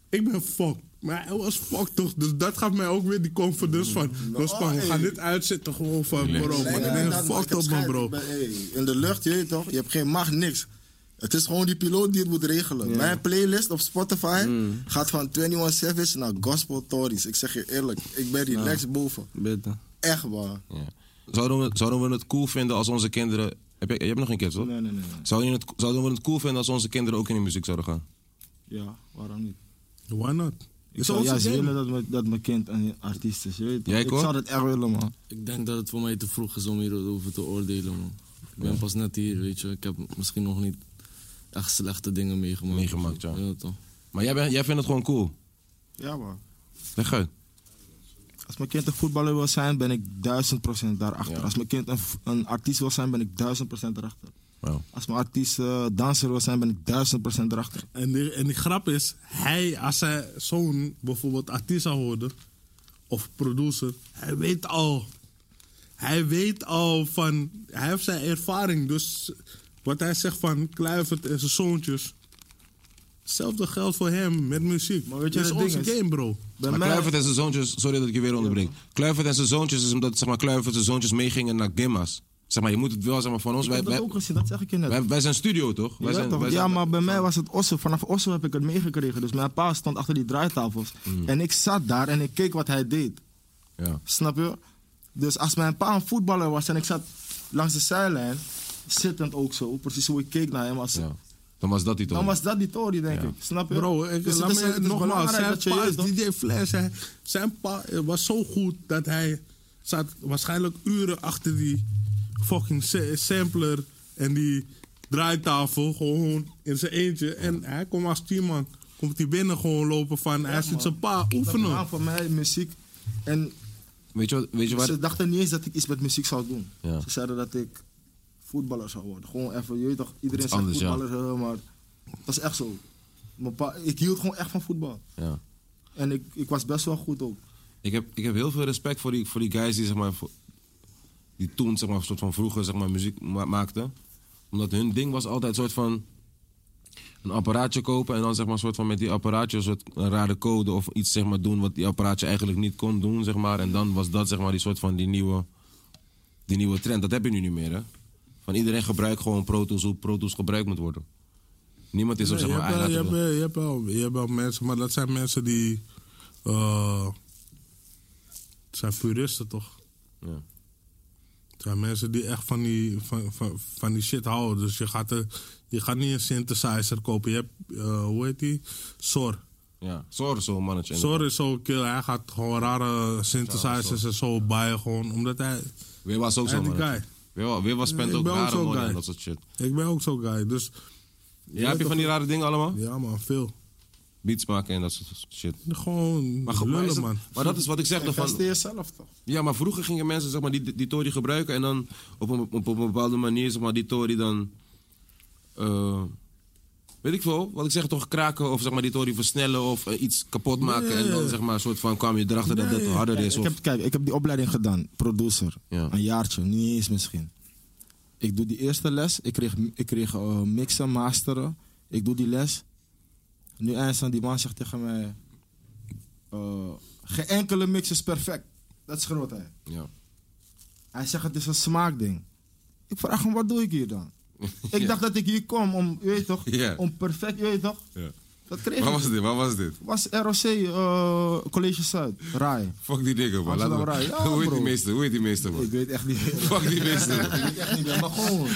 Speaker 4: ik ben fucked. Maar hij was fucked toch? Dus dat gaf mij ook weer die confidence van...
Speaker 5: Mm.
Speaker 4: Dus van, we gaan dit uitzetten gewoon van, bro, man. Ik ben fucked op, man, bro.
Speaker 10: Ik ben, hey, in de lucht, je weet toch, je hebt geen macht, niks. Het is gewoon die piloot die het moet regelen. Mijn playlist op Spotify
Speaker 4: Mm.
Speaker 10: gaat van 21 Savage naar Gospel Tories. Ik zeg je eerlijk, ik ben relaxed boven.
Speaker 7: Bitte.
Speaker 10: Echt waar.
Speaker 3: Ja. Zouden, we, zouden we het cool vinden als onze kinderen. Heb je, je hebt nog geen kind, toch?
Speaker 5: Nee, nee, nee.
Speaker 3: Zouden, je het, zouden we het cool vinden als onze kinderen ook in de muziek zouden gaan?
Speaker 5: Ja, waarom niet?
Speaker 4: Why not?
Speaker 5: Ik
Speaker 4: Is
Speaker 5: zou
Speaker 4: onze
Speaker 5: juist
Speaker 4: game.
Speaker 5: willen dat, mijn- dat mijn kind een artiest is, je weet toch?
Speaker 3: Jij,
Speaker 5: Ik
Speaker 3: Cor?
Speaker 5: zou dat echt willen, man.
Speaker 9: Ik denk dat het voor mij te vroeg is om hierover te oordelen, man. Ik ben pas net hier, weet je. Ik heb misschien nog niet echt slechte dingen meegemaakt.
Speaker 3: Meegemaakt, ja.
Speaker 9: toch.
Speaker 3: Maar jij, bent- jij vindt het gewoon cool.
Speaker 5: Ja, man.
Speaker 3: Leg uit.
Speaker 5: Als mijn kind een voetballer wil zijn, ben ik duizend procent daarachter. Als mijn kind een, v- een artiest wil zijn, ben ik duizend procent daarachter.
Speaker 3: Wauw.
Speaker 5: Als mijn artiest eh, danser wil zijn, ben ik duizend procent daarachter.
Speaker 4: En die, en die grap is, hij, als hij zo'n bijvoorbeeld artiest zou worden, of producer, hij weet al. hij weet al van, hij heeft zijn ervaring. Dus wat hij zegt van Kluivert en zijn zoontjes. Hetzelfde geldt voor hem met muziek.
Speaker 5: Maar weet je
Speaker 4: Dit is
Speaker 5: wat het
Speaker 4: onze
Speaker 5: ding is?
Speaker 4: game, bro.
Speaker 5: Bij
Speaker 3: Maar
Speaker 5: mij-
Speaker 3: Kluivert en zijn zoontjes, sorry dat ik je weer onderbreek. Kluivert en zijn zoontjes is omdat zeg maar, Kluivert en zijn zoontjes meegingen naar Gimma's. Zeg maar, je moet het wel zeg maar, van ons.
Speaker 5: ik
Speaker 3: Wij,
Speaker 5: heb dat
Speaker 3: wij,
Speaker 5: ook gezien, dat zeg ik je net.
Speaker 3: wij, wij zijn studio toch? Wij
Speaker 5: Je
Speaker 3: zijn,
Speaker 5: weet toch?
Speaker 3: wij
Speaker 5: ja,
Speaker 3: zijn-
Speaker 5: maar bij mij was het Osso. Vanaf Osso heb ik het meegekregen. Dus mijn pa stond achter die draaitafels.
Speaker 3: Mm.
Speaker 5: En ik zat daar en ik keek wat hij deed.
Speaker 3: Ja.
Speaker 5: Snap je? Dus als mijn pa een voetballer was en ik zat langs de zijlijn, zittend ook zo, precies hoe ik keek naar hem, was,
Speaker 3: Ja. Dan was dat die toch?
Speaker 5: dan was dat die Tory, denk
Speaker 3: Ja.
Speaker 5: ik. Snap je?
Speaker 4: Bro, ik,
Speaker 5: Dus het
Speaker 4: laat
Speaker 5: is-
Speaker 4: me
Speaker 5: het is
Speaker 4: nogmaals,
Speaker 5: belangrijk
Speaker 4: zijn
Speaker 5: dat je
Speaker 4: pa
Speaker 5: je
Speaker 4: is
Speaker 5: toch-
Speaker 4: DJ Flash. Hij, zijn pa eh, was zo goed dat hij zat waarschijnlijk uren achter die fucking sa- sampler en die draaitafel gewoon in zijn eentje. En hij komt als teamman, komt hij binnen gewoon lopen van, hij ziet zijn pa
Speaker 5: dat
Speaker 4: oefenen.
Speaker 5: gedaan voor mij muziek. En
Speaker 3: Weet je wat? Weet je wat?
Speaker 5: ze dachten niet eens dat ik iets met muziek zou doen.
Speaker 3: Ja.
Speaker 5: Ze zeiden dat ik voetballer zou worden. Gewoon even, je weet toch, iedereen
Speaker 3: is
Speaker 5: zegt
Speaker 3: anders, ja.
Speaker 5: voetballer, hè, maar het was echt zo. Mijn pa- ik hield gewoon echt van voetbal.
Speaker 3: Ja.
Speaker 5: En ik, ik was best wel goed ook.
Speaker 3: Ik, heb, ik heb heel veel respect voor die, voor die guys die, zeg maar, voor- die toen zeg maar, soort van vroeger zeg maar, muziek ma- maakten. Omdat hun ding was altijd soort van een apparaatje kopen en dan zeg maar, soort van met die apparaatje een soort een rare code of iets zeg maar, doen wat die apparaatje eigenlijk niet kon doen. Zeg maar. En dan was dat zeg maar, die soort van die nieuwe, die nieuwe trend. Dat heb je nu niet meer. Hè? Van iedereen gebruikt gewoon Pro Tools hoe Pro Tools gebruikt moet worden. Niemand is op
Speaker 4: Nee,
Speaker 3: zeg
Speaker 4: je,
Speaker 3: maar
Speaker 4: hebt, wel-
Speaker 3: eigen
Speaker 4: je, hebt, wel- je, hebt wel, je hebt wel mensen, maar dat zijn mensen die. eh, het zijn puristen toch?
Speaker 3: Ja.
Speaker 4: Het zijn mensen die echt van die, van, van, van die shit houden. Dus je gaat, er, je gaat niet een synthesizer kopen. Je hebt, eh, hoe heet die? Sor.
Speaker 3: Ja, sorry zo'n mannetje.
Speaker 4: Sor is zo kill. Hij gaat gewoon rare synthesizers en zo buien. Gewoon, omdat hij.
Speaker 3: Weer was ook zo'n
Speaker 4: En die
Speaker 3: mannetje. Weer wa- Weer was spent
Speaker 4: Ik
Speaker 3: ook
Speaker 4: ben ook
Speaker 3: rare
Speaker 4: zo'n
Speaker 3: money en
Speaker 4: guy.
Speaker 3: dat soort shit.
Speaker 4: Ik ben ook zo'n guy. Dus
Speaker 3: Ja, heb je van die rare dingen allemaal?
Speaker 4: ja, man, veel.
Speaker 3: Beats maken en dat soort shit.
Speaker 4: Gewoon
Speaker 3: Maar, goed, maar, is
Speaker 4: lullen,
Speaker 3: het-
Speaker 4: man.
Speaker 3: maar dat is wat ik zeg. dan
Speaker 5: Investeer
Speaker 3: Van,
Speaker 5: jezelf toch?
Speaker 3: ja, maar vroeger gingen mensen zeg maar, die, die Tory gebruiken en dan op een, op, op een bepaalde manier zeg maar, die Tory dan. eh, weet ik veel, wat ik zeg, toch kraken of zeg maar, die Tory versnellen of eh, iets kapot maken. En dan zeg maar, een soort van kwam je erachter dat dat harder is.
Speaker 5: Ik
Speaker 3: Of,
Speaker 5: heb, kijk, ik heb die opleiding gedaan, producer.
Speaker 3: Ja.
Speaker 5: Een jaartje, niet eens misschien. Ik doe die eerste les, ik kreeg, ik kreeg eh, mixen, masteren. Ik doe die les. Nu eindstand, die man zegt tegen mij... eh, geen enkele mix is perfect. Dat schreeuwt hij.
Speaker 3: ja.
Speaker 5: Hij zegt het is een smaakding. Ik vraag hem, wat doe ik hier dan? Ik dacht dat ik hier kom om, je weet toch,
Speaker 3: Ja.
Speaker 5: om perfect, je weet toch?
Speaker 3: Ja.
Speaker 5: Dat kreeg
Speaker 3: Wat
Speaker 5: ik.
Speaker 3: was dit? Wat was dit?
Speaker 5: was ROC, eh, College Zuid, Rai.
Speaker 3: Fuck die dikke man.
Speaker 5: Amsterdam
Speaker 3: Laten we-
Speaker 5: Rai. Ja,
Speaker 3: Hoe heet die
Speaker 5: bro.
Speaker 3: meester? Hoe heet die meester man?
Speaker 5: Ik weet echt niet meer.
Speaker 3: Fuck die meester.
Speaker 5: Ik weet echt niet meer, maar gewoon.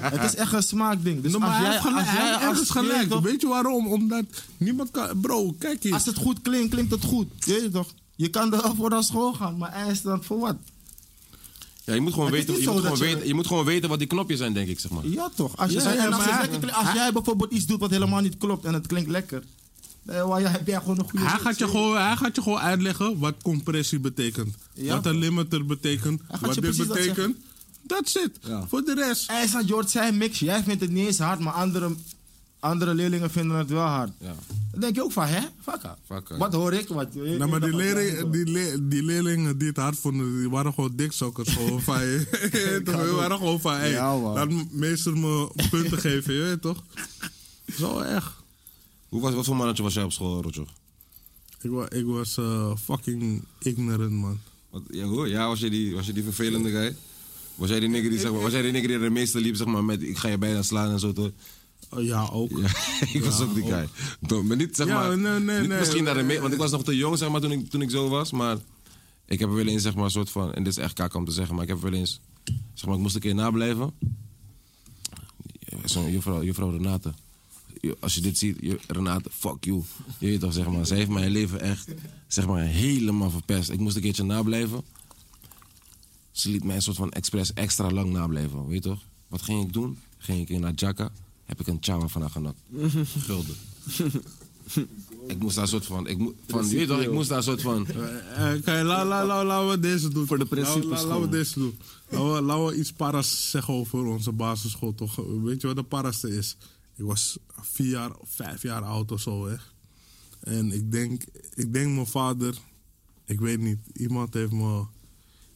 Speaker 5: Het is echt een smaakding. Dus
Speaker 4: Nee, maar
Speaker 5: als
Speaker 4: hij
Speaker 5: jij,
Speaker 4: heeft gelijk.
Speaker 5: als
Speaker 4: Hij
Speaker 5: jij
Speaker 4: heeft ergens
Speaker 5: als-
Speaker 4: gelijk.
Speaker 5: je weet toch,
Speaker 4: Weet je waarom? Omdat niemand kan... Bro, kijk hier.
Speaker 5: Als het goed klinkt, klinkt het goed. Je weet toch? Je kan er voor naar school gaan, maar hij is dan voor wat?
Speaker 3: Ja, je moet gewoon,
Speaker 5: Het is
Speaker 3: weten,
Speaker 5: niet
Speaker 3: je moet
Speaker 5: zo dat
Speaker 3: gewoon
Speaker 5: je-
Speaker 3: weten. Je moet gewoon weten wat die knopjes zijn, denk ik, zeg maar.
Speaker 5: Ja toch? Als, je,
Speaker 4: Ja, ja,
Speaker 5: en als,
Speaker 4: maar
Speaker 5: het
Speaker 4: hij-
Speaker 5: lekker klinkt- als jij bijvoorbeeld iets doet wat helemaal niet klopt en het klinkt lekker, dan heb jij gewoon een goede
Speaker 4: Hij
Speaker 5: zin.
Speaker 4: gaat, je gewoon, hij gaat je gewoon uitleggen wat compressie betekent.
Speaker 5: Ja.
Speaker 4: Wat een limiter betekent.
Speaker 5: Hij gaat
Speaker 4: Wat
Speaker 5: je
Speaker 4: dit
Speaker 5: precies dat
Speaker 4: betekent. That's it. Voor de rest.
Speaker 5: Hij is aan George zijn mix. Jij vindt het niet eens hard, maar andere, andere leerlingen vinden het wel hard.
Speaker 3: Ja.
Speaker 5: Dan denk je ook van, hè? Fakka.
Speaker 3: Fakka,
Speaker 5: Wat hoor ik? Wat, nou,
Speaker 4: Nou, maar die, leerling, die, le- die leerlingen die het hard vonden, die waren gewoon dikzakkers. Gewoon van je. Toch, die waren gewoon van, hey,
Speaker 5: Ja, man.
Speaker 4: laat m- meester me punten geven, je weet toch? Zo echt.
Speaker 3: Hoe was, wat voor mannetje was jij op school, Roger?
Speaker 4: Ik, wa- ik was eh, fucking ignorant, man.
Speaker 3: Wat, ja, hoe? ja was, jij die, was jij die vervelende guy? Was jij die nigger die, zeg maar, was jij die, nigger die de meeste liep, zeg maar, met ik ga je bijna slaan en zo, toch?
Speaker 4: Oh, ja, ook.
Speaker 3: Ja, Oh. ik was ook die guy. Toch, maar niet, zeg
Speaker 4: Ja,
Speaker 3: maar,
Speaker 4: nee, nee,
Speaker 3: niet
Speaker 4: nee.
Speaker 3: misschien naar de me- want ik was nog te jong, zeg maar, toen ik, toen ik zo was, maar ik heb er wel eens, zeg maar, een soort van, en dit is echt kak om te zeggen, maar ik heb er wel eens, zeg maar, ik moest een keer nablijven. Zo'n juffrouw, juffrouw Renate. Jo- Als je dit ziet, jo- Renate, fuck you. Je weet toch, zeg maar. Zij heeft mijn leven echt, zeg maar, helemaal verpest. Ik moest een keertje nablijven. Ze liet mij een soort van expres extra lang nablijven, weet je toch? Wat ging ik doen? Ging ik in naar Jaka, heb ik een chawa van haar genakt. Gulden. ik moest daar een soort van, ik, mo- van je weet toch, ik moest daar een soort van...
Speaker 4: Eh, Oké, la la la la laten we deze doen. Voor de
Speaker 11: principes
Speaker 4: Laten we
Speaker 11: gewoon.
Speaker 4: deze doen. Laten we, laten we iets paras zeggen over onze basisschool. Toch? Weet je wat de paraste is? Ik was vier jaar, vijf jaar oud of zo. Hè? En ik denk, ik denk mijn vader, ik weet niet, iemand heeft me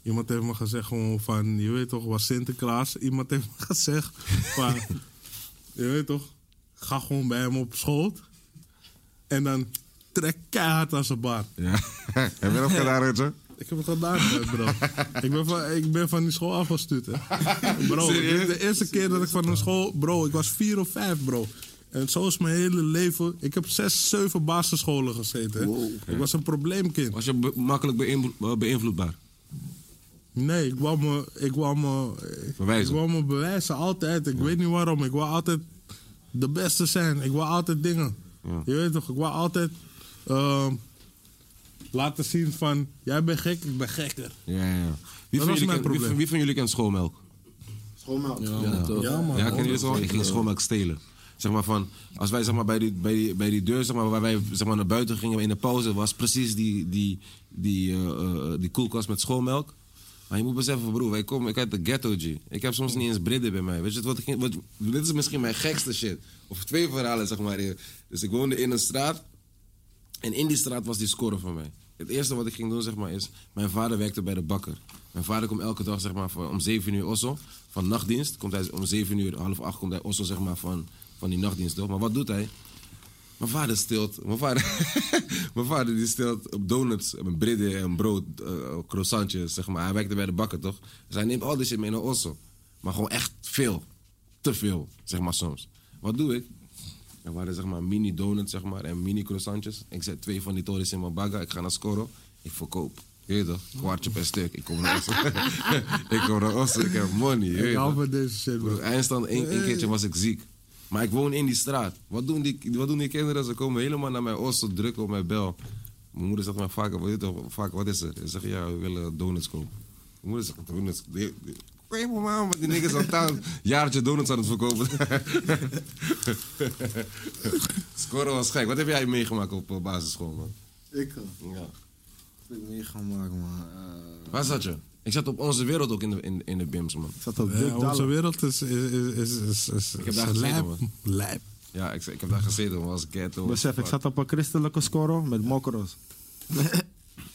Speaker 4: Iemand heeft me gezegd gewoon van, je weet toch, was Sinterklaas. Iemand heeft me gezegd van, je weet toch, ga gewoon bij hem op schoot. En dan trek keihard aan zijn baard.
Speaker 3: Ja. Heb je dat gedaan, Rutger?
Speaker 4: Ik heb het gedaan, hè, bro. ik, ben van, ik ben van die school afgestuurd, hè. Bro, dit is de eerste keer dat ik van een school... Bro, ik was vier of vijf, bro. En zo is mijn hele leven... Ik heb zes, zeven basisscholen gezeten, hè. Ik was een probleemkind.
Speaker 12: Was je be- makkelijk beïnvlo- eh, beïnvloedbaar?
Speaker 4: Nee, ik wou me, ik wou me,
Speaker 3: Bewijzen.
Speaker 4: Ik wou me bewijzen, altijd. Ik weet niet waarom. Ik wou altijd de beste zijn. Ik wou altijd dingen. Je weet toch, ik wou altijd ehm, laten zien van... Jij bent gek, ik ben gekker.
Speaker 3: Ja, ja, ja. Wie
Speaker 4: was
Speaker 3: van, jullie
Speaker 4: mijn
Speaker 3: kent, wie,
Speaker 4: probleem.
Speaker 3: van- wie van jullie kent schoolmelk?
Speaker 4: Ja, eh, man.
Speaker 3: Ja, ken je zo? Ik ging schoonmaak
Speaker 4: eh.
Speaker 3: stelen. Zeg maar van, als wij zeg maar, bij, die, bij, die, bij die deur zeg maar, waar wij zeg maar, naar buiten gingen in de pauze, was precies die, die, die, eh, eh, die koelkast met schoolmelk. Maar je moet beseffen, broer, wij komen, ik uit de ghetto, G. Ik heb soms niet eens bridden bij mij. Weet je wat, ik ging- wat, dit is misschien mijn gekste shit. Of twee verhalen, zeg maar. hier. Dus ik woonde in een straat en in die straat was die score van mij. Het eerste wat ik ging doen, zeg maar, is... Mijn vader werkte bij de bakker. Mijn vader komt elke dag, zeg maar, van, om 7 uur Osso. Van nachtdienst. Komt hij om 7 uur, half 8 komt hij Osso, zeg maar, van, van die nachtdienst. Toch? Maar wat doet hij? Mijn vader stilt. Mijn vader, mijn vader die stilt op donuts, een bridden en brood, eh, croissantjes, zeg maar. Hij werkte bij de bakker, toch? Dus hij neemt al die shit mee naar Osso. Maar gewoon echt veel. Te veel, zeg maar soms. Wat doe ik? Er waren zeg maar mini donuts, zeg maar, en mini croissantjes. Ik zet twee van die torens in mijn bagga. Ik ga naar Scoro. Ik verkoop. Je weet toch? Kwartje per stuk. Ik kom naar Osso. ik kom naar Osso. Ik heb money. Je weet
Speaker 4: Ik hou
Speaker 3: toch?
Speaker 4: van deze shit, bro.
Speaker 3: Broer, eindstand, één,
Speaker 5: Eh.
Speaker 3: één keertje was ik ziek. Maar ik woon in die straat. Wat doen die, wat doen die kinderen? Ze komen helemaal naar mijn oor, ze drukken op mijn bel. Mijn moeder zegt mij vaak, wat, is het- vaak, wat is er? Ze zegt, ja, we willen donuts kopen. Mijn moeder zegt, donuts? Die- die- Ik weet niet, man, maar die niggas aan taal jaartje donuts aan het verkopen. Scoren was gek. Wat heb jij meegemaakt op eh, basisschool, man?
Speaker 5: Ik eh,
Speaker 3: Ja.
Speaker 5: heb ik meegemaakt, man. Eh,
Speaker 3: Waar zat je? Ik zat op Onze Wereld ook in de, in, in de BIMS, man.
Speaker 5: ik zat op
Speaker 4: Ja,
Speaker 5: Dick
Speaker 4: onze
Speaker 5: Dallen.
Speaker 4: wereld is, is, is, is, is, is,
Speaker 3: heb
Speaker 4: is
Speaker 3: daar gezeten,
Speaker 4: lijp.
Speaker 3: man.
Speaker 4: Lijp.
Speaker 3: Ja, ik, ik heb daar gezeten, man. Als ghetto.
Speaker 5: Besef, ik zat op een christelijke score met mokkeros.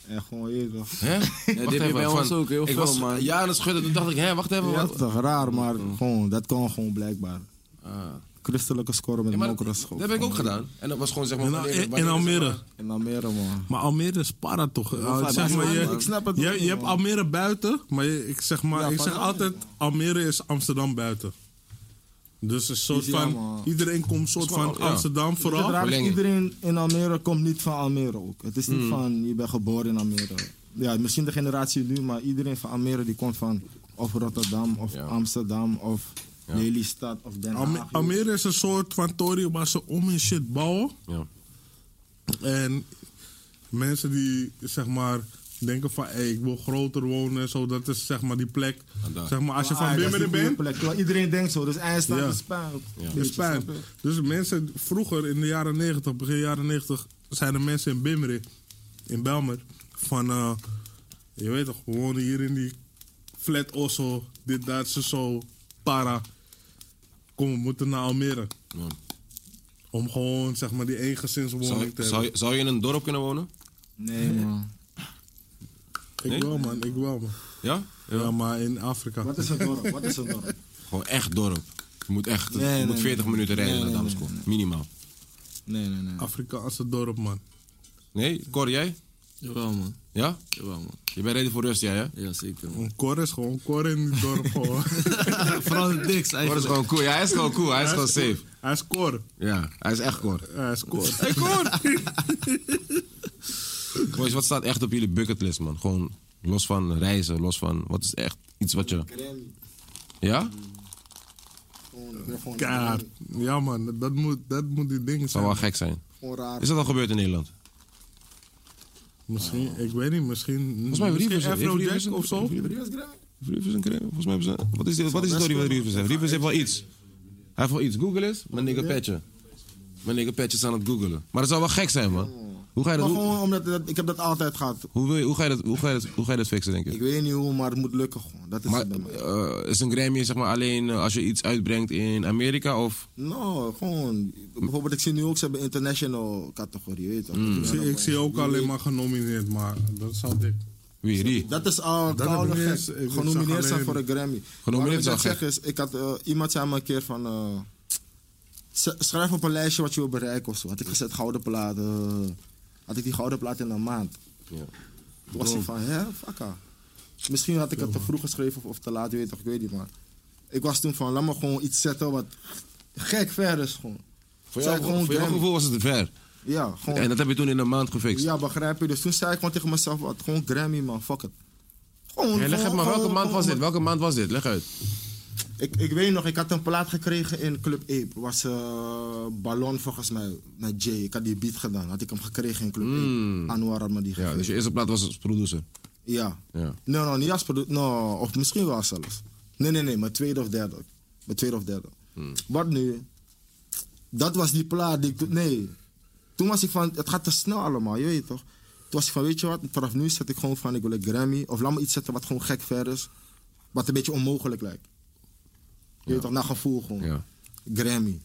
Speaker 5: en gewoon je toch.
Speaker 3: Hè?
Speaker 9: dit heb je bij ons ook heel
Speaker 3: ik
Speaker 9: veel,
Speaker 3: was,
Speaker 9: man.
Speaker 3: Ja, en dat schudde. Toen dacht ik, hè, wacht even.
Speaker 5: Ja,
Speaker 3: wat?
Speaker 5: dat is toch raar, maar gewoon, dat kan gewoon blijkbaar.
Speaker 3: Ah.
Speaker 5: Christelijke score met
Speaker 3: Ja, maar dat,
Speaker 5: mokkeros.
Speaker 3: dat heb ik ook gedaan. En dat was gewoon zeg maar...
Speaker 4: In,
Speaker 3: wanneer-
Speaker 4: in,
Speaker 3: wanneer-
Speaker 4: in Almere.
Speaker 5: In Almere, man.
Speaker 4: Maar Almere is para toch? Uh,
Speaker 5: vaak
Speaker 4: zeg
Speaker 5: is
Speaker 4: maar,
Speaker 5: het
Speaker 4: je,
Speaker 5: man. Ik snap het
Speaker 4: Je,
Speaker 5: ook niet,
Speaker 4: je hebt
Speaker 5: man.
Speaker 4: Almere buiten, maar je- ik zeg, maar,
Speaker 5: Ja,
Speaker 4: ik
Speaker 5: van
Speaker 4: zeg
Speaker 5: Almere,
Speaker 4: altijd: Almere is Amsterdam buiten. Dus een soort
Speaker 5: Ja,
Speaker 4: van,
Speaker 5: man.
Speaker 4: iedereen komt een soort van
Speaker 3: Gewoon, ja.
Speaker 4: Amsterdam
Speaker 5: Het
Speaker 4: vooral.
Speaker 5: raar is,
Speaker 3: Verlenging.
Speaker 5: iedereen in Almere komt niet van Almere ook. Het is niet
Speaker 4: Hmm.
Speaker 5: van, je bent geboren in Almere. Ja, misschien de generatie nu, maar iedereen van Almere die komt van of Rotterdam, of
Speaker 3: Ja.
Speaker 5: Amsterdam, of Lelystad, of Den Haag.
Speaker 4: Alme- Almere is een soort van toren waar ze om en shit bouwen.
Speaker 3: Ja.
Speaker 4: En mensen die zeg maar denken van hey, ik wil groter wonen en zo, dat is zeg maar die plek.
Speaker 3: daar.
Speaker 4: Zeg maar, als je
Speaker 5: Ah,
Speaker 4: van
Speaker 5: dat is
Speaker 4: Bimmeren
Speaker 5: een goede
Speaker 4: bent,
Speaker 5: plek. Want Iedereen denkt zo, dus Einstein
Speaker 4: Ja.
Speaker 5: is puin.
Speaker 4: in Spijn. Dus mensen, vroeger in de jaren 90, begin jaren 90, zijn er mensen in Bimmerik, in Belmer, van, eh, je weet toch, we wonen hier in die flat Osso, dit Duitse zo, para. Kom, we moeten naar Almere.
Speaker 3: Ja.
Speaker 4: Om gewoon, zeg maar, die
Speaker 3: Zou,
Speaker 4: eengezinswoning te
Speaker 3: zou,
Speaker 4: hebben.
Speaker 3: je- zou je in een dorp kunnen wonen?
Speaker 5: Nee, man.
Speaker 4: Ik wel, man, ik wel, man.
Speaker 3: Ja?
Speaker 4: Ja, maar in Afrika.
Speaker 5: Wat is een dorp? Wat is een dorp?
Speaker 3: Gewoon echt dorp. Je moet echt...
Speaker 5: Nee,
Speaker 3: je
Speaker 5: nee,
Speaker 3: moet 40
Speaker 5: nee.
Speaker 3: minuten rijden
Speaker 5: Nee,
Speaker 3: naar
Speaker 5: nee,
Speaker 3: Damsko.
Speaker 5: nee, nee.
Speaker 3: Minimaal.
Speaker 5: Nee, nee, nee.
Speaker 4: Oh. Afrikaanse dorp, man.
Speaker 3: Nee? Cor, jij?
Speaker 9: Jawel, man.
Speaker 3: Ja?
Speaker 9: Jawel, man.
Speaker 3: Je bent ready voor rust, jij, hè?
Speaker 9: Ja, zeker, man.
Speaker 4: Een kor is gewoon kor in het dorp, gewoon.
Speaker 9: Vooral niks,
Speaker 3: Cor is gewoon cool. Ja, hij is gewoon cool. Hij is gewoon safe.
Speaker 4: Hij is kor.
Speaker 3: Ja, hij is echt Cor.
Speaker 4: Hij is kor.
Speaker 3: Boys, wat staat echt op jullie bucketlist, man? Gewoon los van reizen, los van... Wat is echt iets wat je...
Speaker 5: Grammy.
Speaker 3: Ja?
Speaker 5: Gewoon, ik ben gewoon-
Speaker 4: Kaart. Ja, man, dat moet, dat moet die ding
Speaker 3: Zou
Speaker 4: zijn.
Speaker 3: wel gek zijn.
Speaker 5: Gewoon raar.
Speaker 3: Is dat al gebeurd in Nederland?
Speaker 4: Misschien, ik weet niet, misschien.
Speaker 3: Volgens mij
Speaker 4: misschien
Speaker 3: Rivers. hè?
Speaker 4: Afrojack
Speaker 3: Rivers een-
Speaker 4: of zo.
Speaker 3: Rivers Rivers en Creme. Volgens mij hebben ze... Wat is dit? Wat is het
Speaker 5: best
Speaker 3: door die
Speaker 5: kunnen.
Speaker 3: Rivers heeft? Rivers heeft wel iets. Hij heeft wel iets. Google is mijn nigga Petje. Mijn nigga Petje is aan het googelen. Maar dat zou wel gek zijn, man. Hoe ga je
Speaker 5: Maar
Speaker 3: dat... Hoe,
Speaker 5: gewoon omdat dat, ik heb dat altijd gehad.
Speaker 3: hoe, wil je, hoe, ga je dat, hoe, ga je dat, hoe ga je dat fixen, denk
Speaker 5: Ik
Speaker 3: je?
Speaker 5: weet niet hoe, maar het moet lukken gewoon. Dat is
Speaker 3: Maar
Speaker 5: het bij mij.
Speaker 3: eh, is een Grammy zeg maar alleen eh, als je iets uitbrengt in Amerika of...
Speaker 5: Nou, gewoon. Bijvoorbeeld, ik zie nu ook ze hebben
Speaker 3: Hmm.
Speaker 5: international categorie, weet je toch?
Speaker 4: Ik zie, ik zie ook alleen maar genomineerd, maar dat zou dik.
Speaker 3: Wie, die?
Speaker 5: Dat is al een
Speaker 4: Dat
Speaker 5: koude
Speaker 4: heb ik niet
Speaker 3: eh,
Speaker 4: eens-
Speaker 5: gek.
Speaker 4: ik
Speaker 5: Genomineerd
Speaker 4: zag
Speaker 5: zijn voor
Speaker 4: alleen-
Speaker 5: een Grammy.
Speaker 3: Genomineerd
Speaker 5: Waarom ik
Speaker 3: is al
Speaker 5: dat zeg
Speaker 3: gek.
Speaker 5: is, ik had, eh, iemand zei me een keer van... eh, z- schrijf op een lijstje wat je wil bereiken of zo. Had ik gezet gouden platen. eh, had ik die gouden plaat in een maand. Toen was ik van, hè, fuck haar. Misschien had ik het te vroeg geschreven of, of te laat, je weet toch, ik weet niet. Maar ik was toen van, laat me gewoon iets zetten wat gek ver is gewoon.
Speaker 3: Voor
Speaker 5: Zij
Speaker 3: jou,
Speaker 5: gewoon
Speaker 3: voor jouw
Speaker 5: Grammy.
Speaker 3: gevoel was het te ver.
Speaker 5: Ja, gewoon.
Speaker 3: En dat heb je toen in een maand gefixt.
Speaker 5: Ja, begrijp je. Dus toen zei ik gewoon tegen mezelf, wat, gewoon Grammy man, fuck it. Gewoon,
Speaker 3: Hey, leg uit
Speaker 5: gewoon-
Speaker 3: maar, welke
Speaker 5: gewoon-
Speaker 3: maand was dit?
Speaker 5: gewoon-
Speaker 3: Welke maand was dit? Leg uit.
Speaker 5: Ik, ik weet nog, ik had een plaat gekregen in Club Ape. Was eh, Ballon volgens mij, met Jay. Ik had die beat gedaan, had ik hem gekregen in Club Ape. Anwar had me die
Speaker 3: Ja,
Speaker 5: gegeven.
Speaker 3: dus je eerste plaat was als producer.
Speaker 5: Ja.
Speaker 3: Ja.
Speaker 5: Nee, no, niet als product. No, of misschien wel zelfs. Nee, nee, nee, mijn tweede of derde. Mijn tweede of derde.
Speaker 3: Hmm.
Speaker 5: Wat nu? Dat was die plaat die ik toen- Nee. Toen was ik van, het gaat te snel allemaal, je weet toch? Toen was ik van, weet je wat, vanaf nu zet ik gewoon van, ik wil een Grammy. Of laat me iets zetten wat gewoon gek ver is. Wat een beetje onmogelijk lijkt. Je weet toch, naar gevoel gewoon.
Speaker 3: Ja.
Speaker 5: Grammy.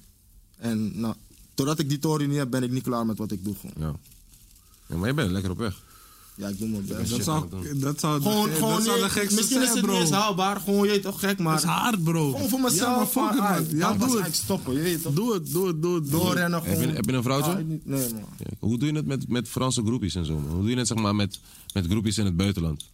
Speaker 5: En nou, totdat ik die toren niet heb, ben ik niet klaar met wat ik doe gewoon.
Speaker 3: Ja. ja maar je bent lekker op weg.
Speaker 5: Ja, ik doe mijn best.
Speaker 4: Dat zou, dat zou, de-
Speaker 5: Gewoon,
Speaker 4: dat
Speaker 5: gewoon
Speaker 4: zou de
Speaker 5: niet-
Speaker 4: gekste
Speaker 5: misschien
Speaker 4: zijn,
Speaker 5: is het
Speaker 4: bro.
Speaker 5: niet eens haalbaar. Gewoon, je weet toch, gek, maar...
Speaker 4: Dat is hard, bro.
Speaker 5: Gewoon voor
Speaker 4: Ja, maar
Speaker 5: mezelf.
Speaker 4: fuck
Speaker 5: van,
Speaker 4: it,
Speaker 5: ah,
Speaker 4: man. Ja,
Speaker 5: dat was
Speaker 4: doe het.
Speaker 5: eigenlijk stoppen, je weet toch.
Speaker 4: Doe het, doe het, doe het. doe het.
Speaker 5: Doorrennen
Speaker 3: Heb
Speaker 5: gewoon.
Speaker 3: je- heb je een vrouwtje?
Speaker 5: Ah, niet- nee, man.
Speaker 3: Ja. Hoe doe je het met, met Franse groepjes en zo? Man? Hoe doe je het zeg maar, met, met groepjes in het buitenland?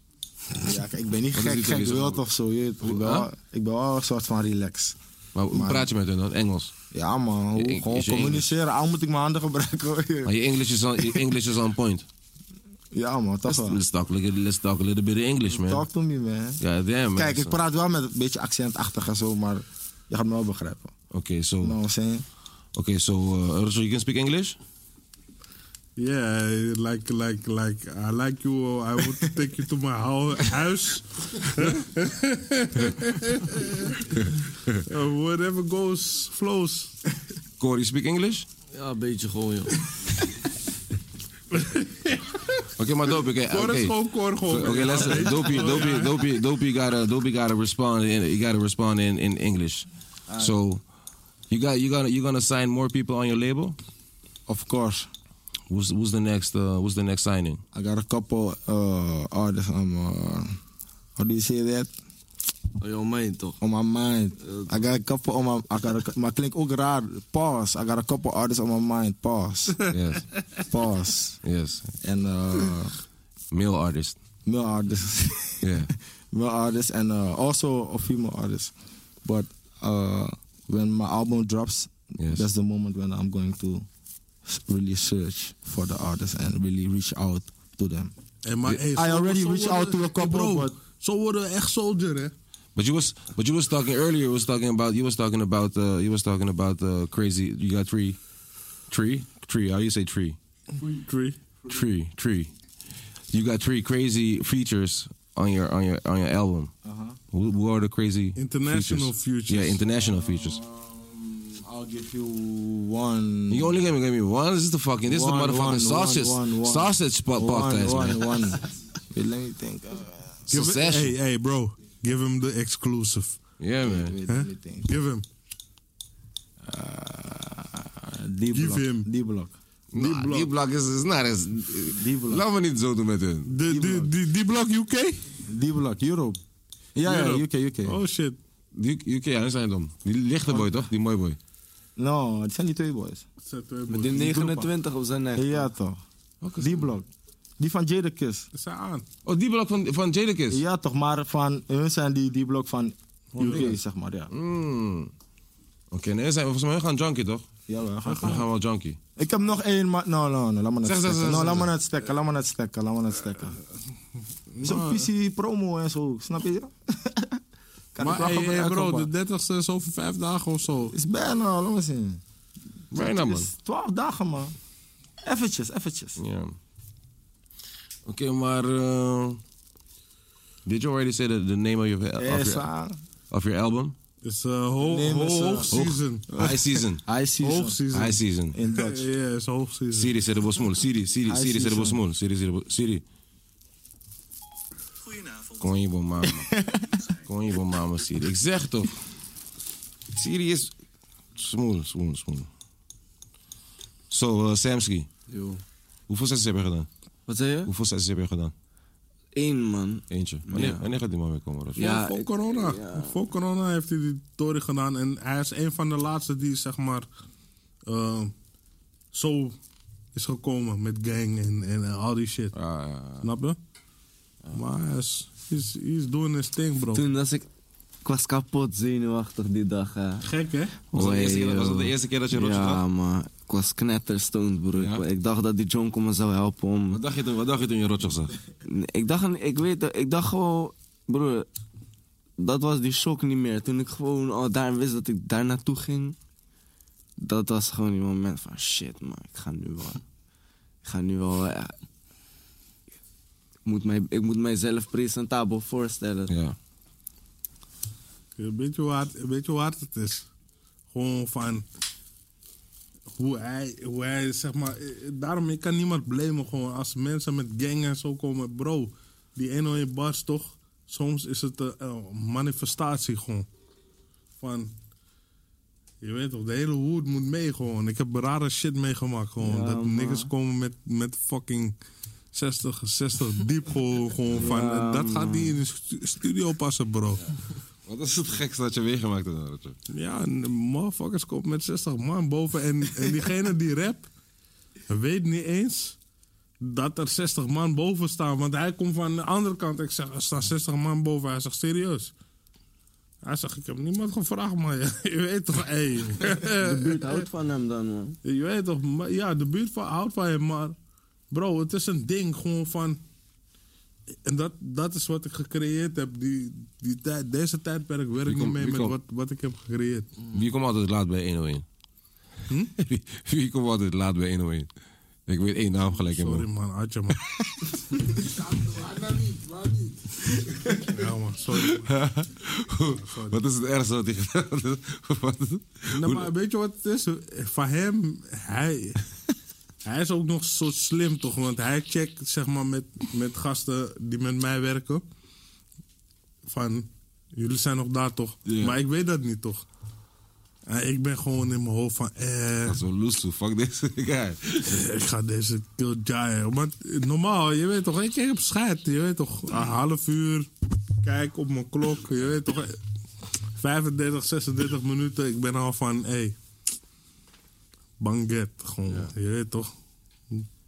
Speaker 5: Ja, kijk, ik ben niet
Speaker 3: Wat is
Speaker 5: gek,
Speaker 3: dit
Speaker 5: gek
Speaker 3: sowieso?
Speaker 5: wild of zo, je weet toch. Ik ben
Speaker 3: Huh?
Speaker 5: wel- Ik ben wel een soort van relax.
Speaker 3: Maar hoe
Speaker 5: Maar-
Speaker 3: praat je met hen dan? Engels?
Speaker 5: Ja, man. hoe-
Speaker 3: ik-
Speaker 5: gewoon
Speaker 3: is je
Speaker 5: communiceren. Al moet ik mijn handen gebruiken,
Speaker 3: Maar
Speaker 5: hoor.
Speaker 3: je English is on, je English is on point.
Speaker 5: Ja, man, toch
Speaker 3: Let's,
Speaker 5: wel.
Speaker 3: let's, talk, a little- let's talk a little bit of English, man.
Speaker 5: Talk to me, man.
Speaker 3: Ja, damn, man.
Speaker 5: Kijk, ik
Speaker 3: So-
Speaker 5: praat wel met een beetje accentachtig en zo, maar je gaat me wel begrijpen.
Speaker 3: Okay, so,
Speaker 5: Nou, wat zijn
Speaker 3: okay, so, uh, Russell, you can speak English?
Speaker 4: Yeah, like, like, like, I like you. I want to take you to my hou- house. Uh, whatever goes, flows.
Speaker 3: Corey, you speak English?
Speaker 9: Ja, een beetje gewoon, joh.
Speaker 3: Okay, maar dope, okay.
Speaker 4: Kor
Speaker 3: okay.
Speaker 4: is gewoon kor, gewoon.
Speaker 3: Okay, let's Dopey, Dopey, Dopey, Dopey gotta Dopey gotta respond in you gotta respond in, in English. So you got you gonna you gonna sign more people on your label?
Speaker 5: Of course.
Speaker 3: Who's who's the next uh, who's the next signing?
Speaker 5: I got a couple uh artists on uh how do you say that?
Speaker 9: Oh, joh, meen toch?
Speaker 5: On my mind. I got a couple on my I got a, maar klinkt ook raar. Pause. I got a couple artists on my mind. Pause.
Speaker 3: Yes.
Speaker 5: Pause.
Speaker 3: yes.
Speaker 5: En uh
Speaker 3: Male artist.
Speaker 5: male artists.
Speaker 3: Yeah.
Speaker 5: male artists and uh also a female artist. But uh when my album drops,
Speaker 3: Yes.
Speaker 5: that's the moment when I'm going to s- really search for the artists and really reach out to them.
Speaker 4: Hey, maar, hey,
Speaker 5: I already
Speaker 4: zo
Speaker 5: reached out to a couple,
Speaker 4: Hey, bro,
Speaker 5: but-
Speaker 4: Zo worden we echt soldier, hè?
Speaker 3: But you was but you was talking earlier you was talking about you was talking about uh, you was talking about uh, crazy you got three tree tree how you say tree
Speaker 4: Three.
Speaker 3: tree tree you got three crazy features on your on your on your album
Speaker 5: Uh-huh.
Speaker 3: who, who are the crazy
Speaker 4: International features.
Speaker 3: yeah international features
Speaker 5: Uh-huh. Um, I'll give you one.
Speaker 3: you only gave me, gave me one this is the fucking this
Speaker 5: One,
Speaker 3: is the motherfucking
Speaker 5: one,
Speaker 3: sausage
Speaker 5: one, one, one.
Speaker 3: sausage po- podcast
Speaker 5: one,
Speaker 3: man
Speaker 5: one, one. Wait, let me think. Uh,
Speaker 4: Give it-
Speaker 3: Succession.
Speaker 4: hey, hey, bro. Give him the exclusive.
Speaker 3: yeah man
Speaker 5: wait, let me think.
Speaker 4: Give him.
Speaker 5: Uh, D
Speaker 4: Give
Speaker 5: block.
Speaker 4: him.
Speaker 5: D block.
Speaker 3: Nah, die block is, is not as
Speaker 5: Die block.
Speaker 3: laat me niet zo doen met hun
Speaker 4: De, de, de, die blok UK?
Speaker 5: D block. Europe. Ja, ja,
Speaker 4: Europe.
Speaker 5: UK, UK.
Speaker 4: Oh, shit.
Speaker 3: die UK ja, zijn dom die lichte boy toch die mooie boy
Speaker 5: No, het zijn die twee boys.
Speaker 4: Zet hem,
Speaker 7: Met
Speaker 4: boy.
Speaker 7: de 29 op zijn nek.
Speaker 5: Ja, toch. D block. Die van Jada Kiss.
Speaker 4: Zet aan.
Speaker 3: Oh, die blok van, van Jadakiss?
Speaker 5: Ja, toch, maar van eh, hun zijn die, die blok van UK, zeg maar. Ja,
Speaker 4: Mm.
Speaker 3: Hmm. Oké, nee, zijn we volgens mij we gaan junkie, toch?
Speaker 5: ja we gaan
Speaker 3: We gaan wel junkie.
Speaker 5: Ik heb nog één, maar... No, no, no, laat me net
Speaker 3: Zeg, zeg,
Speaker 5: stekken.
Speaker 3: zeg,
Speaker 5: No,
Speaker 3: zeg,
Speaker 5: laat me
Speaker 3: zeg.
Speaker 5: net stekken, laat me net stekken, laat me net stekken.
Speaker 4: Eh,
Speaker 5: Zo'n visie promo en zo, snap je? Kan ik
Speaker 4: Maar
Speaker 5: wel
Speaker 4: hey,
Speaker 3: eh,
Speaker 4: hey,
Speaker 5: gebruiken,
Speaker 4: bro,
Speaker 5: maar-
Speaker 4: de 30ste is over vijf dagen of zo.
Speaker 5: is bijna, laat me zien.
Speaker 3: Bijna, man.
Speaker 5: is 12 dagen, man. Eventjes, eventjes.
Speaker 3: Ja. Oké, maar... eh, did you already say the, the name of your, of
Speaker 5: Ja,
Speaker 3: your, of your album?
Speaker 4: Het is eh, ho-
Speaker 5: Nee, maar
Speaker 4: ho-
Speaker 5: ze-
Speaker 4: hoogseason.
Speaker 3: High Season.
Speaker 5: High season.
Speaker 4: Hoogseason.
Speaker 3: High Season.
Speaker 5: In
Speaker 4: Ja,
Speaker 5: Dutch.
Speaker 4: het is hoogseason.
Speaker 3: Siri, zet de bosmoel. Siri, Siri,
Speaker 5: High
Speaker 3: Siri, zet de
Speaker 5: season.
Speaker 3: bosmoel. Siri, zet de bos- Siri. Goedenavond. Kon je bon mama. Kon je bon mama, Siri. Ik zeg toch. Siri is... Smoel, smoel, smoel. Zo, eh, Samsky.
Speaker 9: Yo.
Speaker 3: Hoeveel sessies heb je gedaan?
Speaker 9: Wat zei je?
Speaker 3: Hoeveel sessies heb je gedaan?
Speaker 7: één man.
Speaker 3: Eentje. Wanneer, wanneer gaat die man weer komen? Rob?
Speaker 7: Ja,
Speaker 4: voor
Speaker 7: ik-
Speaker 4: corona. Voor corona heeft hij die toren gedaan. En hij is een van de laatste die, zeg maar, eh, zo is gekomen met gang en, en eh, al die shit. Snap je? Maar hij is, hij is, hij is doing his thing, bro.
Speaker 7: Oh. Toen was ik, ik was kapot zenuwachtig die dag. Hè.
Speaker 4: Gek, hè?
Speaker 3: Was dat de eerste keer-
Speaker 7: Oei,
Speaker 3: was dat de
Speaker 7: joh.
Speaker 3: eerste keer dat je Rotterdam
Speaker 7: Ja,
Speaker 3: zag?
Speaker 7: maar ik was knetterstoned, broer.
Speaker 3: Ja?
Speaker 7: Ik, ik dacht dat die jonko me zou helpen om...
Speaker 3: Wat dacht je toen, wat dacht je, toen je Rotjoch zag?
Speaker 7: Nee, Ik dacht, ik weet, het, ik dacht gewoon, broer, dat was die shock niet meer. Toen ik gewoon al daar wist dat ik daar naartoe ging, dat was gewoon die moment van shit, man, ik ga nu wel. Ik ga nu wel. eh, ik, moet mij, ik moet mijzelf presentabel voorstellen.
Speaker 3: Ja.
Speaker 4: Ja, Weet je, hoe hard, weet je hoe hard het is? Gewoon van hoe hij, hoe hij zeg maar, eh, eh, daarom ik kan niemand blamen gewoon als mensen met gang en zo komen, bro, die 101 bars toch, soms is het een, eh, manifestatie gewoon. Van, je weet toch, de hele hoed moet mee gewoon. Ik heb rare shit meegemaakt gewoon. dat niggas komen met, met fucking 60, 60 diep gewoon. gewoon van, eh, dat gaat niet in de stu- studio passen bro.
Speaker 3: Wat is het gekste dat je weergemaakt hebt, Rotjoch?
Speaker 4: Ja, en de motherfuckers komt met 60 man boven. En, en diegene die rap weet niet eens dat er 60 man boven staan. Want hij komt van de andere kant. Ik zeg, er staan 60 man boven. Hij zegt, serieus? Hij zegt, ik heb niemand gevraagd, maar je, je weet toch, hé.
Speaker 7: De buurt houdt van hem dan, man.
Speaker 4: je weet toch, maar, ja, de buurt van, houdt van hem, maar... Bro, het is een ding gewoon van... En dat, dat is wat ik gecreëerd heb. Die, die tijd, deze tijdperk werk ik
Speaker 3: komt-
Speaker 4: niet mee
Speaker 3: wie
Speaker 4: met
Speaker 3: komt?
Speaker 4: wat, wat ik heb gecreëerd.
Speaker 3: Wie komt altijd laat bij 101?
Speaker 4: Hm?
Speaker 3: Wie, wie komt altijd laat bij 101? Ik weet één naam gelijk in
Speaker 4: Sorry
Speaker 3: mijn
Speaker 4: man, Adje man. Ja man, sorry. man.
Speaker 3: Wat is het ergste wat hij gedaan heeft? Wat is het?
Speaker 4: Nou, maar weet je wat het is? Van hem, hij, hij is ook nog zo slim toch? Want hij checkt zeg maar met, met gasten die met mij werken. Van, jullie zijn nog daar toch?
Speaker 3: Ja.
Speaker 4: Maar ik weet dat niet toch? En ik ben gewoon in mijn hoofd van, eh,
Speaker 3: Dat is wel loesoe, fuck deze guy.
Speaker 4: ik ga deze kill giant. Want normaal, je weet toch, ik heb scheid. Je weet toch, een half uur, kijk op mijn klok. Je weet toch, 35, 36 minuten. Ik ben al van, hé, hey, banget. Gewoon, je weet toch,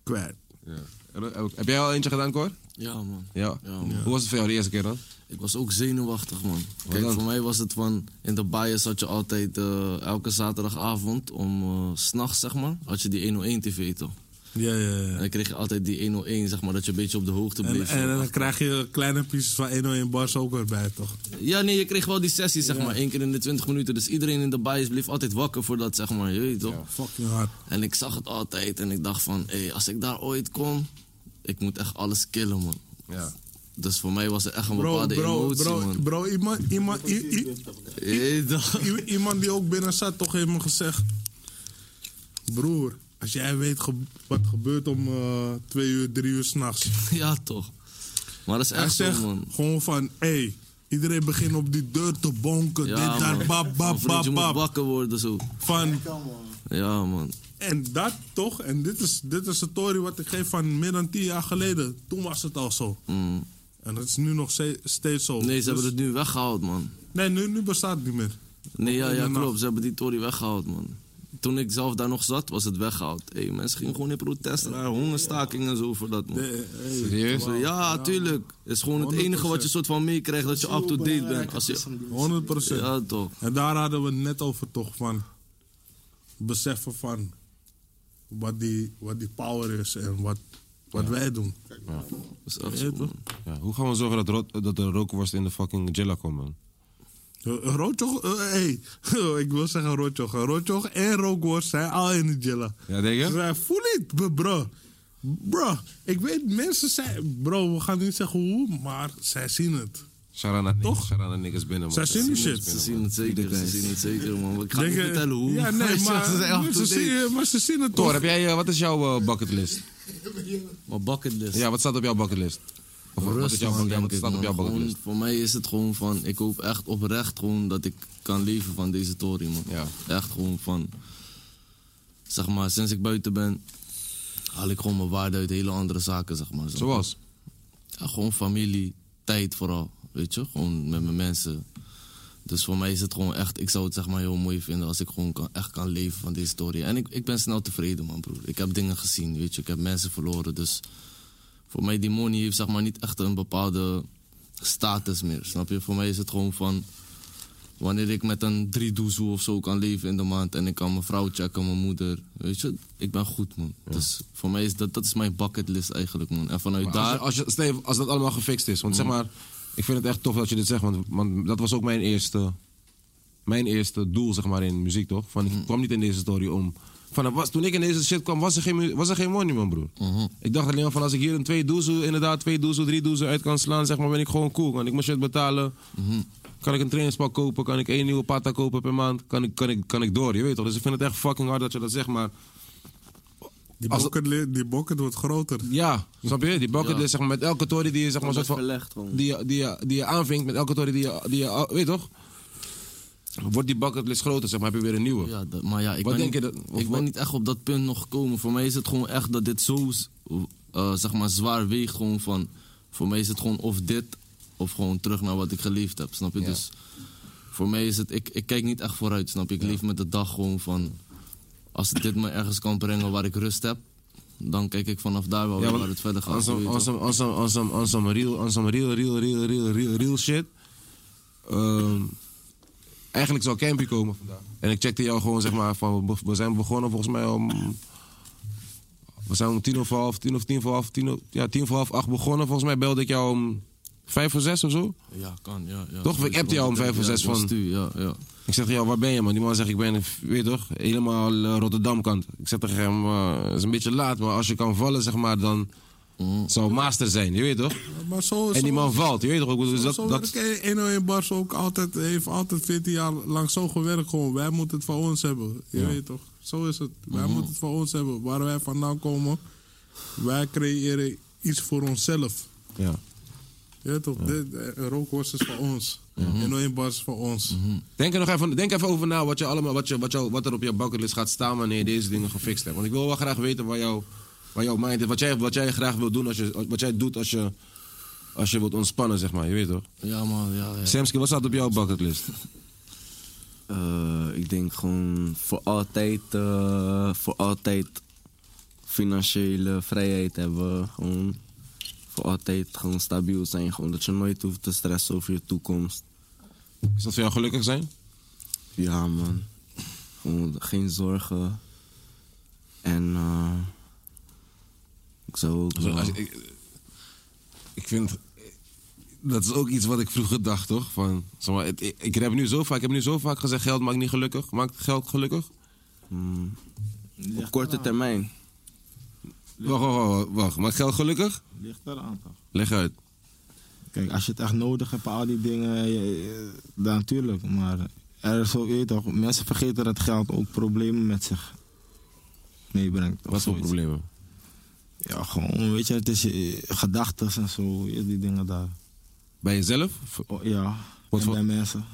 Speaker 4: kwijt.
Speaker 3: Ja. En, eh, Heb jij al eentje gedaan, Cor?
Speaker 9: Ja, man.
Speaker 3: Ja.
Speaker 9: Ja, man.
Speaker 3: Hoe was het voor jou de eerste keer dan?
Speaker 9: Ik was ook zenuwachtig, man. Kijk,
Speaker 3: dan?
Speaker 9: voor mij was het van... In de bias had je altijd eh, elke zaterdagavond om eh, s s'nachts, zeg maar... had je die 101-tv, toch?
Speaker 4: Ja, ja, ja.
Speaker 9: En dan kreeg je altijd die 101, zeg maar, dat je een beetje op de hoogte
Speaker 4: En,
Speaker 9: bleef.
Speaker 4: en dan krijg je kleine pieces van 101 bars ook weer bij, toch?
Speaker 9: Ja, nee, je kreeg wel die sessie, zeg maar, één keer in de 20 minuten. Dus iedereen in de bias bleef altijd wakker voor dat, zeg maar, je weet toch?
Speaker 4: Fucking hard.
Speaker 9: En ik zag het altijd en ik dacht van, hé, als ik daar ooit kom, ik moet echt alles killen, man.
Speaker 3: Ja.
Speaker 9: Dus voor mij was er echt een
Speaker 4: Bro,
Speaker 9: bepaalde
Speaker 4: bro,
Speaker 9: emotie,
Speaker 4: bro,
Speaker 9: man.
Speaker 4: bro, iemand, iemand, i- i-
Speaker 9: Hé, dag.
Speaker 4: I- iemand die ook binnen zat, toch heeft me gezegd: Broer, als jij weet ge- wat gebeurt om eh, twee uur, drie uur s'nachts.
Speaker 9: Ja, toch. Maar dat is
Speaker 4: Hij
Speaker 9: echt zo,
Speaker 4: zegt
Speaker 9: man.
Speaker 4: gewoon van: Hé, hey, iedereen begint op die deur te bonken.
Speaker 9: Ja,
Speaker 4: dit, daar,
Speaker 9: man.
Speaker 4: bab,
Speaker 9: Mijn
Speaker 4: bab,
Speaker 9: vriendje
Speaker 4: bab,
Speaker 9: moet
Speaker 4: bab.
Speaker 9: wakker worden, zo.
Speaker 4: Van,
Speaker 9: Ja, man.
Speaker 4: en dat toch, en dit is, dit is de story wat ik geef van meer dan tien jaar geleden. Toen was het al zo.
Speaker 9: Mm.
Speaker 4: En dat is nu nog ze- steeds zo.
Speaker 9: Nee,
Speaker 4: Dus-
Speaker 9: ze hebben het nu weggehaald, man.
Speaker 4: nee nu, nu bestaat het niet meer.
Speaker 9: Nee, ja,
Speaker 4: In de
Speaker 9: ja,
Speaker 4: nacht.
Speaker 9: klopt. Ze hebben die Tory weggehaald, man. Toen ik zelf daar nog zat, was het weggehaald. Hey, mensen gingen gewoon in protest naar hongerstakingen en zo voor dat, man.
Speaker 4: Eh, eh,
Speaker 3: Serieus?
Speaker 9: Zo, ja, tuurlijk. Het is gewoon het
Speaker 4: 100%.
Speaker 9: enige wat je soort van meekrijgt dat je up-to-date bent. Als je...
Speaker 4: 100 procent.
Speaker 9: Ja, toch.
Speaker 4: En daar hadden we het net over toch van beseffen van wat die, wat die power is en wat, wat wij doen.
Speaker 9: Dat is echt
Speaker 4: Ja,
Speaker 9: zo,
Speaker 4: toch?
Speaker 9: man.
Speaker 3: Ja. Hoe gaan we zorgen dat, rook dat de rookworst in de fucking Jilla komt, man?
Speaker 4: Eh, eh, Roodjog, eh, hey, ik wil zeggen Roodjog. Eh, Roodjog en Rookworst zijn al in de jilla.
Speaker 3: Ja, denk je?
Speaker 4: Ze zijn voel it, bro. Bro, ik weet, mensen zijn... Bro, we gaan niet zeggen hoe, maar zij zien het.
Speaker 3: Sharana
Speaker 4: Toch?
Speaker 3: niks, Sharana niks binnen, man.
Speaker 4: Zij zien die shit.
Speaker 9: Ze zien het zeker, ze zien het zeker, man. Ik ga
Speaker 4: Denk
Speaker 9: niet
Speaker 4: je-
Speaker 9: vertellen hoe.
Speaker 4: Ja, nee, maar
Speaker 9: Ze zijn
Speaker 4: ze,
Speaker 9: up-to-date.
Speaker 4: zien, maar ze zien het
Speaker 3: Thor,
Speaker 4: toch.
Speaker 3: heb jij, eh, wat is jouw eh, bucketlist?
Speaker 9: Maar bucketlist.
Speaker 3: Ja, wat staat op jouw bucketlist? Of wat- wat, is
Speaker 9: Rust,
Speaker 3: jouw,
Speaker 9: man,
Speaker 3: bucket- ja,
Speaker 9: denk
Speaker 3: wat staat
Speaker 9: ik,
Speaker 3: op
Speaker 9: man.
Speaker 3: jouw
Speaker 9: Gewoon,
Speaker 3: bucketlist?
Speaker 9: Voor mij is het gewoon van, ik hoop echt oprecht gewoon dat ik kan leven van deze tory, man.
Speaker 3: Ja.
Speaker 9: Echt gewoon van, zeg maar, sinds ik buiten ben, haal ik gewoon mijn waarde uit hele andere zaken, zeg maar. Zo.
Speaker 3: Zoals?
Speaker 9: Ja, gewoon familie, tijd vooral, weet je. Gewoon met mijn mensen. Dus voor mij is het gewoon echt, ik zou het zeg maar heel mooi vinden als ik gewoon kan, echt kan leven van deze story. En ik, ik ben snel tevreden, man, broer. Ik heb dingen gezien, weet je. Ik heb mensen verloren. Dus voor mij, die money heeft zeg maar niet echt een bepaalde status meer, snap je? Voor mij is het gewoon van, wanneer ik met een drie doezoe of zo kan leven in de maand en ik kan mijn vrouw checken, mijn moeder, weet je, ik ben goed, man. Dus voor mij is dat, dat is mijn bucketlist eigenlijk, man. En vanuit
Speaker 3: Maar als,
Speaker 9: daar...
Speaker 3: je- als, je, stel je- als dat allemaal gefixt is. Want zeg maar, ik vind het echt tof dat je dit zegt. Want, want dat was ook mijn eerste, mijn eerste doel zeg maar, in muziek, toch? Van, ik kwam niet in deze story om. Van, er was, toen ik in deze shit kwam, was er geen, mu- was er geen money, man, broer. Ik dacht alleen maar van, als ik hier een twee doezel, inderdaad twee doezel, drie doezel uit kan slaan, zeg maar, ben ik gewoon cool. Want ik moet shit betalen. Kan ik een trainingspak kopen? Kan ik één nieuwe pata kopen per maand? Kan ik, kan, ik, kan ik door, je weet toch? Dus ik vind het echt fucking hard dat je dat zegt, maar...
Speaker 4: Die
Speaker 3: Als-
Speaker 4: bokken, die bokken wordt groter.
Speaker 3: Ja, snap je? Die bucketlist, zeg maar, met elke tory die je, zeg maar, soort
Speaker 7: Wordt
Speaker 3: van,
Speaker 7: verlegd gewoon.
Speaker 3: die, je- die, je- die je aanvinkt, met elke tory die je, die je, weet je toch? Wordt die bucketlist groter, zeg maar, heb je weer een nieuwe.
Speaker 9: Ja, dat- maar ja, ik,
Speaker 3: Wat
Speaker 9: ben,
Speaker 3: denk
Speaker 9: niet,
Speaker 3: je dat- of
Speaker 9: ik
Speaker 3: wat-
Speaker 9: ben niet echt op dat punt nog gekomen. Voor mij is het gewoon echt dat dit zo eh, zeg maar zwaar weegt. Gewoon van, voor mij is het gewoon of dit of gewoon terug naar wat ik geleefd heb. Snap je? Dus voor mij is het, ik, ik kijk niet echt vooruit. Snap je? Ik leef met de dag gewoon van, als dit me ergens kan brengen waar ik rust heb, dan kijk ik vanaf daar wel weer
Speaker 3: want
Speaker 9: waar het verder gaat.
Speaker 3: on some-
Speaker 9: weet je
Speaker 3: on
Speaker 9: toch?
Speaker 3: some- on some- on some- on some real, on some real, real, real, real, real, real shit. Ehm, eigenlijk zou Campy komen vandaag. En ik checkte jou gewoon, zeg maar, van, we- we zijn begonnen volgens mij om... We zijn om tien of half, tien of tien voor half, tien, o- ja, tien voor half acht begonnen. Volgens mij belde ik jou om vijf voor zes of zo.
Speaker 9: Ja, kan. Ja, ja.
Speaker 3: Toch? Ik appte jou om vijf of
Speaker 9: Ja,
Speaker 3: zes
Speaker 9: dat was
Speaker 3: van-
Speaker 9: tu, Ja, ja.
Speaker 3: Ik zeg, ja, waar ben je man? Die man zegt, ik ben, weet je toch, helemaal eh, Rotterdam-kant. Ik zeg tegen hem, eh, het is een beetje laat, maar als je kan vallen, zeg maar, dan
Speaker 9: Mm.
Speaker 3: zou master zijn, je weet toch?
Speaker 4: Maar zo,
Speaker 3: En die
Speaker 4: zo-
Speaker 3: man valt, je weet toch? ook, Dus
Speaker 4: Zo
Speaker 3: dat, dat,
Speaker 4: werkt 101 Bars ook altijd, heeft altijd 14 jaar lang zo gewerkt gewoon. Wij moeten het van ons hebben. Je weet toch? Zo is het. Wij
Speaker 3: Mhm.
Speaker 4: moeten het van ons hebben. Waar wij vandaan komen, wij creëren iets voor onszelf.
Speaker 3: ja.
Speaker 4: Je weet toch? Dit, eh, Rookhorst is van ons.
Speaker 3: Mhm.
Speaker 4: 101 Bars is van ons.
Speaker 3: Denk er nog even, denk even over na wat, je allemaal, wat, je, wat, jou, wat er op jouw bucketlist gaat staan wanneer je deze dingen gefixt hebt. Want ik wil wel graag weten waar, jou, waar jouw mind is, wat jij, wat jij graag wil doen, als je, wat jij doet als je, als je wilt ontspannen, zeg maar, je weet toch?
Speaker 9: Ja, man. Ja, ja.
Speaker 3: Samski, wat staat op jouw bucketlist?
Speaker 7: Eh, ik denk gewoon voor altijd, eh, voor altijd financiële vrijheid hebben. Gewoon voor altijd gewoon stabiel zijn. Gewoon dat je nooit hoeft te stressen over je toekomst.
Speaker 3: Is dat voor jou gelukkig zijn?
Speaker 7: Ja, man. Gewoon geen zorgen. En eh, ik zou ook.
Speaker 3: Zo,
Speaker 7: wel-
Speaker 3: als- ik, ik vind. Dat is ook iets wat ik vroeger dacht, toch? Van, zeg maar, het- ik, ik heb nu zo vaak, ik heb nu zo vaak gezegd: geld maakt niet gelukkig. Maakt geld gelukkig?
Speaker 7: Mm, op korte termijn.
Speaker 3: Wacht, wacht, wacht, wacht. Maakt geld gelukkig?
Speaker 5: Ligt eraan toch?
Speaker 3: Leg uit.
Speaker 5: Kijk, als je het echt nodig hebt, al die dingen, eh, je- je- dan natuurlijk. Maar er is ook, je weet toch, mensen vergeten dat geld ook problemen met zich meebrengt. of
Speaker 3: Wat voor
Speaker 5: zoiets.
Speaker 3: problemen?
Speaker 5: Ja, gewoon, weet je, het is gedachten en zo, je- die dingen daar.
Speaker 3: Bij jezelf? Of-
Speaker 5: Oh, ja,
Speaker 3: Wat
Speaker 5: en
Speaker 3: voor-
Speaker 5: bij mensen.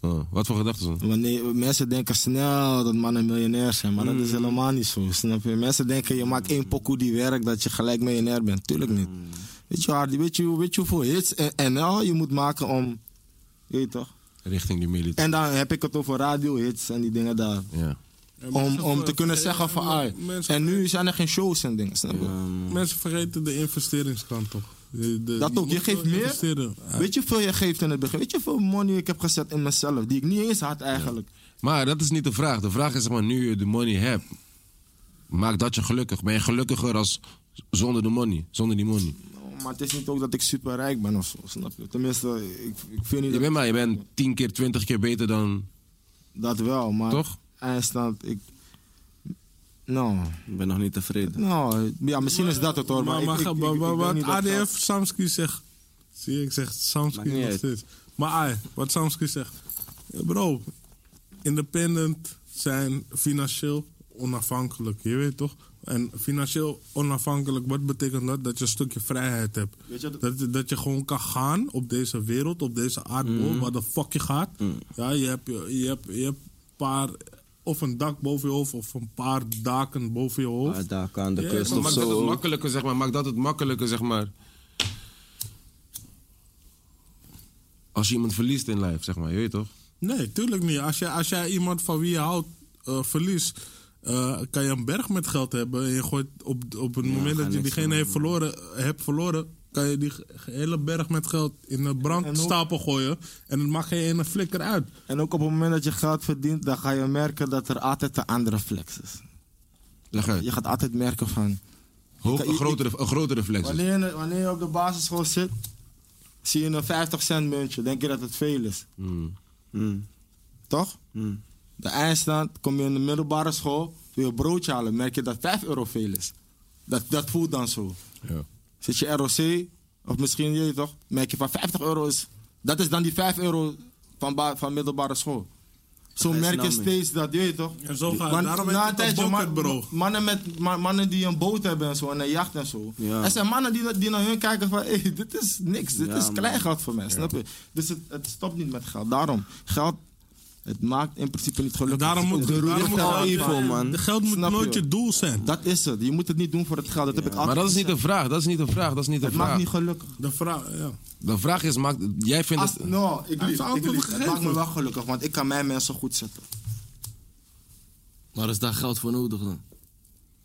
Speaker 3: oh, wat voor gedachten zijn?
Speaker 5: Wanneer, mensen denken snel dat mannen miljonair zijn, maar
Speaker 3: Mm.
Speaker 5: dat is helemaal niet zo, snap je? Mensen denken, je maakt één pokoe die werkt, dat je gelijk miljonair bent. Tuurlijk niet.
Speaker 3: Mm.
Speaker 5: Weet je, Hardy, weet je, weet je hoeveel hits en NL je moet maken om, je weet toch?
Speaker 3: Richting die militair.
Speaker 5: En dan heb ik het over radiohits en die dingen daar.
Speaker 3: Ja.
Speaker 5: Om,
Speaker 4: mensen
Speaker 5: om
Speaker 4: ver-
Speaker 5: te kunnen zeggen van, ah,
Speaker 4: mensen
Speaker 5: en nu zijn er geen shows en dingen, snap je?
Speaker 4: Mensen vergeten de investeringskant toch? De- de-
Speaker 5: Dat ook, je
Speaker 4: moet
Speaker 5: geeft
Speaker 4: wel
Speaker 5: meer.
Speaker 4: investeren.
Speaker 5: Weet je hoeveel je geeft in het begin? Weet je hoeveel money ik heb gezet in mezelf, die ik niet eens had eigenlijk?
Speaker 3: Maar dat is niet de vraag. De vraag is: zeg maar, nu je de money hebt, maakt dat je gelukkig? Ben je gelukkiger als zonder de money? Zonder die money?
Speaker 5: Nou, Maar het is niet ook dat ik superrijk ben of zo, snap je? Tenminste, ik, ik vind niet
Speaker 3: Je
Speaker 5: dat,
Speaker 3: bent maar, je bent 10 keer, 20 keer beter dan.
Speaker 5: dat wel, maar...
Speaker 3: Toch?
Speaker 5: Eindstand, ik... Nou,
Speaker 7: Ik ben nog niet tevreden.
Speaker 5: nou, ja, misschien is dat het hoor, maar,
Speaker 4: Maar,
Speaker 5: ik-
Speaker 4: maar,
Speaker 5: ik, ik,
Speaker 4: maar-
Speaker 5: ik-
Speaker 4: maar
Speaker 5: ik denk
Speaker 4: wat
Speaker 5: niet dat
Speaker 4: ADF
Speaker 5: geld-
Speaker 4: Samsky zegt. Zie je, ik zeg
Speaker 7: Maakt
Speaker 4: Samsky
Speaker 7: niet
Speaker 4: nog
Speaker 7: uit.
Speaker 4: steeds. Maar ai, wat Samsky zegt. eh, Bro, independent zijn financieel onafhankelijk. Je weet toch? En financieel onafhankelijk, wat betekent dat? Dat je een stukje vrijheid hebt. dat, dat je gewoon kan gaan op deze wereld, op deze aardbol,
Speaker 5: Mm.
Speaker 4: waar de fuck je gaat. Ja, je hebt, je, je hebt, je hebt paar, of een dak boven je hoofd, of een paar daken boven je hoofd.
Speaker 7: Daar kan de
Speaker 4: Ja,
Speaker 7: kust
Speaker 4: maar
Speaker 7: of
Speaker 3: Maakt dat het
Speaker 7: zo.
Speaker 3: makkelijker, zeg maar. Maakt dat het makkelijker, zeg maar. als je iemand verliest in life, zeg maar. Je weet toch?
Speaker 4: Nee, tuurlijk niet. Als jij, als jij iemand van wie je houdt eh, verliest, eh, kan je een berg met geld hebben. En je gooit op, op het moment
Speaker 7: ga
Speaker 4: dat je
Speaker 7: niks
Speaker 4: diegene
Speaker 7: doen,
Speaker 4: heeft verloren, eh, hebt verloren, kan je die ge- hele berg met geld in de brandstapel gooien. En het mag geen ene flikker uit.
Speaker 5: En ook op het moment dat je geld verdient, dan ga je merken dat er altijd een andere flex is.
Speaker 3: Leg uit.
Speaker 5: Je gaat altijd merken van...
Speaker 3: Hoog,
Speaker 5: kan-
Speaker 3: een, grotere, een grotere flex. is.
Speaker 5: Wanneer, je- wanneer je op de basisschool zit, zie je een 50 cent muntje. Denk je dat het veel is.
Speaker 7: Mm,
Speaker 5: Toch?
Speaker 7: mm.
Speaker 5: De eindstand, kom je in de middelbare school, wil je een broodje halen, merk je dat 5 euro veel is. Dat, dat voelt dan zo.
Speaker 3: Ja.
Speaker 5: Zit je ROC, of misschien je weet toch, merk je van 50 euro is. Dat is dan die 5 euro van, ba- van middelbare school. Zo
Speaker 7: ga je
Speaker 5: merk je
Speaker 7: snel nou mee.
Speaker 5: steeds dat, je weet toch?
Speaker 4: En zo gaat het.
Speaker 5: Want
Speaker 4: Daarom
Speaker 5: na
Speaker 4: heet
Speaker 5: een
Speaker 4: het een
Speaker 5: tijdje,
Speaker 4: bucket,
Speaker 5: man-
Speaker 4: bro.
Speaker 5: mannen, met, ma- mannen die een boot hebben en zo, en een jacht en zo.
Speaker 7: Ja.
Speaker 5: Er zijn mannen die, die naar hun kijken van, hey, dit is niks, dit
Speaker 7: Ja,
Speaker 5: is
Speaker 7: man.
Speaker 5: kleingeld voor mij, snap je? Dus het, het stopt niet met geld. Daarom, geld, het maakt in principe niet gelukkig.
Speaker 4: Daarom moet,
Speaker 5: De roer
Speaker 4: daarom
Speaker 5: ligt
Speaker 4: moet
Speaker 5: er
Speaker 7: al
Speaker 5: altijd
Speaker 7: even
Speaker 5: aan.
Speaker 7: om, man.
Speaker 4: De geld moet
Speaker 5: Snap je?
Speaker 4: nooit je doel zijn.
Speaker 5: Dat is het. Je moet het niet doen voor het geld. Dat heb ik
Speaker 3: Maar
Speaker 5: altijd
Speaker 3: dat is niet
Speaker 5: gezegd.
Speaker 3: een vraag, dat is niet een vraag, dat is niet een
Speaker 5: Het
Speaker 3: vraag.
Speaker 5: maakt niet gelukkig.
Speaker 4: De vraag, ja.
Speaker 3: De vraag is, maakt, jij vindt
Speaker 5: Als,
Speaker 3: het...
Speaker 5: no, ik
Speaker 4: Hij heeft
Speaker 5: lief.
Speaker 4: zijn
Speaker 5: Ik
Speaker 4: antwoord
Speaker 5: lief. Het
Speaker 4: gegeven.
Speaker 5: maakt me wel gelukkig, want ik kan mijn mensen goed zetten.
Speaker 9: Maar is daar geld voor nodig dan?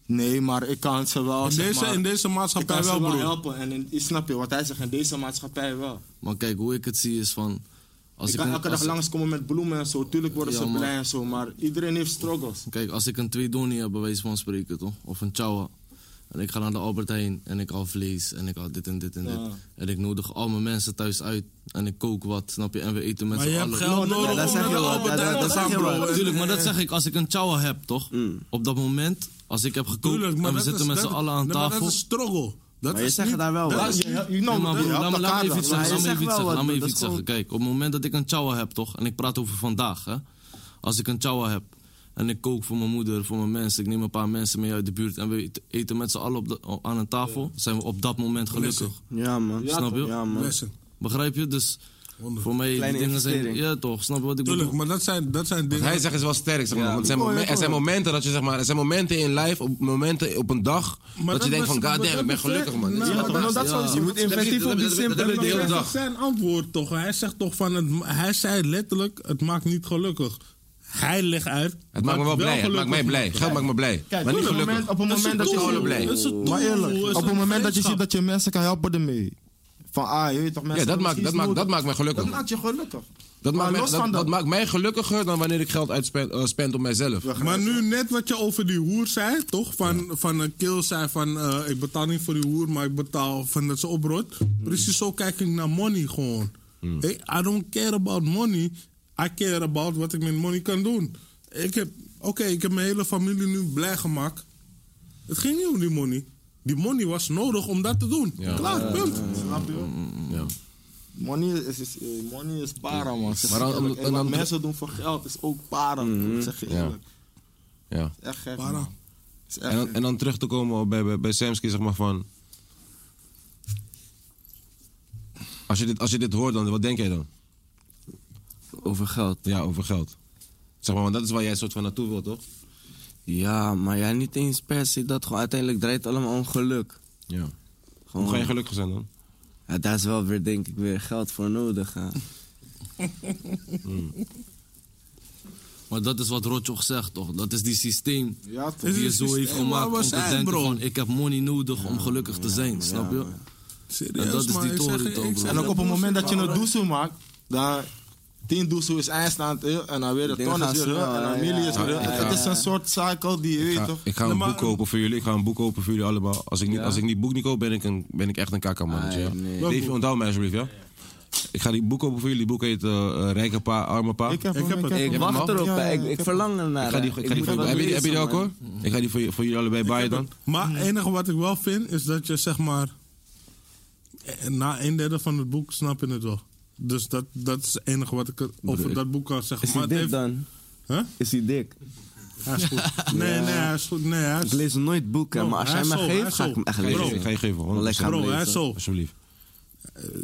Speaker 5: Nee, maar ik kan ze wel.
Speaker 4: In
Speaker 5: zeg
Speaker 4: deze,
Speaker 5: maar,
Speaker 4: in deze
Speaker 5: ik kan
Speaker 4: maatschappij
Speaker 5: ze
Speaker 4: wel,
Speaker 5: wel
Speaker 4: broer.
Speaker 5: helpen. En in, je snap je wat hij zegt, in deze maatschappij wel.
Speaker 9: Maar kijk, hoe ik het zie is van... Als
Speaker 5: ik kan
Speaker 9: een-
Speaker 5: elke dag
Speaker 9: als-
Speaker 5: langskomen met bloemen en zo. Tuurlijk worden
Speaker 9: Ja,
Speaker 5: ze
Speaker 9: man.
Speaker 5: blij en zo, maar iedereen heeft struggles.
Speaker 9: Kijk, als ik een twee donnie heb, bij wijze van spreken, toch? Of een chawa. En ik ga naar de Albert Heijn en ik haal vlees en ik haal dit en dit en dit.
Speaker 5: Ja.
Speaker 9: En ik nodig al mijn mensen thuis uit en ik kook wat, snap je? En we eten met
Speaker 4: Maar
Speaker 9: z'n
Speaker 4: je
Speaker 9: allen.
Speaker 4: hebt geld nodig
Speaker 7: dat
Speaker 4: om
Speaker 7: zeg
Speaker 4: naar
Speaker 7: je
Speaker 4: de
Speaker 7: wel,
Speaker 4: Albert
Speaker 7: dat-
Speaker 4: Heijn
Speaker 7: dat
Speaker 4: te
Speaker 7: zeg
Speaker 4: gaan,
Speaker 7: je wel.
Speaker 4: bro. En-
Speaker 9: Tuurlijk, maar dat zeg ik als ik een chawa heb, toch? Op dat moment, als ik heb gekookt
Speaker 4: Tuurlijk,
Speaker 9: en we
Speaker 4: dat
Speaker 9: zitten
Speaker 4: is-
Speaker 9: met z'n
Speaker 4: dat-
Speaker 9: allen aan
Speaker 4: nee, maar
Speaker 9: tafel.
Speaker 4: Dat is struggle. Dat
Speaker 7: Maar je
Speaker 4: is
Speaker 7: zegt
Speaker 4: niet-
Speaker 7: daar wel
Speaker 4: dat
Speaker 7: wat.
Speaker 4: is
Speaker 5: Je- je- je-
Speaker 9: Nee,
Speaker 5: nou,
Speaker 9: maar
Speaker 5: dat-
Speaker 9: broer,
Speaker 5: je
Speaker 9: laat me
Speaker 5: hebt
Speaker 9: laat me
Speaker 5: elkaar
Speaker 9: even iets
Speaker 5: dan.
Speaker 9: zeggen.
Speaker 7: Maar
Speaker 9: Laat
Speaker 7: je
Speaker 9: me even
Speaker 7: zegt wel
Speaker 9: iets zeggen.
Speaker 7: wat,
Speaker 9: Laat me
Speaker 7: broer,
Speaker 9: even
Speaker 7: dat
Speaker 9: iets
Speaker 7: is
Speaker 9: zeggen. Kijk, op het moment dat ik een chawa heb, toch? En ik praat over vandaag, hè? Als ik een chawa heb en ik kook voor mijn moeder, voor mijn mensen, ik neem een paar mensen mee uit de buurt en we eten met z'n allen op de- aan een tafel, zijn we op dat moment gelukkig.
Speaker 7: Ja, man.
Speaker 9: Ja, Snap je?
Speaker 7: Ja, man.
Speaker 4: Lessen.
Speaker 9: Begrijp je? Dus voor mij, die
Speaker 7: Kleine
Speaker 9: dingen zijn.
Speaker 7: investering.
Speaker 9: Ja, toch? Snap je wat ik
Speaker 4: Tuurlijk,
Speaker 9: bedoel?
Speaker 4: maar dat zijn, dat zijn
Speaker 3: Wat
Speaker 4: dingen.
Speaker 3: hij zegt is wel sterk, zeg maar. Want er zijn, momen- er zijn momenten dat je, zeg maar, er zijn momenten in life, op, momenten op een dag, dat
Speaker 4: dat
Speaker 3: je denkt
Speaker 4: was-
Speaker 3: van,
Speaker 4: maar
Speaker 3: god damn,
Speaker 4: dat
Speaker 3: ik ben
Speaker 4: is ver-
Speaker 3: gelukkig, man.
Speaker 4: Nou,
Speaker 3: Dit is
Speaker 4: maar
Speaker 3: wat-
Speaker 4: dat-
Speaker 3: Ja.
Speaker 4: dat
Speaker 7: sowieso.
Speaker 3: Je moet
Speaker 7: Dat heb je-
Speaker 3: inventief
Speaker 7: dat
Speaker 3: op die
Speaker 7: heb je- dat heb je-
Speaker 3: simpele de
Speaker 4: Maar
Speaker 3: hele
Speaker 4: dat
Speaker 3: dag.
Speaker 4: is zijn antwoord toch. Hij zegt toch van, het, hij zei letterlijk, het maakt niet gelukkig. Hij legt uit.
Speaker 3: Het maakt me wel blij, het maakt mij blij. Geld maakt me blij,
Speaker 5: Kijk,
Speaker 3: maar niet
Speaker 5: op het
Speaker 3: gelukkig.
Speaker 5: moment, op het moment dat je
Speaker 3: doel. blij.
Speaker 4: Dat is het doel.
Speaker 5: Maar
Speaker 4: is
Speaker 5: eerlijk, op het
Speaker 4: een
Speaker 5: moment dat je ziet
Speaker 4: vriendschap.
Speaker 5: dat je mensen kan helpen ermee. Van ah, je weet toch,
Speaker 3: Ja, dat maakt,
Speaker 5: mensen hebben
Speaker 3: dat,
Speaker 5: misschien
Speaker 3: maakt,
Speaker 5: iets
Speaker 3: dat
Speaker 5: nodig.
Speaker 3: maakt mij gelukkig.
Speaker 5: Dat maakt je gelukkig.
Speaker 3: Dat
Speaker 5: Maar
Speaker 3: maakt, mij,
Speaker 5: los
Speaker 3: dat,
Speaker 5: van
Speaker 3: dat maakt mij gelukkiger dan wanneer ik geld uitspend eh, spend op mijzelf.
Speaker 4: Maar nu net wat je over die hoer zei, toch? Van, van een kill zei van, eh, ik betaal niet voor die hoer, maar ik betaal van dat ze oprot. Precies zo kijk ik naar money gewoon. Hey, I don't care about money. I care about wat ik met money kan doen. Ik heb, oké, ik heb mijn hele familie nu blij gemaakt. Het ging niet om die money. Die money was nodig om dat te doen. Klaar, punt.
Speaker 5: Money is, is, eh, money is para, man. Zeg
Speaker 3: Maar dan-
Speaker 5: je eerlijk. En
Speaker 3: en
Speaker 5: wat
Speaker 3: dan- Mhm.
Speaker 5: mensen doen voor geld is ook para, man. zeg je
Speaker 3: Ja.
Speaker 5: eerlijk.
Speaker 3: Ja.
Speaker 5: Echt gek,
Speaker 4: Para.
Speaker 5: man. Is echt
Speaker 3: En dan,
Speaker 5: gek.
Speaker 3: en dan terug te komen op bij, bij, bij Samsky, zeg maar van... Als je, dit, als je dit hoort, dan, wat denk jij dan?
Speaker 7: Over geld.
Speaker 3: Ja, over geld. Zeg maar, want dat is waar jij soort van naartoe wilt, toch?
Speaker 7: Ja, maar ja, niet eens per se dat. Gewoon uiteindelijk draait het allemaal om geluk.
Speaker 3: Ja.
Speaker 7: Gewoon,
Speaker 3: Hoe ga je gelukkig zijn dan?
Speaker 7: Ja, daar is wel weer, denk ik, weer geld voor nodig. hè.
Speaker 9: Maar dat is wat Rotjoch zegt, toch? Dat is die systeem
Speaker 5: Ja, toch.
Speaker 9: die je
Speaker 4: het
Speaker 9: zo heeft
Speaker 4: systeem
Speaker 9: gemaakt
Speaker 4: waar we
Speaker 9: om te
Speaker 4: zijn,
Speaker 9: denken
Speaker 4: bro?
Speaker 9: van... ik heb money nodig om gelukkig te zijn, snap je?
Speaker 4: Serieus,
Speaker 9: En dat is
Speaker 4: man,
Speaker 9: die
Speaker 4: ik zeg
Speaker 9: toren
Speaker 4: je-
Speaker 9: toch,
Speaker 4: ik
Speaker 9: bro.
Speaker 4: zeg
Speaker 5: En ook op het moment dat je een
Speaker 4: Para.
Speaker 5: doezel maakt, dan... 10 doezel is eindstand eh, en dan weer een
Speaker 7: Dingen
Speaker 5: ton is
Speaker 7: gaan
Speaker 5: weer
Speaker 7: snel,
Speaker 5: eh, en dan
Speaker 7: ja,
Speaker 5: milie is
Speaker 7: ja,
Speaker 5: weer.
Speaker 7: ja,
Speaker 5: eh. Het is een soort cycle die je weet toch.
Speaker 3: ik ga een
Speaker 4: Nee, maar-
Speaker 3: boek kopen voor jullie. Ik ga een boek kopen voor jullie allemaal. Als ik niet,
Speaker 7: Ja?
Speaker 3: als ik niet boek niet koop, ben ik, een, ben ik echt een kakkermannetje.
Speaker 7: Ah,
Speaker 3: ja.
Speaker 7: nee.
Speaker 3: Dave, onthoud mij alsjeblieft, ja? Ik ga die boek kopen voor jullie. Die boek heet eh eh, Rijke Pa, Arme Pa.
Speaker 5: Ik heb hem,
Speaker 4: heb
Speaker 5: ik
Speaker 4: het.
Speaker 5: heb
Speaker 7: Ik
Speaker 5: hem.
Speaker 7: wacht erop,
Speaker 5: Ja,
Speaker 7: hè.
Speaker 5: ja,
Speaker 7: ik,
Speaker 5: ik
Speaker 7: ik
Speaker 5: heb
Speaker 7: verlang ernaar.
Speaker 3: Ik ga die,
Speaker 7: hè.
Speaker 3: ik
Speaker 7: Ik
Speaker 3: ga die
Speaker 7: moet
Speaker 3: voor,
Speaker 7: wat
Speaker 3: heb, je, die- heb je die
Speaker 7: lezen,
Speaker 3: ook
Speaker 7: man.
Speaker 3: hoor? Ik ga die voor, je- voor jullie allebei baaien dan.
Speaker 4: Maar het enige wat ik wel vind is dat je zeg maar. eh, Na een derde van het boek snap je het wel. Dus dat, dat is het enige wat ik er over dat boek kan zeggen.
Speaker 7: Is
Speaker 4: maar
Speaker 7: hij dik
Speaker 4: het
Speaker 7: dan?
Speaker 4: Huh?
Speaker 7: Is hij dik?
Speaker 4: Hij is goed. Nee, nee, hij is goed. Nee, hij
Speaker 7: Ik
Speaker 4: is,
Speaker 7: lees nooit boeken,
Speaker 4: Bro,
Speaker 7: maar als
Speaker 4: hij is
Speaker 7: jij me
Speaker 4: zo, hij
Speaker 7: geeft,
Speaker 4: is
Speaker 7: ga ik
Speaker 4: zo.
Speaker 7: hem echt
Speaker 3: Ga je
Speaker 7: lezen.
Speaker 3: geven, ga je geven. hoor.
Speaker 7: Lekker
Speaker 3: Alsjeblieft.
Speaker 4: bro, hij is
Speaker 7: lezen.
Speaker 4: zo.
Speaker 3: Alsjeblieft.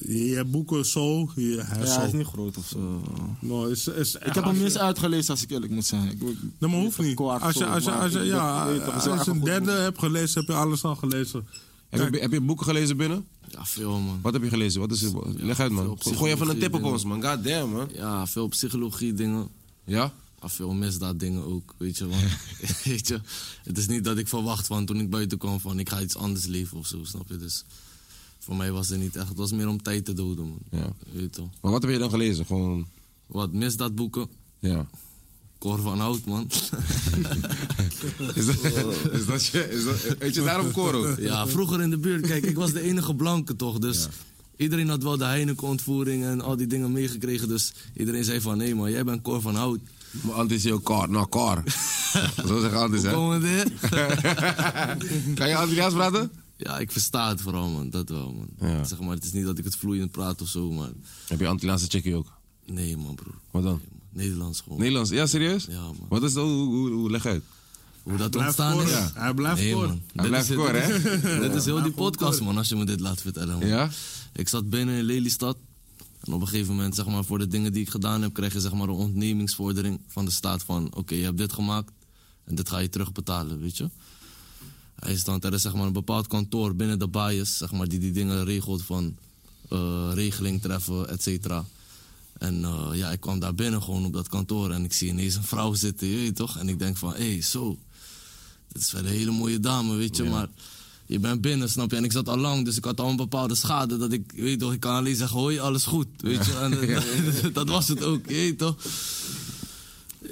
Speaker 4: Je hebt boeken zo. Je, hij is
Speaker 5: Ja, hij is
Speaker 4: zo.
Speaker 5: niet groot of zo.
Speaker 4: No, is, is,
Speaker 5: Ik heb hem mis uitgelezen als ik eerlijk moet zijn. Ik, ik-
Speaker 4: Nee, maar hoeft niet.
Speaker 5: Kwart,
Speaker 4: Als je,
Speaker 5: sorry,
Speaker 4: als je,
Speaker 5: maar
Speaker 4: als je,
Speaker 5: ik-
Speaker 4: ja, eh,
Speaker 5: ik weet toch, het eh, is
Speaker 4: als
Speaker 5: wel
Speaker 4: je
Speaker 5: echt
Speaker 4: een
Speaker 5: goed
Speaker 4: derde
Speaker 5: boek.
Speaker 4: hebt gelezen, heb je alles al gelezen.
Speaker 3: Ja, Heb, je, heb je boeken gelezen binnen?
Speaker 9: Ja, veel man.
Speaker 3: Wat heb je gelezen? Wat is het? Leg uit,
Speaker 9: veel
Speaker 3: man. Gooi even een
Speaker 9: psychologie
Speaker 3: tip op
Speaker 9: dingen.
Speaker 3: ons, man. God damn, man.
Speaker 9: Ja, veel psychologie dingen.
Speaker 3: Ja?
Speaker 7: Ah,
Speaker 9: Ja, veel misdaad dingen ook, weet je. Want, weet je, het is niet dat ik verwacht van toen ik buiten kwam van ik ga iets anders leven of zo, snap je? Dus voor mij was het niet echt, het was meer om tijd te doden, man.
Speaker 3: Ja.
Speaker 9: Weet je wel.
Speaker 3: Maar wat heb je dan gelezen? Gewoon,
Speaker 9: Wat misdaadboeken,
Speaker 3: ja.
Speaker 9: Cor van Hout, man.
Speaker 3: Is dat, is dat je, is dat, weet je, daarom Coro.
Speaker 9: ja, vroeger in de buurt, kijk, ik was de enige blanke toch, dus... Iedereen had wel de Heineken-ontvoering en al die dingen meegekregen. Dus iedereen zei van, hé man, jij bent Cor van Hout.
Speaker 3: Maar Antis is jouw kar, nou kar. Zo zeggen Antis, hè.
Speaker 9: Kom weer.
Speaker 3: Kan je Antilliaans praten?
Speaker 9: Ja, ik versta het vooral, man. Dat wel, man.
Speaker 3: Ja.
Speaker 9: Zeg maar, het is niet dat ik het vloeiend praat of zo, maar...
Speaker 3: Heb je Antilliaanse checkie ook?
Speaker 9: Nee, man, broer.
Speaker 3: Wat dan?
Speaker 9: Nee, man. Nederlands gewoon.
Speaker 3: Nederlands? Ja, serieus?
Speaker 9: Ja, man.
Speaker 3: Wat is dat? Hoe, hoe, hoe- leg uit?
Speaker 9: Hoe dat
Speaker 4: Blijf
Speaker 9: ontstaan is?
Speaker 4: scoren. Hij blijft
Speaker 9: nee,
Speaker 4: scoren.
Speaker 9: man.
Speaker 3: Hij blijft
Speaker 9: is,
Speaker 3: scoren, hè?
Speaker 9: Dit is heel die podcast, man, als je me dit laat vertellen, man.
Speaker 3: Ja?
Speaker 9: Ik zat binnen in Lelystad. En op een gegeven moment, zeg maar, voor de dingen die ik gedaan heb... krijg je zeg maar, een ontnemingsvordering van de staat van... oké, je hebt dit gemaakt en dit ga je terugbetalen, weet je. Hij is dan, er is zeg maar, een bepaald kantoor binnen de bias... Zeg maar, die die dingen regelt van eh, regeling treffen, et cetera. En eh, ja, ik kwam daar binnen gewoon op dat kantoor... en ik zie ineens een vrouw zitten, je weet toch? En ik denk van, hé, hey, zo... Het is wel een hele mooie dame, weet je, maar je bent binnen, snap je? En ik zat al lang, dus ik had al een bepaalde schade. Dat ik, weet je toch, ik kan alleen zeggen, hoi, alles goed, weet je. En, eh, dat was het ook, je weet toch?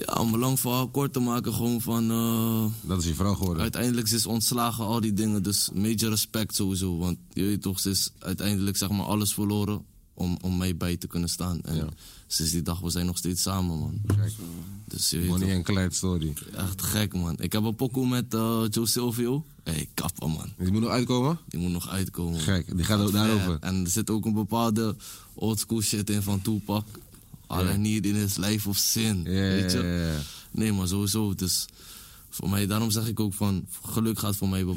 Speaker 9: Ja, om een lang verhaal kort te maken, gewoon van... eh,
Speaker 3: Dat is je vrouw geworden.
Speaker 9: Uiteindelijk ze is ontslagen, al die dingen. Dus major respect sowieso. Want je weet toch, ze is uiteindelijk zeg maar alles verloren om, om mij bij te kunnen staan. En sinds die dag, we zijn nog steeds samen, man. Dus je weet toch.
Speaker 3: Money en Clyde story.
Speaker 9: Echt gek, man. Ik heb een pokoe met eh, Joe Silvio. Hé, hey, kappa, man.
Speaker 3: Die moet nog uitkomen?
Speaker 9: Die moet nog uitkomen.
Speaker 3: Gek, die gaat ook Oh, daarover.
Speaker 9: Eh, En er zit ook een bepaalde oldschool shit in van Tupac. Alleen niet in his life of sin.
Speaker 3: ja,
Speaker 9: weet je?
Speaker 3: ja, ja.
Speaker 9: Nee, maar sowieso. Dus voor mij, daarom zeg ik ook van... Geluk gaat voor mij... Je
Speaker 3: Je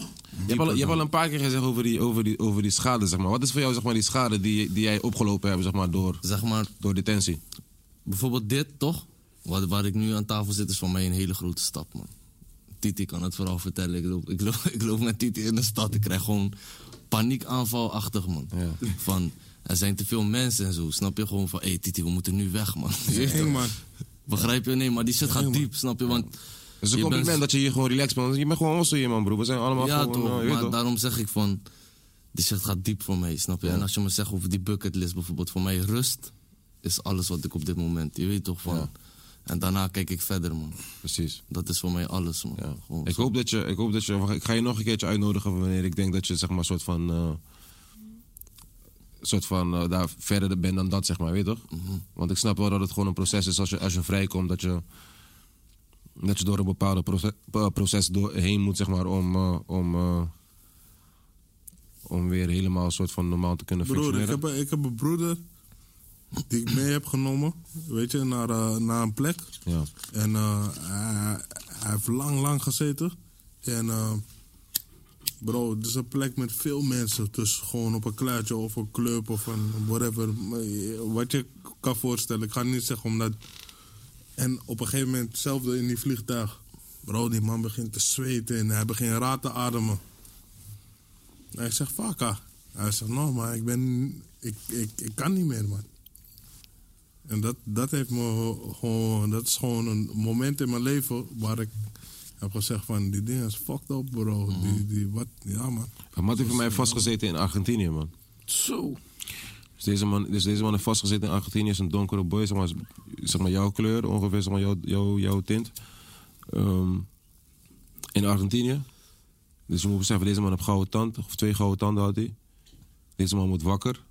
Speaker 3: hebt, al, je hebt al een paar keer gezegd over die, over die, over die schade, zeg maar. Wat is voor jou zeg maar, die schade die, die jij opgelopen hebt zeg maar, door,
Speaker 9: Zeg maar,
Speaker 3: door detentie?
Speaker 9: bijvoorbeeld dit, toch? Wat, waar ik nu aan tafel zit, is voor mij een hele grote stap, man. Titi kan het vooral vertellen. Ik loop, ik loop, ik loop met Titi in de stad. Ik krijg gewoon paniekaanvalachtig, man. Van, er zijn te veel mensen en zo. Snap je gewoon van, hé hey, Titi, we moeten nu weg, man.
Speaker 4: Eng, man.
Speaker 9: Begrijp je? Nee, maar die shit gaat diep, snap je? Want
Speaker 3: Het is een
Speaker 9: je
Speaker 3: compliment
Speaker 9: bent-
Speaker 3: dat je hier gewoon relaxed bent. want Je bent gewoon onzo hier, man, broer. We zijn allemaal
Speaker 9: Ja,
Speaker 3: gewoon... eh,
Speaker 9: toch.
Speaker 3: je weet
Speaker 9: Maar
Speaker 3: toch?
Speaker 9: daarom zeg ik van, die shit gaat diep voor mij, snap je? En als je me zegt over die bucketlist bijvoorbeeld, voor mij rust is alles wat ik op dit moment, je weet toch van. En daarna kijk ik verder, man.
Speaker 3: Precies.
Speaker 9: Dat is voor mij alles, man.
Speaker 3: Ja.
Speaker 9: Gewoon
Speaker 3: Ik
Speaker 9: zo.
Speaker 3: hoop dat je, ik hoop dat je, wacht, ik ga je nog een keertje uitnodigen wanneer ik denk dat je zeg maar een soort van, eh, soort van eh, daar verder bent dan dat zeg maar, weet je toch? Want ik snap wel dat het gewoon een proces is als je, als je vrijkomt dat je, dat je door een bepaalde proces, eh, proces doorheen moet zeg maar om, eh, om, eh, om weer helemaal een soort van normaal te kunnen
Speaker 4: Broer, ik
Speaker 3: functioneren.
Speaker 4: heb, een- ik heb een broeder die ik mee heb genomen, weet je, naar, eh, naar een plek.
Speaker 3: Ja.
Speaker 4: En eh, hij, hij heeft lang, lang gezeten. En eh, bro, het is een plek met veel mensen. Dus gewoon op een kluitje of een club of een whatever. Maar je- Wat je kan voorstellen. Ik ga niet zeggen omdat... En op een gegeven moment, hetzelfde in die vliegtuig. Bro, die man begint te zweten en hij begint raar te ademen. En ik zeg, vaka. Hij zegt, nou, maar ik ben... Ik, ik, ik kan niet meer, man. En dat, dat heeft me gewoon, dat is gewoon een moment in mijn leven waar ik heb gezegd van die dingen is fucked up bro.
Speaker 9: Mm.
Speaker 4: Die, die wat, ja man.
Speaker 3: Maar Matt heeft voor mij vastgezeten in Argentinië, man.
Speaker 9: Zo.
Speaker 3: Dus deze man, dus deze man heeft vastgezeten in Argentinië, is een donkere boy, zeg maar, is- zeg maar jouw kleur, ongeveer zeg maar, jouw, jouw, jouw tint. Ehm, in Argentinië. Dus je moet beseffen, deze man heeft gouden tanden, of twee gouden tanden had hij. Deze man moet wakker.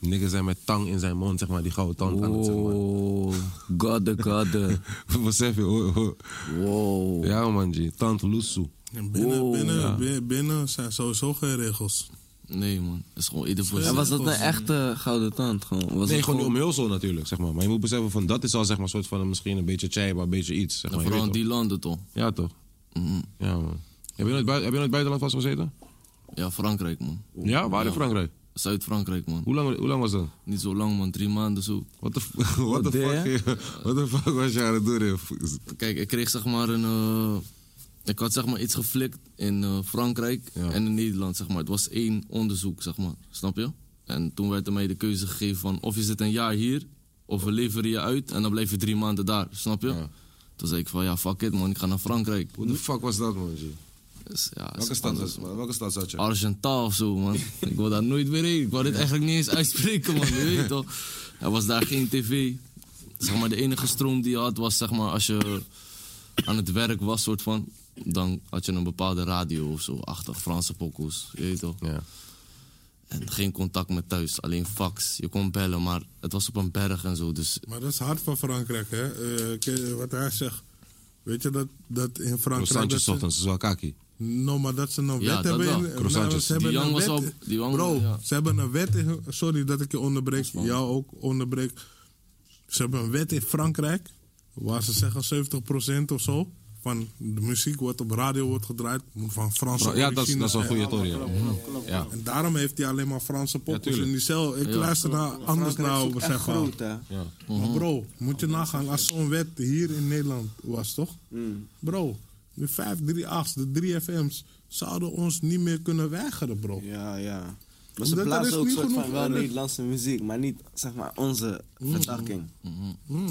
Speaker 3: Niggas zijn met tang in zijn mond, zeg maar, die gouden tand aan het, zeg maar.
Speaker 9: Oh, godde, godde.
Speaker 3: Besef je, hoor, hoor.
Speaker 9: Wow.
Speaker 3: Ja man, G. Tant Lusu.
Speaker 4: En binnen,
Speaker 9: Wow,
Speaker 4: binnen,
Speaker 9: ja.
Speaker 4: binnen, binnen zijn sowieso geen regels.
Speaker 9: Nee, man. Het is gewoon ieder voor
Speaker 7: En
Speaker 9: zich.
Speaker 7: was dat een echte gouden tand? Gewoon? Was
Speaker 3: Nee,
Speaker 7: het
Speaker 3: gewoon die omhulsel natuurlijk, zeg maar. Maar je moet beseffen, van, dat is al zeg maar, soort van, misschien een beetje chai, maar een beetje iets. Zeg
Speaker 9: En
Speaker 3: maar. je
Speaker 9: vooral in
Speaker 3: weet
Speaker 9: die landen, toch?
Speaker 3: toch? Ja toch?
Speaker 9: Mhm.
Speaker 3: Ja man. Heb je nooit, bui- heb je nooit buitenland vastgezeten?
Speaker 9: Ja, Frankrijk, man.
Speaker 3: Ja, waar in Frankrijk?
Speaker 9: Zuid-Frankrijk, man.
Speaker 3: Hoe lang, hoe lang was dat?
Speaker 9: Niet zo lang, man. Drie maanden zo.
Speaker 3: What the, f- what the
Speaker 7: deed
Speaker 3: fuck? What the fuck was je aan het doen? joh?
Speaker 9: Kijk, ik kreeg zeg maar een. eh, Ik had zeg maar iets geflikt in eh, Frankrijk en in Nederland, zeg maar. Het was één onderzoek, zeg maar. Snap je? En toen werd er mij de keuze gegeven van of je zit een jaar hier, of we leveren je uit en dan blijf je drie maanden daar. Snap je? Toen zei ik van ja, fuck it man, ik ga naar Frankrijk.
Speaker 3: Hoe de fuck was dat, man? G?
Speaker 9: Dus, ja, is
Speaker 3: Welke stad,
Speaker 9: anders,
Speaker 3: was, man? Welke stad zat je?
Speaker 9: Argentaal of zo, man. ik wil daar nooit meer heen. Ik wou dit eigenlijk niet eens uitspreken, man. Je weet toch? Er was daar geen tv. Zeg maar, de enige stroom die je had was, zeg maar, als je aan het werk was, soort van... Dan had je een bepaalde radio of zo, achter Franse pokkels. Je weet toch?
Speaker 3: Ja.
Speaker 9: En geen contact met thuis, alleen fax. Je kon bellen, maar het was op een berg en zo. Dus
Speaker 4: Maar dat is hard van Frankrijk, hè? Eh, ke- wat hij zegt. Weet je dat, dat in Frankrijk. Dat
Speaker 3: Croissantjes
Speaker 4: ze,
Speaker 3: ochtends, dat is wel kaki.
Speaker 4: no, maar dat ze nou een wet
Speaker 9: Ja, dat
Speaker 4: hebben.
Speaker 9: wel.
Speaker 4: in-
Speaker 3: Croissantjes.
Speaker 4: Nou, ze hebben
Speaker 9: Die
Speaker 4: een
Speaker 9: jong was
Speaker 4: wet-
Speaker 9: al- die jong-
Speaker 4: Bro,
Speaker 9: ja.
Speaker 4: ze hebben een wet. In, sorry dat ik je onderbreek. Jou ook onderbreek. Ze hebben een wet in Frankrijk. Waar ze zeggen 70% of zo. Van de muziek wat op radio wordt gedraaid. Moet van Franse
Speaker 3: Ja, dat is,
Speaker 4: origine
Speaker 3: dat is wel een
Speaker 4: zijn.
Speaker 3: goede toren, ja. Ja.
Speaker 4: En daarom heeft hij alleen maar Franse poppers
Speaker 3: tuurlijk.
Speaker 4: in die cel. Ik luister naar anders naar over zijn verhaal. Maar
Speaker 3: Mhm.
Speaker 4: bro, moet je nagaan als zo'n wet hier in Nederland was, toch?
Speaker 5: Mm.
Speaker 4: Bro, de 538's, de 3FM's zouden ons niet meer kunnen weigeren, bro.
Speaker 7: Ja, ja. Maar
Speaker 4: Omdat
Speaker 7: ze
Speaker 4: er is
Speaker 7: blazen ook
Speaker 4: niet
Speaker 7: soort van
Speaker 4: genoeg
Speaker 7: wel
Speaker 4: werk.
Speaker 7: Nederlandse muziek, maar niet zeg maar onze
Speaker 5: Mm.
Speaker 7: vertakking.
Speaker 5: Mm-hmm.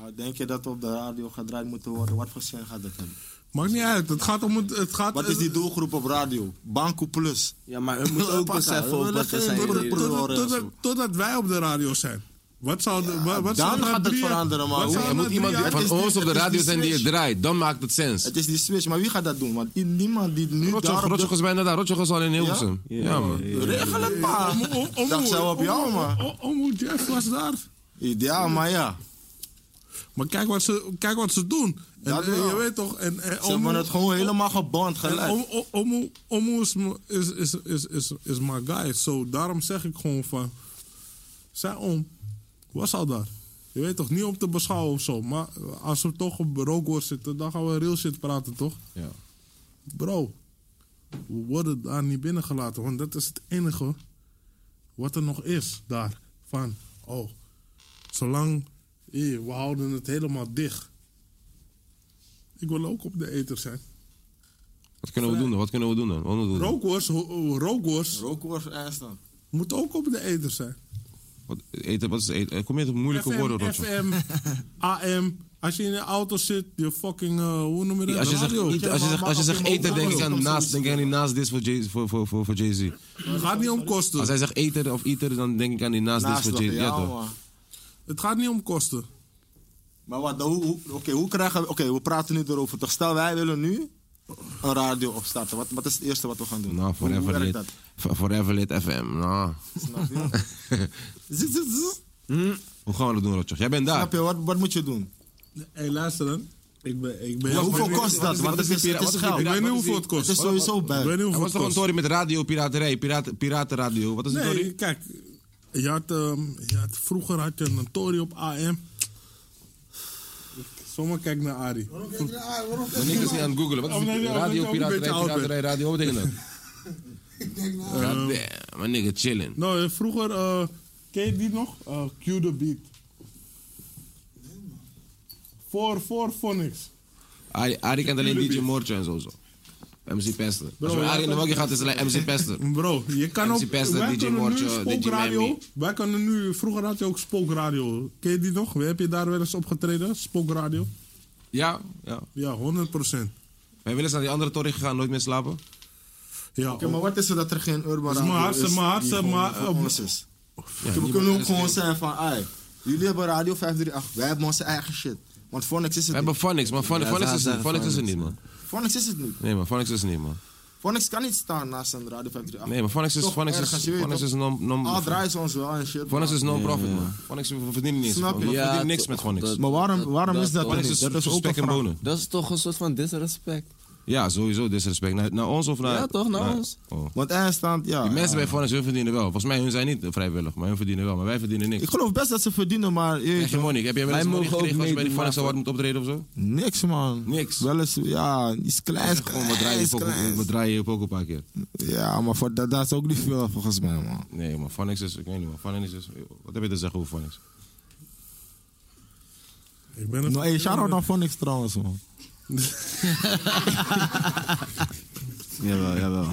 Speaker 5: Maar denk je dat we op de radio gedraaid moeten worden? Wat voor zin gaat dat hebben?
Speaker 4: Maakt niet uit, het gaat om het... het gaat,
Speaker 5: Wat is die doelgroep op radio? Banco Plus.
Speaker 7: Ja, maar we moeten ook
Speaker 5: Pak haar,
Speaker 7: beseffen
Speaker 5: we
Speaker 7: ook wat we
Speaker 5: leggen
Speaker 7: zijn.
Speaker 5: door de
Speaker 7: hier-
Speaker 5: pro-
Speaker 4: totdat, totdat-
Speaker 5: zo.
Speaker 4: totdat wij op de radio zijn. Wat zou... de- wa- wat
Speaker 5: dan
Speaker 4: zou na
Speaker 5: gaat het
Speaker 4: 3F
Speaker 5: veranderen, maar
Speaker 4: wat
Speaker 5: hoe-
Speaker 4: zou
Speaker 3: Er
Speaker 4: na
Speaker 3: moet iemand
Speaker 4: 3F
Speaker 3: van
Speaker 5: het is
Speaker 3: ons op
Speaker 5: die-
Speaker 3: de
Speaker 5: het is
Speaker 3: radio
Speaker 5: die
Speaker 3: zijn die het
Speaker 5: switch.
Speaker 3: draait. Dan maakt het sens.
Speaker 5: Het is die switch, maar wie gaat dat doen? Want i- niemand die nu
Speaker 3: Rotjoch,
Speaker 5: daarop...
Speaker 3: Rotjoch is bijna daar. Rotjoch is al in Hilversum. Ja, man.
Speaker 5: Regel het maar.
Speaker 4: Om- om- om-
Speaker 5: Dacht zo Ah, op
Speaker 4: om-
Speaker 5: jou,
Speaker 4: om-
Speaker 5: man.
Speaker 4: om- om- Omroep Jeff was daar.
Speaker 5: Ideaal, maar ja.
Speaker 4: Maar kijk wat ze, kijk wat ze doen. En,
Speaker 5: Dat
Speaker 4: eh,
Speaker 5: wel.
Speaker 4: je weet toch... En, en
Speaker 5: Ze hebben
Speaker 4: om-
Speaker 5: het gewoon helemaal gebond
Speaker 4: En
Speaker 5: gelijk.
Speaker 4: Om- om- Omo- Omo is, m- is, is, is, is, is my guy. So, daarom zeg ik gewoon van... Zijn om was al daar. Je weet toch, niet om te beschouwen of zo. Maar als we toch op rookworst zitten, dan gaan we real shit praten, toch?
Speaker 3: Ja.
Speaker 4: Bro, we worden daar niet binnengelaten. Want dat is het enige wat er nog is daar. Van, oh, zolang... hé, we houden het helemaal dicht. Ik wil ook op de eter zijn.
Speaker 3: Wat kunnen we doen dan? Wat kunnen we doen dan? Wat moeten we doen?
Speaker 4: Rookworst, ho- ho- rookworst
Speaker 5: Rookworst aanstaan.
Speaker 4: moet ook op de eter zijn.
Speaker 3: Wat, eten, wat is eten? eh, Kom je op moeilijke woorden,
Speaker 4: FM,
Speaker 3: Rotjoch?
Speaker 4: FM, AM. Als je in de auto zit, je fucking, eh, hoe noem je dat?
Speaker 3: Ja, als je zegt, eh,
Speaker 4: Radio.
Speaker 3: eten- als je zegt, als je zegt eten, denk ik aan naast, denk ik aan die naast dit voor Jay- voor- voor- voor- voor Jay-Z.
Speaker 4: Het gaat niet om
Speaker 3: Als
Speaker 4: kosten.
Speaker 3: hij zegt eten of eater, dan denk ik aan die naast dit
Speaker 5: Naast
Speaker 3: voor
Speaker 5: nog,
Speaker 3: Jay-Z. Ja,
Speaker 5: ja,
Speaker 3: toch?
Speaker 5: man.
Speaker 4: Het gaat niet om kosten.
Speaker 5: Maar wat, hoe, hoe, oké, hoe krijgen we... Oké, we praten nu erover. Toch stel, wij willen nu een radio opstarten. Wat, wat is het eerste wat we gaan doen?
Speaker 3: Nou,
Speaker 5: Hoe- hoe
Speaker 3: Forever
Speaker 5: werkt
Speaker 3: Lit.
Speaker 5: dat?
Speaker 3: F- Forever Lit FM. Nou.
Speaker 5: Snap je? Zzz, zzz, zzz.
Speaker 3: Hoe gaan we dat doen, Rotjoch? Jij bent daar.
Speaker 5: Snap je, wat, wat moet je doen?
Speaker 4: Hé, luister dan. Ik ben, ik ben...
Speaker 5: Ja,
Speaker 4: ik
Speaker 5: hoeveel
Speaker 4: weet
Speaker 5: kost
Speaker 4: niet-
Speaker 5: dat? Want het is, het is
Speaker 4: Ik
Speaker 5: geld.
Speaker 4: weet niet hoeveel het kost.
Speaker 5: Het is sowieso bij.
Speaker 4: Ik weet niet
Speaker 3: Er
Speaker 4: hoeveel
Speaker 3: was
Speaker 4: het
Speaker 3: toch een
Speaker 4: kost.
Speaker 3: story met radio, piraterij, piraten, piratenradio. Wat is die story?
Speaker 4: Nee, kijk. Je had, ehm, je had, vroeger had je een Tory op AM. Zomaar kijk naar Ari.
Speaker 3: Ben ik eens niet aan het googelen. Wat is
Speaker 4: Oh, nee,
Speaker 3: die
Speaker 4: nee,
Speaker 3: radio,
Speaker 4: omdat je ook een
Speaker 3: piraterij,
Speaker 4: beetje oud bent.
Speaker 3: piraterij, radio? Wat betekent dat? Goddamn, mijn nigga chillen.
Speaker 4: Nou, eh, vroeger, eh ken je die nog? Eh Cue the Beat. Voor, voor Phonics.
Speaker 3: Arie, Arie kent alleen DJ Moortje en zo. zo. MC Pester. Als je
Speaker 4: ja,
Speaker 3: met Arie in de
Speaker 4: dat-
Speaker 3: wakkie gaat, is het alleen MC Pester.
Speaker 4: Bro, je kan
Speaker 3: MC
Speaker 4: ook...
Speaker 3: Pester,
Speaker 4: wij
Speaker 3: DJ
Speaker 4: kunnen
Speaker 3: Mortje,
Speaker 4: nu
Speaker 3: DJ
Speaker 4: Spookradio...
Speaker 3: Mammy.
Speaker 4: Wij kunnen nu... Vroeger had je ook Spookradio. Ken je die nog? Heb je daar wel eens opgetreden? Spookradio?
Speaker 3: Ja, ja.
Speaker 4: Ja, 100%.
Speaker 3: Wij willen eens naar die andere toren gegaan, nooit meer slapen.
Speaker 4: Ja,
Speaker 5: Oké, maar wat is er dat er geen urban
Speaker 4: Dus mijn
Speaker 5: radio
Speaker 4: hart-
Speaker 5: is
Speaker 4: mijn hart-
Speaker 5: die
Speaker 4: mijn-
Speaker 5: gewoon
Speaker 4: mijn-
Speaker 5: voor
Speaker 4: op-
Speaker 5: ons is? Oké, we kunnen ook gewoon zijn van, ai, jullie hebben radio 538, wij hebben onze eigen shit. Want Phonics
Speaker 3: We
Speaker 5: is het
Speaker 3: hebben
Speaker 5: niet.
Speaker 3: Phonics, maar Phon-
Speaker 7: Ja,
Speaker 3: Phonics
Speaker 7: ze
Speaker 3: is,
Speaker 7: zeggen
Speaker 3: Phonics is er
Speaker 7: Phonics,
Speaker 3: niet, man.
Speaker 5: Phonics is het niet.
Speaker 3: Nee, man, Phonics is er niet, man.
Speaker 5: Phonics kan niet staan naast een radio 538.
Speaker 3: Nee, maar Phonics is,
Speaker 5: Toch
Speaker 3: Phonics is,
Speaker 5: ergens, je weet
Speaker 3: Phonics
Speaker 5: toch?
Speaker 3: is non...
Speaker 5: Al
Speaker 3: non
Speaker 5: draaien ze ons wel en shit.
Speaker 3: Phonics is
Speaker 5: maar-
Speaker 3: non-profit, man. Phonics, we verdienen niks.
Speaker 5: Snap
Speaker 3: man.
Speaker 5: je?
Speaker 3: We
Speaker 9: Ja,
Speaker 3: verdienen niks
Speaker 9: toch,
Speaker 3: met Phonics.
Speaker 9: dat-
Speaker 5: Maar waarom, waarom is dat er
Speaker 3: Phonics
Speaker 5: niet?
Speaker 3: is
Speaker 5: Dat is ook
Speaker 3: spek
Speaker 5: een
Speaker 3: en
Speaker 5: vraag.
Speaker 3: bonen.
Speaker 7: Dat is toch een soort van disrespect.
Speaker 3: Ja, sowieso disrespect. Naar, naar ons of naar...
Speaker 7: Ja, toch, naar ons.
Speaker 3: Oh.
Speaker 5: Want hij staat, Ah, ja.
Speaker 3: Die mensen bij Phonics, hun verdienen wel. Volgens mij, hun zijn niet vrijwillig, maar hun verdienen wel. Maar wij verdienen niks.
Speaker 5: Ik geloof best dat ze verdienen, maar... je weet
Speaker 3: Krijg je money? Heb jij wel eens
Speaker 7: Wij
Speaker 3: money
Speaker 7: mogen ook
Speaker 3: gekregen als je bij die
Speaker 7: meedoen,
Speaker 3: Phonics
Speaker 7: maar-
Speaker 3: Award moet optreden of zo?
Speaker 5: Niks, man.
Speaker 3: Niks.
Speaker 5: Wel eens, ja, iets kleins.
Speaker 3: Gewoon, we draaien
Speaker 5: kleins,
Speaker 3: je ook-
Speaker 5: kleins.
Speaker 3: we draaien je ook een paar keer.
Speaker 5: Ja, maar voor dat, dat is ook niet veel volgens mij, man.
Speaker 3: Nee, maar Phonics is... Ik weet niet, man. Phonics is... Wat heb je te zeggen over Phonics?
Speaker 4: ik ben
Speaker 5: Nou, hey, shout-out naar Phonics trouwens, man.
Speaker 7: Jawel, jawel.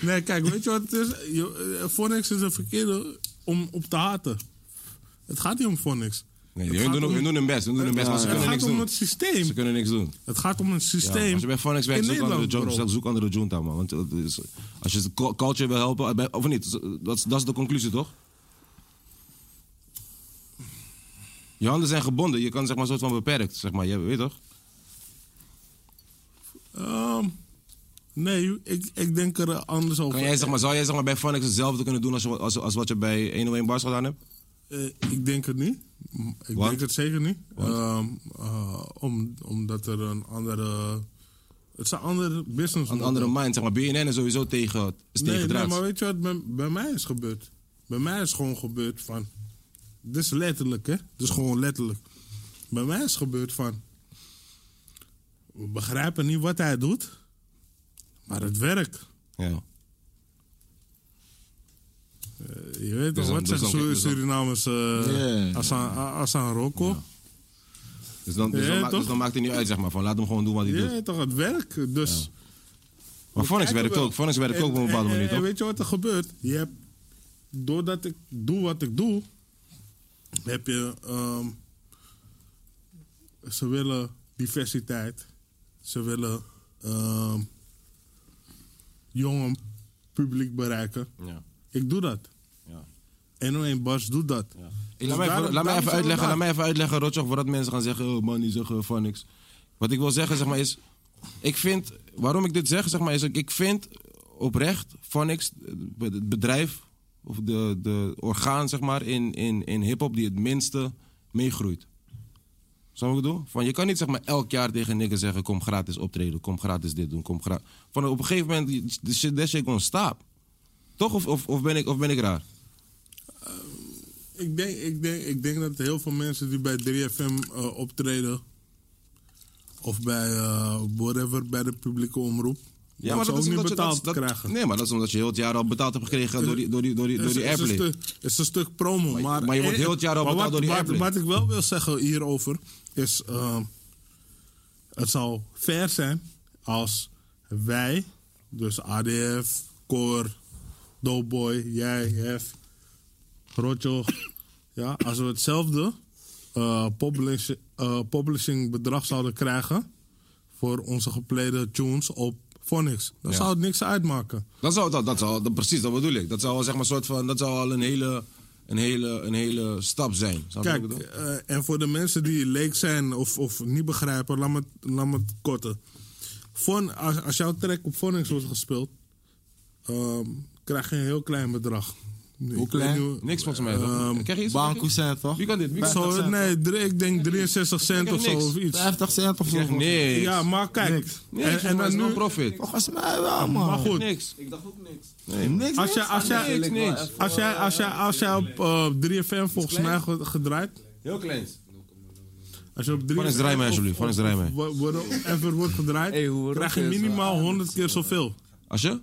Speaker 4: Nee, kijk, weet je wat het is? Je- eh, Phonics is een verkeerde om op te haten. Het gaat niet om Phonics.
Speaker 3: Nee,
Speaker 4: Het
Speaker 3: hun,
Speaker 4: gaat
Speaker 3: doen,
Speaker 4: om-
Speaker 3: hun doen hun best, hun doen hun best, maar ze
Speaker 4: het
Speaker 3: kunnen
Speaker 4: gaat
Speaker 3: niks
Speaker 4: om
Speaker 3: doen.
Speaker 4: het systeem.
Speaker 3: Ze kunnen niks doen.
Speaker 4: Het gaat om een systeem.
Speaker 3: Ja, als je bij Phonics werkt,
Speaker 4: in
Speaker 3: zoek andere,
Speaker 4: Nederland,
Speaker 3: junta,
Speaker 4: bro.
Speaker 3: zoek andere junta, man. Want het is- als je de cu- culture wil helpen, eh, bij- of niet, dat is, dat is de conclusie, toch? Je handen zijn gebonden, je kan zeg maar soort van beperkt, zeg maar. Je weet toch?
Speaker 4: Ehm, nee, ik, ik denk er eh, anders over.
Speaker 3: Kan jij, zeg maar, zou jij zeg maar, bij Phonics hetzelfde kunnen doen als, je- als, als wat je bij 101 Bars gedaan hebt?
Speaker 4: Eh, ik denk het niet. Ik
Speaker 3: Want?
Speaker 4: denk het zeker niet. Ehm, eh, om, omdat er een andere... Het is een andere business
Speaker 3: Een
Speaker 4: model.
Speaker 3: andere mind, zeg maar. BNN is sowieso tegen, is
Speaker 4: Nee, nee,
Speaker 3: tegendraads.
Speaker 4: maar weet je wat bij, bij mij is gebeurd? Bij mij is gewoon gebeurd van... Dit is letterlijk, hè? Dit is gewoon letterlijk. Bij mij is gebeurd van... We begrijpen niet wat hij doet. Maar het werkt.
Speaker 3: Ja.
Speaker 4: Je
Speaker 3: Dus
Speaker 4: weet toch,
Speaker 3: dan-
Speaker 4: wat
Speaker 3: dus
Speaker 4: zijn
Speaker 3: dan- dus dan-
Speaker 4: Surinamers... eh
Speaker 13: Ja.
Speaker 4: Asan Asan Rocco.
Speaker 3: Dus dan, dus,
Speaker 4: Ja,
Speaker 3: dan maakt, dus
Speaker 4: toch?
Speaker 3: dan maakt het niet uit, zeg maar. Van, laat hem gewoon doen wat hij
Speaker 4: Je
Speaker 3: doet.
Speaker 4: weet toch, het werkt. Dus...
Speaker 3: Maar Phonics
Speaker 4: Kijk
Speaker 3: werkt
Speaker 4: wel.
Speaker 3: ook. Phonics werkt
Speaker 4: En-
Speaker 3: ook op een bepaalde
Speaker 4: en-
Speaker 3: manier,
Speaker 4: en
Speaker 3: toch?
Speaker 4: Weet je wat er gebeurt? Je hebt, doordat ik doe wat ik doe, heb je. ehm, ze willen diversiteit. Ze willen ehm jonge publiek bereiken.
Speaker 3: Ja.
Speaker 4: Ik doe dat.
Speaker 3: Ja.
Speaker 4: NO1 Bas doet dat. Dus
Speaker 3: Hey, laat, mij even, laat, mij even uitleggen, laat mij even uitleggen, Rotjoch, voordat mensen gaan zeggen, oh man, die zeggen van niks. Wat ik wil zeggen, zeg maar, is, ik vind, waarom ik dit zeg, zeg maar, is, ik ik vind oprecht, Phonics, het bedrijf, of de, de orgaan, zeg maar, in, in, in hip-hop die het minste meegroeit. Snap je wat ik bedoel? Van, je kan niet zeg maar elk jaar tegen niggas zeggen, kom gratis optreden, kom gratis dit doen, kom gratis... Van, op een gegeven moment, de shit, that shit gonna stop. Toch? Of, of, of, ben ik, of ben ik raar?
Speaker 4: Ik denk, ik, denk, ik denk dat heel veel mensen die bij 3FM eh, optreden. Of bij eh, whatever, bij de publieke omroep.
Speaker 3: Ja, maar
Speaker 4: ze
Speaker 3: dat is
Speaker 4: ook
Speaker 3: omdat
Speaker 4: niet
Speaker 3: je dat,
Speaker 4: betaald
Speaker 3: dat,
Speaker 4: krijgen. Eh,
Speaker 3: Nee, maar dat is omdat je heel het jaar al betaald hebt gekregen door die, door die, door die, door die
Speaker 4: Het is-
Speaker 3: airplay.
Speaker 4: Het is, een stu- het is een stuk promo. Maar, eh,
Speaker 3: maar je wordt heel het jaar al
Speaker 4: maar
Speaker 3: betaald door
Speaker 4: wat-
Speaker 3: die
Speaker 4: wat-
Speaker 3: airplay.
Speaker 4: Wat ik wel wil zeggen hierover is... ehm, het zou fair zijn als wij, dus ADF, Cor, Doughboy, jij, Hef, Rotjoch... ja, als we hetzelfde eh, publish, eh, publishing bedrag zouden krijgen... voor onze geplayde tunes op Phonics. Dan zou het niks uitmaken.
Speaker 3: Dat zou, dat, dat zou, dat, precies, dat bedoel ik. Dat zou al, zeg maar, soort van, dat zou al een hele, een hele, een hele stap zijn. Snap je wat ik
Speaker 4: Kijk,
Speaker 3: bedoel?
Speaker 4: eh, en voor de mensen die leek zijn of, of niet begrijpen, laat me, het- laat me het korten. Von, als, als jouw track op Phonics wordt gespeeld, ehm, krijg je een heel klein bedrag. Hoe
Speaker 13: klein?
Speaker 3: Niks volgens mij.
Speaker 4: ehm,
Speaker 3: toch? Krijg je iets?
Speaker 13: Banco cent, toch?
Speaker 3: Wie kan dit? Wie kan
Speaker 4: Zo,
Speaker 13: cent,
Speaker 4: nee, drie- ik denk 63 cent
Speaker 3: krijg
Speaker 4: of zo
Speaker 3: niks.
Speaker 4: of iets.
Speaker 13: 50 cent of zo.
Speaker 3: dit? Nee.
Speaker 4: Ja, maar kijk.
Speaker 3: Nee,
Speaker 4: en, en dan nu,
Speaker 3: profit.
Speaker 13: Volgens mij wel, man.
Speaker 4: maar goed,
Speaker 3: Niks.
Speaker 13: Niks,
Speaker 4: als jij, als jij,
Speaker 3: Niks, niks.
Speaker 4: als jij, als jij, als jij op eh, 3FM volgens mij ge- gedraaid,
Speaker 3: Heel klein.
Speaker 4: Als je op drie.
Speaker 3: Van eens draai mij, alsjeblieft. Van eens draai mij.
Speaker 4: Ever wordt gedraaid,
Speaker 7: Hey, hoe wordt
Speaker 4: krijg je
Speaker 7: het? eh,
Speaker 4: minimaal 100 keer zoveel.
Speaker 3: Als je?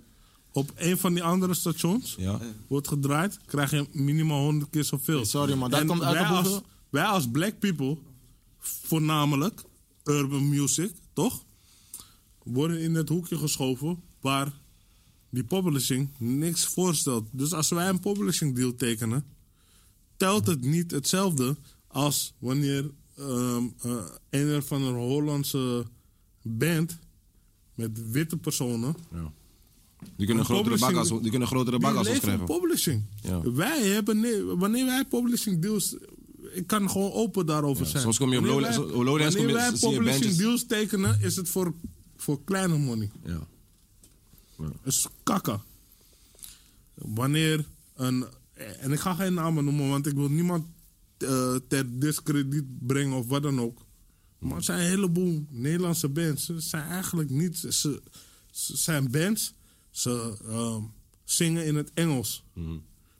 Speaker 4: Op een van die andere stations
Speaker 3: Ja.
Speaker 4: wordt gedraaid, krijg je minimaal 100 keer zoveel.
Speaker 13: Sorry, maar dat
Speaker 4: En
Speaker 13: komt uit
Speaker 4: wij
Speaker 13: op
Speaker 4: als,
Speaker 13: hoeveel?
Speaker 4: wij als black people, voornamelijk urban music, toch? Worden in het hoekje geschoven waar die publishing niks voorstelt. Dus als wij een publishing deal tekenen, telt het niet hetzelfde als wanneer ehm, eh, een van een Hollandse band met witte personen
Speaker 3: Die kunnen grotere
Speaker 4: Publishing-
Speaker 3: bakkas, die kunnen grotere bakkas
Speaker 4: die leven
Speaker 3: schrijven.
Speaker 4: van publishing.
Speaker 3: Ja.
Speaker 4: Wij hebben, nee, wanneer wij publishing deals. Ik kan gewoon open daarover zijn.
Speaker 3: soms kom je op
Speaker 4: Wanneer
Speaker 3: Lowlands-
Speaker 4: wij-
Speaker 3: op Lowlands kom je-
Speaker 4: Wanneer wij
Speaker 3: zie je
Speaker 4: publishing
Speaker 3: bandjes.
Speaker 4: deals tekenen, is het voor, voor kleine money.
Speaker 3: Ja.
Speaker 4: Het is kakken. Wanneer een. En ik ga geen namen noemen, want ik wil niemand eh, ter discrediet brengen of wat dan ook. Maar het zijn een heleboel Nederlandse bands. Ze zijn eigenlijk niet. Ze, ze zijn bands. Ze ehm, zingen in het Engels.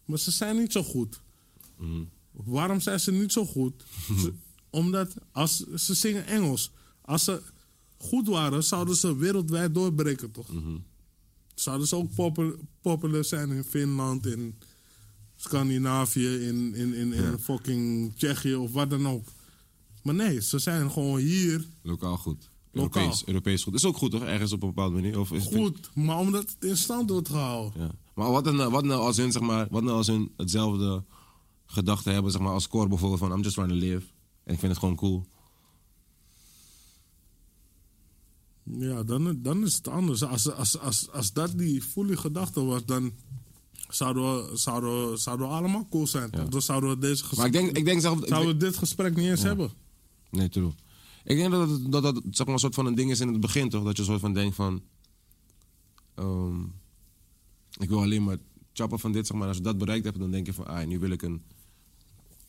Speaker 4: Maar ze zijn niet zo goed. Waarom zijn ze niet zo goed? Ze- omdat als, ze zingen Engels. Als ze goed waren, zouden ze wereldwijd doorbreken, toch? zouden ze ook popul- populair zijn in Finland, in Scandinavië, in, in, in, in fucking Tsjechië of wat dan ook. Maar nee, ze zijn gewoon hier
Speaker 3: Lokaal goed.
Speaker 4: Lokaal.
Speaker 3: Europees, Europees goed. Is ook goed toch, ergens op een bepaalde manier? Of is
Speaker 4: Goed, maar omdat het in stand wordt gehouden.
Speaker 3: Ja. Maar wat nou, wat nou als hun, zeg maar, wat nou als hun hetzelfde gedachte hebben, zeg maar, als Cor bijvoorbeeld van I'm just trying to live. En ik vind het gewoon cool.
Speaker 4: Ja, dan, dan is het anders. Als, als, als, als dat die fully gedachte was, dan zouden we, zouden we, zouden we allemaal cool zijn. toch? Dan zouden we, deze gesprek,
Speaker 3: Maar ik denk, ik denk zelf. ik
Speaker 4: zouden
Speaker 3: denk-
Speaker 4: we dit gesprek niet eens hebben.
Speaker 3: nee, true. Ik denk dat het- dat, dat, zeg maar, een soort van een ding is in het begin, toch? Dat je een soort van denkt van. ehm, ik wil alleen maar chappen van dit, zeg maar. Als je dat bereikt hebt, dan denk je van, ah, nu wil ik een.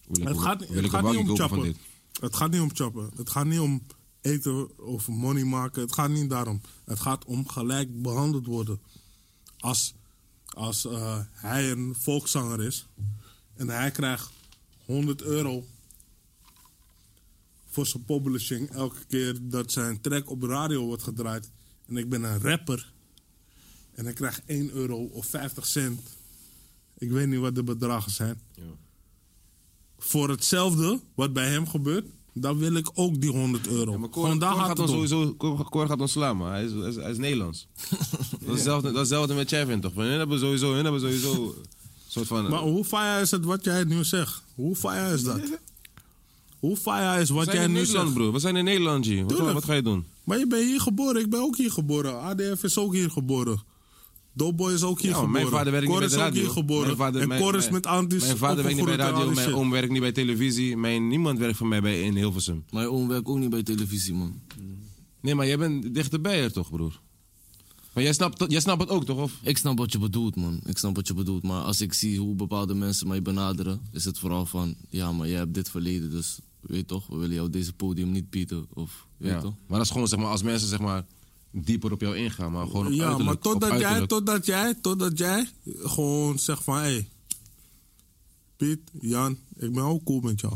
Speaker 3: Wil ik
Speaker 4: Het
Speaker 3: een-
Speaker 4: gaat,
Speaker 3: wil
Speaker 4: het
Speaker 3: ik
Speaker 4: gaat
Speaker 3: een
Speaker 4: niet
Speaker 3: waggie
Speaker 4: om
Speaker 3: kopen van dit.
Speaker 4: chappen. Het gaat niet om chappen. Het gaat niet om eten of money maken. Het gaat niet daarom. Het gaat om gelijk behandeld worden. Als, als eh, hij een volkszanger is en hij krijgt 100 euro voor zijn publishing elke keer dat zijn track op de radio wordt gedraaid en ik ben een rapper en ik krijg 1 euro of 50 cent. Ik weet niet wat de bedragen zijn voor hetzelfde wat bij hem gebeurt, dan wil ik ook die 100 euro.
Speaker 3: Ja, maar Cor,
Speaker 4: Gewoon daar
Speaker 3: Cor
Speaker 4: gaat
Speaker 3: gaat
Speaker 4: het
Speaker 3: ons
Speaker 4: om.
Speaker 3: sowieso Cor, Cor gaat ons slaan, maar hij is, hij is, hij is Nederlands. dat, is hetzelfde, dat is hetzelfde met Chevin, toch? Hun hebben sowieso, hun hebben sowieso een soort van...
Speaker 4: Maar hoe fire is het wat jij nu zegt? Hoe fire is dat? Hoe fire is
Speaker 3: we
Speaker 4: wat
Speaker 3: zijn
Speaker 4: jij
Speaker 3: in
Speaker 4: nu
Speaker 3: Nederland,
Speaker 4: zegt?
Speaker 3: broer. We zijn in Nederland, G. Wat,
Speaker 4: Tuurlijk.
Speaker 3: wat ga je doen?
Speaker 4: Maar je bent hier geboren, ik ben ook hier geboren. ADF is ook hier geboren. Doughboy is ook hier
Speaker 3: Ja, maar
Speaker 4: geboren.
Speaker 3: mijn vader werkt
Speaker 4: Cor
Speaker 3: niet bij
Speaker 4: is
Speaker 3: de radio.
Speaker 4: ook hier geboren.
Speaker 3: Mijn vader,
Speaker 4: en
Speaker 3: mijn-
Speaker 4: Cor is
Speaker 3: mijn-
Speaker 4: met antis
Speaker 3: Mijn vader werkt niet bij
Speaker 4: opgegroeid en
Speaker 3: radio,
Speaker 4: al die
Speaker 3: mijn
Speaker 4: shit.
Speaker 3: oom werkt niet bij televisie, mijn, niemand werkt voor mij bij, in Hilversum.
Speaker 9: Mijn oom werkt ook niet bij televisie, man.
Speaker 3: Nee, maar jij bent dichterbij er toch, broer? Maar jij snapt, jij snapt het ook, toch? Of?
Speaker 9: Ik snap wat je bedoelt, man. Ik snap wat je bedoelt. Maar als ik zie hoe bepaalde mensen mij benaderen, is het vooral van... Ja, maar jij hebt dit verleden, dus weet je toch, we willen jou deze podium niet bieden. Of, weet je
Speaker 3: Ja.
Speaker 9: toch?
Speaker 3: Maar dat is gewoon, zeg maar, als mensen, zeg maar, dieper op jou ingaan, maar gewoon op
Speaker 4: ja, maar
Speaker 3: uiterlijk, op
Speaker 4: totdat jij,
Speaker 3: uiterlijk.
Speaker 4: totdat jij, totdat jij gewoon zegt van, hé, hey, Piet, Jan, ik ben ook cool met jou.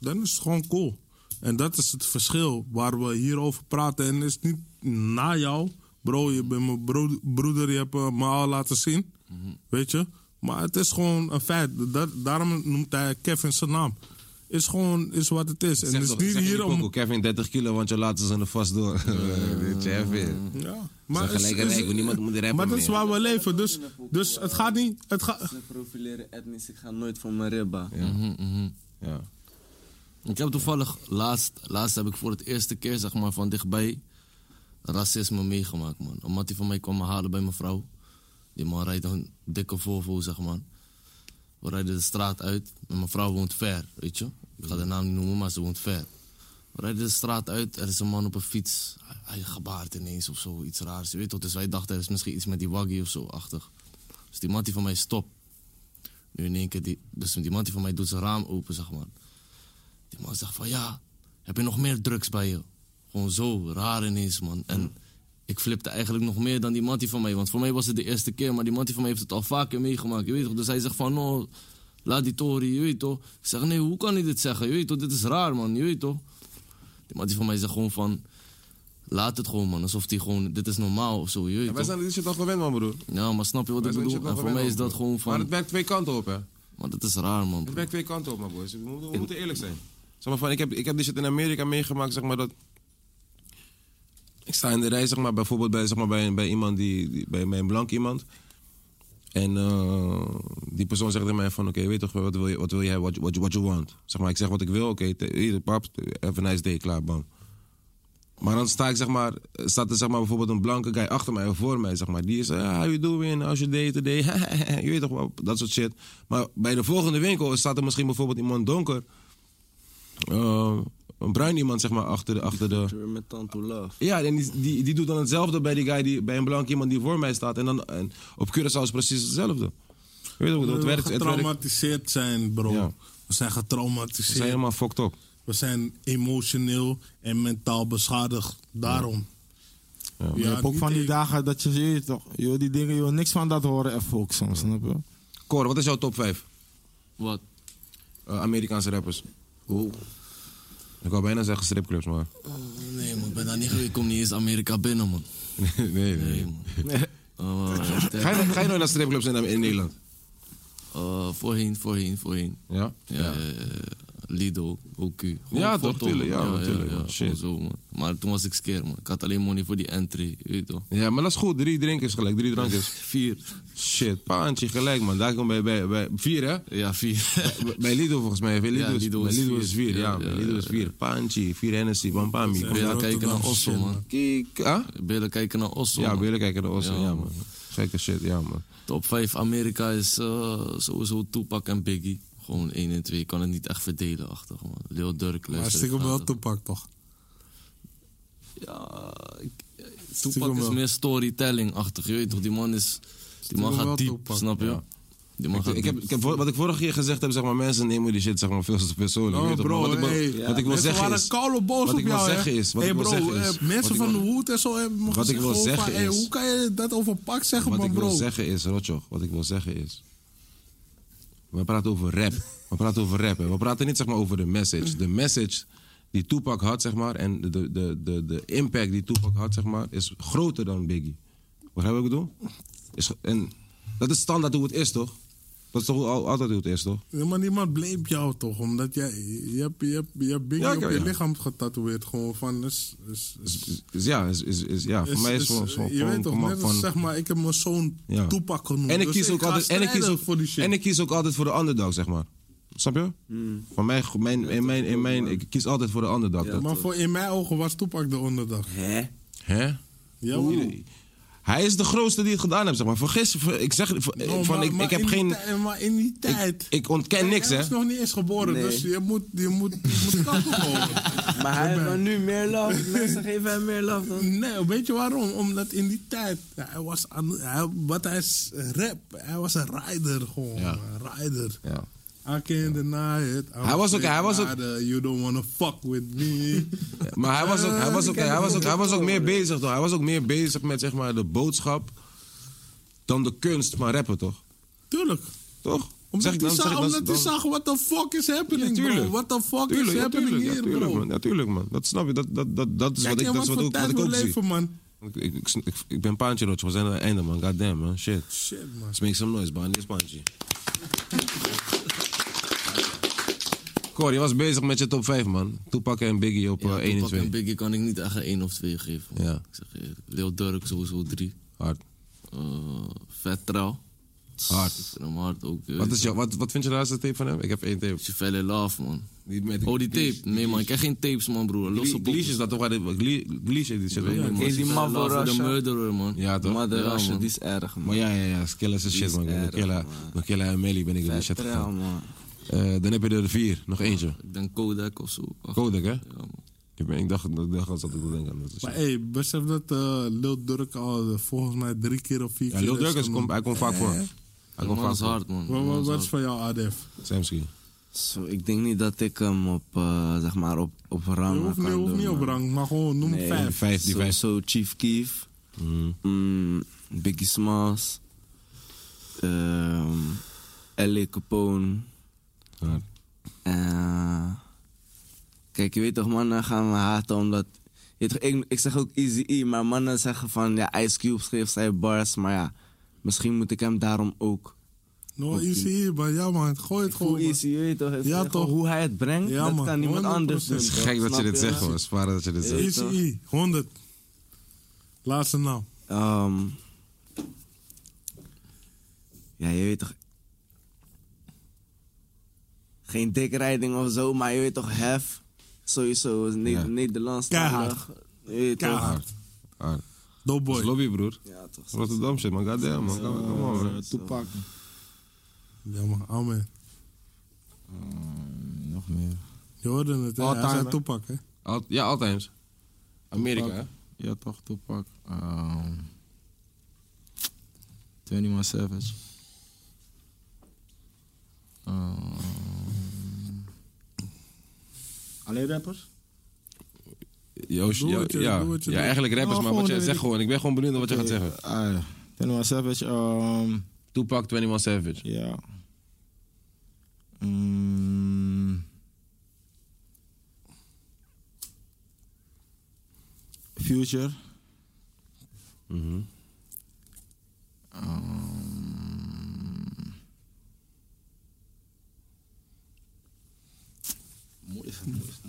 Speaker 4: Dan is het gewoon cool. En dat is het verschil waar we hier over praten. En het is niet na jou. Bro, je bent mijn bro- broeder, je hebt eh, me al laten zien.
Speaker 3: Mhm.
Speaker 4: Weet je? Maar het is gewoon een feit. Dat, daarom noemt hij Kevin zijn naam. Is gewoon is wat het is. En
Speaker 3: Zeg
Speaker 4: het is
Speaker 3: toch- zeg
Speaker 4: niet
Speaker 3: in die
Speaker 4: Dus hier om.
Speaker 3: pokoe, Kevin 30 kilo, want je laat ze er vast door. Kevin.
Speaker 4: Ja, maar
Speaker 3: Ze gelijk gelijk, want niemand moet rappen
Speaker 4: Maar dat is
Speaker 3: meer.
Speaker 4: waar we leven. Dus, dus het gaat niet. Het gaat.
Speaker 7: Ze profileren etnisch, ik ga nooit voor mijn ribba.
Speaker 3: Ja.
Speaker 9: Ik heb toevallig laatst, laatst heb ik voor het eerste keer zeg maar van dichtbij racisme meegemaakt man. Omdat die van mij kwam me halen bij mijn vrouw. Die man rijdt een dikke Volvo zeg maar. We rijden de straat uit. En mijn vrouw woont ver, weet je. Ik ga de naam niet noemen, maar ze woont ver. We rijden de straat uit. Er is een man op een fiets. Hij, hij gebaart ineens of zo, iets raars. Je weet toch, dus wij dachten er is misschien iets met die waggie of zo achtig. Dus die man die van mij stopt. Nu in één keer, die, dus die man die van mij doet zijn raam open zeg maar. Die man zegt van ja, heb je nog meer drugs bij je? Gewoon zo, raar ineens man. En
Speaker 3: Hmm.
Speaker 9: ik flipte eigenlijk nog meer dan die mattie van mij. Want voor mij was het de eerste keer, maar die mattie van mij heeft het al vaker meegemaakt. Je weet toch? Dus hij zegt van no, laat die tori, je weet toch? Ik zeg nee, hoe kan hij dit zeggen? Je weet toch, dit is raar man, je weet toch? Die mattie van mij zegt gewoon van, laat het gewoon man. Alsof die gewoon, dit is normaal of zo, je weet
Speaker 3: Ja,
Speaker 9: ja,
Speaker 3: wij
Speaker 9: toch?
Speaker 3: zijn dit shit al gewend, man, broer.
Speaker 9: Ja, maar snap je wat
Speaker 3: Wij
Speaker 9: ik
Speaker 3: zijn dit shit
Speaker 9: bedoel?
Speaker 3: al
Speaker 9: En voor
Speaker 3: gewend,
Speaker 9: mij is
Speaker 3: man,
Speaker 9: dat
Speaker 3: broer.
Speaker 9: gewoon
Speaker 3: Maar
Speaker 9: van,
Speaker 3: het werkt twee kanten op, hè?
Speaker 9: maar dat is raar man.
Speaker 3: Het werkt twee kanten op, man, boys. We moeten, we moeten eerlijk zijn. Zeg maar van, ik heb, ik heb die shit in Amerika meegemaakt, zeg maar dat. Ik sta in de rij, zeg maar, bijvoorbeeld bij, zeg maar, bij, bij iemand die, die- bij, bij een blank iemand. En eh, die persoon zegt tegen mij van, oké, weet toch, wat wil je, wat wil jij, what, what, what you want? Zeg maar, ik zeg wat ik wil, oké, te- hier, pap, have a nice day, klaar, bam. Maar dan sta ik, zeg maar, staat er zeg maar, bijvoorbeeld een blanke guy achter mij of voor mij, zeg maar. Die is, eh, how you doing, how's your day today, je weet toch wel, dat soort shit. Maar bij de volgende winkel staat er misschien bijvoorbeeld iemand donker. eh, een bruin iemand, zeg maar, achter de... Achter de
Speaker 7: Weer Met Tanto Love.
Speaker 3: ja, en die, die, die doet dan hetzelfde bij die guy, die, bij een blank iemand die voor mij staat. En dan en op Curaçao is het precies hetzelfde. Je weet toch, het
Speaker 4: we
Speaker 3: werkt, het werkt.
Speaker 4: getraumatiseerd zijn, bro.
Speaker 3: Ja.
Speaker 4: We zijn
Speaker 3: Ze zijn
Speaker 4: getraumatiseerd.
Speaker 3: helemaal fucked up.
Speaker 4: We zijn emotioneel en mentaal beschadigd. Daarom. Ja,
Speaker 5: je hebt ook
Speaker 4: niet
Speaker 5: van die
Speaker 4: e-
Speaker 5: dagen dat je, je weet toch, je wil die dingen, je wil niks van dat horen even ook soms, snap je?
Speaker 3: Cor, wat is jouw top 5
Speaker 9: Wat?
Speaker 3: Amerikaanse rappers? Ik wou bijna zeggen stripclubs, maar...
Speaker 9: Nee man, ik ben daar niet geweest. Ik kom niet eens Amerika binnen man.
Speaker 3: nee, nee. nee.
Speaker 9: Nee, man. Eh,
Speaker 3: Ga je, ga je nooit naar stripclubs in, in Nederland?
Speaker 9: eh, voorheen, voorheen, voorheen.
Speaker 3: Ja?
Speaker 9: Ja, ja. ja, ja. Lidl, OQ. Gewoon
Speaker 3: Ja,
Speaker 9: voor
Speaker 3: toch, tuurlijk, ja, natuurlijk, man.
Speaker 9: gewoon
Speaker 3: Shit.
Speaker 9: zo, man. Maar toen was ik skeer, man. Ik had alleen money voor die entry, je weet toch.
Speaker 3: Ja, maar dat is goed. Drie drinkers gelijk, drie drankjes.
Speaker 9: Vier.
Speaker 3: Shit, paantje gelijk, man. Daar kom bij, bij, bij vier, hè?
Speaker 9: Ja, vier.
Speaker 3: Bij- Bij Lido volgens mij. Bij Lido,
Speaker 9: Ja,
Speaker 3: is,
Speaker 9: Lido
Speaker 3: bij
Speaker 9: is
Speaker 3: Lido
Speaker 9: vier.
Speaker 3: is vier. Ja,
Speaker 9: Ja,
Speaker 3: bij
Speaker 9: ja,
Speaker 3: Lido
Speaker 9: ja,
Speaker 3: is vier. Paantje, vier Hennessy, Bampami. Kom
Speaker 9: Billen
Speaker 3: daar.
Speaker 9: kijken naar Osso, man.
Speaker 3: Kijk, ah?
Speaker 9: Billen kijken naar Osso.
Speaker 3: Ja,
Speaker 9: man.
Speaker 3: willen kijken naar Osso.
Speaker 9: Ja,
Speaker 3: Ja,
Speaker 9: man.
Speaker 3: man. Gekke shit, ja, man.
Speaker 9: Top 5 Amerika is eh, sowieso Tupac en Biggie. Gewoon 1 en 2. Ik kan het niet echt verdelen achter, man. Lil Durk,
Speaker 4: Maar
Speaker 9: luister ik
Speaker 4: stiekem wel
Speaker 9: graag.
Speaker 4: toepak toch?
Speaker 9: Ja, ik-
Speaker 4: Stiekem
Speaker 9: Tupac is
Speaker 4: wel.
Speaker 9: meer storytelling-achtig. Je weet toch, die man is... Die man
Speaker 4: Stiekem wel
Speaker 9: gaat diep,
Speaker 4: Tupac.
Speaker 9: snap je? Die man
Speaker 3: Ik,
Speaker 9: gaat
Speaker 3: ik heb,
Speaker 9: diep.
Speaker 3: ik heb, wat ik vorige keer gezegd heb, zeg maar, mensen nemen die shit zeg maar, veel te persoonlijk.
Speaker 4: Oh,
Speaker 3: weet je toch? Maar
Speaker 4: bro,
Speaker 3: wat ik, wil-
Speaker 4: hey.
Speaker 3: wat ik wil
Speaker 4: Mensen
Speaker 3: zeggen
Speaker 4: waren
Speaker 3: is...
Speaker 4: koude boos
Speaker 3: wat
Speaker 4: op
Speaker 3: ik wil
Speaker 4: jou, hè?
Speaker 3: zeggen is... Wat
Speaker 4: Hey,
Speaker 3: ik wil
Speaker 4: bro,
Speaker 3: zeggen
Speaker 4: eh,
Speaker 3: is... wat
Speaker 4: mensen
Speaker 3: ik
Speaker 4: van de
Speaker 3: wil-
Speaker 4: hoed en zo hebben me
Speaker 3: wat ik
Speaker 4: gezegd
Speaker 3: wil
Speaker 4: gewoon van,
Speaker 3: zeggen
Speaker 4: hey,
Speaker 3: is-
Speaker 4: hoe kan je dat over pak zeggen,
Speaker 3: Wat
Speaker 4: man,
Speaker 3: ik
Speaker 4: bro?
Speaker 3: wil zeggen is, Rotjoch, wat ik wil zeggen is. We praten over rap. We praten over rap. hè. We praten niet zeg maar, over de message. De message die Tupac had, zeg maar, en de, de, de, de impact die Tupac had, zeg maar, is groter dan Biggie. Begrijp je wat ik bedoel? Is, en dat is standaard hoe het is, toch? Dat is toch hoe- al- altijd hoe het is, toch?
Speaker 4: Ja, maar niemand bleef jou toch, omdat jij, je hebt, je hebt, je hebt Biggie
Speaker 3: Ja, ik
Speaker 4: op
Speaker 3: heb-
Speaker 4: je
Speaker 3: ja.
Speaker 4: lichaam getatoeëerd. Gewoon van, is, is, is,
Speaker 3: Is- is- ja, is, is, is- ja, voor
Speaker 4: is-
Speaker 3: mij is
Speaker 4: is-
Speaker 3: gewoon... gewoon-
Speaker 4: Je weet
Speaker 3: gewoon-
Speaker 4: toch,
Speaker 3: gewoon
Speaker 4: net als
Speaker 3: van-
Speaker 4: zeg maar, ik heb mijn zoon
Speaker 3: Ja.
Speaker 4: Tupac genoemd.
Speaker 3: En ik,
Speaker 4: dus
Speaker 3: kies ook
Speaker 4: ga
Speaker 3: altijd, en, ik kies
Speaker 4: strijden
Speaker 3: ook,
Speaker 4: voor die shit.
Speaker 3: en ik kies ook altijd voor de underdog, zeg maar. Snap je?
Speaker 4: Hmm.
Speaker 3: Van mij, mijn, in mijn, in mijn, ik kies altijd voor de underdog. Dat-
Speaker 4: maar voor, in mijn ogen was Tupac de onderdag.
Speaker 7: Hè?
Speaker 3: Hè?
Speaker 4: Ja, man.
Speaker 3: Hij is de grootste die het gedaan heeft, zeg maar. Vergis, ver- ik zeg, ver-
Speaker 4: Oh,
Speaker 3: van,
Speaker 4: maar-
Speaker 3: ik,
Speaker 4: maar
Speaker 3: ik heb
Speaker 4: in die
Speaker 3: geen,
Speaker 4: tij- maar in die tijd...
Speaker 3: ik, ik ontken
Speaker 4: Hij-
Speaker 3: niks,
Speaker 4: hij
Speaker 3: hè.
Speaker 4: is nog niet eens geboren,
Speaker 7: Nee.
Speaker 4: dus je moet, je moet, je moet kappen houden.
Speaker 7: Maar hij heeft wel nu meer love. Mensen geven hem meer love dan.
Speaker 4: Nee, weet je waarom? Omdat in die tijd, ja, hij was aan, hij, wat hij is, rap, hij was een rider gewoon,
Speaker 3: Ja.
Speaker 4: een rider.
Speaker 3: Ja.
Speaker 4: I can't deny it.
Speaker 3: Hij was ook- hij was ook-
Speaker 4: You don't wanna fuck with me.
Speaker 3: Maar hij was ook, hij was ook,
Speaker 4: Ik heb
Speaker 3: hij was
Speaker 4: hem
Speaker 3: ook, hij was ook meer bezig, toch? Hij was ook meer bezig met, zeg maar, de boodschap dan de kunst van rappen, toch?
Speaker 4: Tuurlijk.
Speaker 3: Toch?
Speaker 4: Omdat
Speaker 3: Zeg
Speaker 4: hij
Speaker 3: ik dan- zeg ik
Speaker 4: zag,
Speaker 3: dan-
Speaker 4: omdat hij
Speaker 3: dan-
Speaker 4: zag, what the fuck is happening, bro? What the fuck
Speaker 3: Tuurlijk,
Speaker 4: is
Speaker 3: ja,
Speaker 4: happening
Speaker 3: tuurlijk, ja,
Speaker 4: hier,
Speaker 3: tuurlijk,
Speaker 4: bro?
Speaker 3: Man. Ja, tuurlijk, man. Dat snap je. Dat, dat, dat, dat is
Speaker 4: Kijk
Speaker 3: wat ik,
Speaker 4: in
Speaker 3: dat is wat,
Speaker 4: wat voor
Speaker 3: ook, wat
Speaker 4: tijd
Speaker 3: ik
Speaker 4: we
Speaker 3: ook zie.
Speaker 4: leven, man.
Speaker 3: Ik, ik, ik, ik, ik ben paantje, Rotje. We zijn aan het einde, man. Goddamn, man. Shit.
Speaker 4: Shit, man.
Speaker 3: Let's make some noise, man. Dit is paantje. Cor, je was bezig met je top 5, man. Tupac en Biggie op
Speaker 9: Ja,
Speaker 3: eh, 1 en
Speaker 9: Tupac
Speaker 3: 2.
Speaker 9: en Biggie kan ik niet echt een 1 of 2 geven. man.
Speaker 3: Ja.
Speaker 9: Ik zeg je eerlijk. Lil Durk sowieso 3.
Speaker 3: Hard.
Speaker 9: eh Vet trouw.
Speaker 3: Hard.
Speaker 9: Ik vind hem hard ook. je
Speaker 3: Wat,
Speaker 9: weet
Speaker 3: is jou, wat, wat vind je de laatste tape van hem? Ik heb één tape.
Speaker 9: Je Valley Love, man.
Speaker 3: Die met
Speaker 9: Oh, die tape. Nee, man, ik heb geen tapes, man, broer. Losse
Speaker 3: Glee- Gleesh
Speaker 9: popjes.
Speaker 3: is dat toch? waar die- Glee- Gleesh heeft die shit.
Speaker 9: Weet
Speaker 3: ook.
Speaker 9: niet, man.
Speaker 7: Ken je die
Speaker 9: Valley
Speaker 7: Mavo
Speaker 9: Love,
Speaker 7: Rasha?
Speaker 9: The Murderer, man.
Speaker 3: Ja, toch?
Speaker 7: Mother
Speaker 9: Ja,
Speaker 7: Russia,
Speaker 9: man.
Speaker 7: die is erg, man.
Speaker 3: Maar ja, ja, ja. Skillet is
Speaker 7: Die
Speaker 3: shit,
Speaker 7: is
Speaker 3: man.
Speaker 7: erg,
Speaker 3: Nokilla
Speaker 7: man.
Speaker 3: Nokilla en Melly ben ik in die shit
Speaker 7: Vertel,
Speaker 3: gegaan.
Speaker 7: man.
Speaker 3: Eh, Dan heb je er vier. Nog eentje.
Speaker 9: Ik denk Kodak of zo. Ach,
Speaker 3: Kodak, hè?
Speaker 9: Ja, man.
Speaker 3: Ik, ben, ik dacht, ik dacht dat ik denken aan dat soort
Speaker 4: Maar
Speaker 3: shit.
Speaker 4: hey, besef dat eh, Lil Durk al eh, volgens mij drie keer of vier
Speaker 3: Ja,
Speaker 4: keer
Speaker 3: Lil
Speaker 4: is
Speaker 3: Durk is,
Speaker 4: genoemd.
Speaker 3: komt- eh, hij komt vaak voor. Hij
Speaker 9: Die
Speaker 3: komt
Speaker 9: man
Speaker 3: vaak
Speaker 9: is
Speaker 3: voor.
Speaker 9: hard, man.
Speaker 4: Wa-
Speaker 9: Die man
Speaker 4: wa-
Speaker 9: is
Speaker 4: Wat is
Speaker 9: hard.
Speaker 4: van jou, ADF?
Speaker 3: Samsky.
Speaker 7: Zo, ik denk niet dat ik hem op, eh, zeg maar, op, op rang
Speaker 4: Je hoeft,
Speaker 7: kan
Speaker 4: niet- hoeft
Speaker 7: doen,
Speaker 4: niet op
Speaker 7: man.
Speaker 4: rang, maar gewoon noem
Speaker 7: Nee.
Speaker 4: vijf.
Speaker 3: Vijf, die
Speaker 7: Zo-
Speaker 3: vijf.
Speaker 7: Zo Chief Keef.
Speaker 3: Mm.
Speaker 7: Mm, Biggie Smalls. ehm L.A. Capone.
Speaker 3: Hard.
Speaker 7: Eh, kijk, je weet toch, mannen gaan me haten omdat... je weet toch, ik, ik zeg ook Easy E, maar mannen zeggen van... Ja, Ice Cube schreef zijn bars, maar ja... Misschien moet ik hem daarom ook...
Speaker 4: No, easy hier, maar ja man, gooi het
Speaker 7: Hoe
Speaker 4: gewoon.
Speaker 7: Easy, je weet toch? ik
Speaker 4: Ja,
Speaker 7: zeg gewoon
Speaker 4: toch.
Speaker 7: Hoe hij het brengt,
Speaker 4: Ja,
Speaker 7: dat
Speaker 4: man,
Speaker 7: kan niemand anders doen.
Speaker 4: 100%.
Speaker 7: bro.
Speaker 3: Gek dat je
Speaker 7: Snap
Speaker 3: dit zegt, hoor. Zwaar dat je dit
Speaker 4: man.
Speaker 3: zegt.
Speaker 4: Easy E, 100. Laatste naam.
Speaker 7: Ehm, ja, je weet toch... Geen dikrijding of zo, maar je weet toch, hef. Sowieso, is ne
Speaker 3: Ja.
Speaker 7: Nederlands.
Speaker 4: Keihard.
Speaker 7: Je weet toch.
Speaker 4: Keihard.
Speaker 3: Hard. Dat is
Speaker 4: Doughboy.
Speaker 3: lobby, broer.
Speaker 7: Ja, toch.
Speaker 3: Rotterdam shit, man. Goddamn, man. Come on, come on, man.
Speaker 13: Tupac.
Speaker 4: Ja man, amen.
Speaker 13: Nog meer.
Speaker 4: Je hoorde het, hè?
Speaker 13: All
Speaker 4: Hij zei
Speaker 13: time, hè?
Speaker 4: Tupac, hè?
Speaker 3: Al- Ja, altijd. Amerika, hè?
Speaker 13: Tupac. Ja, toch, Tupac. Ehm 21 Savage. Ehm, Alleen rappers?
Speaker 3: Joost,
Speaker 4: Doe
Speaker 3: ja,
Speaker 4: wat je-
Speaker 3: ja.
Speaker 4: doe wat je
Speaker 3: ja,
Speaker 4: doet.
Speaker 3: eigenlijk rappers,
Speaker 13: Nou,
Speaker 3: maar wat
Speaker 13: gewoon,
Speaker 3: jij
Speaker 13: eh,
Speaker 3: zegt
Speaker 13: die-
Speaker 3: gewoon. Ik ben gewoon benieuwd naar wat je gaat zeggen.
Speaker 5: Eh,
Speaker 13: Ah, 21 Savage. ehm,
Speaker 3: Tupac, 21 Savage.
Speaker 13: ja. Mm. Future.
Speaker 3: Mhm.
Speaker 13: Ehm.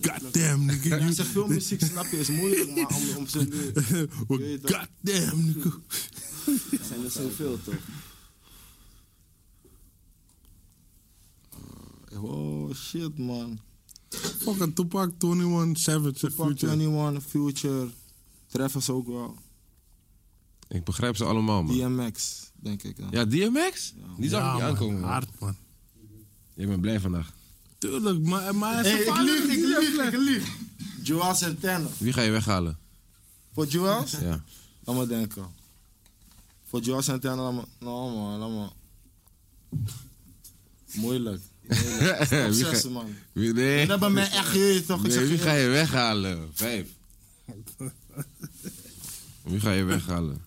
Speaker 4: Goddamn, nigga.
Speaker 5: Als
Speaker 4: you-
Speaker 5: je veel muziek snap je, is moeilijk maar om, om ze nu...
Speaker 4: Well, Goddamn, nigga.
Speaker 14: Er zijn er zoveel toch?
Speaker 5: Oh shit man.
Speaker 4: Fucking Tupac, 21, Savage,
Speaker 5: Tupac
Speaker 4: Future.
Speaker 5: 21, Future, Travis ook wel.
Speaker 3: Ik begrijp ze allemaal, man.
Speaker 5: DMX, denk ik. Ja.
Speaker 3: Ja, DMX? Die zag ik niet
Speaker 4: man,
Speaker 3: aankomen. man.
Speaker 4: Hard, man.
Speaker 3: Ik ben blij vandaag.
Speaker 4: Tuurlijk, maar, maar hij
Speaker 5: Hey,
Speaker 4: is
Speaker 5: ik lieg, ik lieg, ik lieg. Joel Santana.
Speaker 3: Wie ga je weghalen?
Speaker 5: Voor Joel?
Speaker 3: Ja.
Speaker 5: Laat me denken. Voor Joel Santana, laat me... Nou man, laat me... Moeilijk.
Speaker 3: Wie ga-
Speaker 5: Obsessen man.
Speaker 3: Wie- nee.
Speaker 5: Dat hebben mij echt jeugd toch? Ik
Speaker 3: nee,
Speaker 5: zeg
Speaker 3: wie
Speaker 5: je
Speaker 3: ga je weghalen? Vijf. Wie ga je weghalen?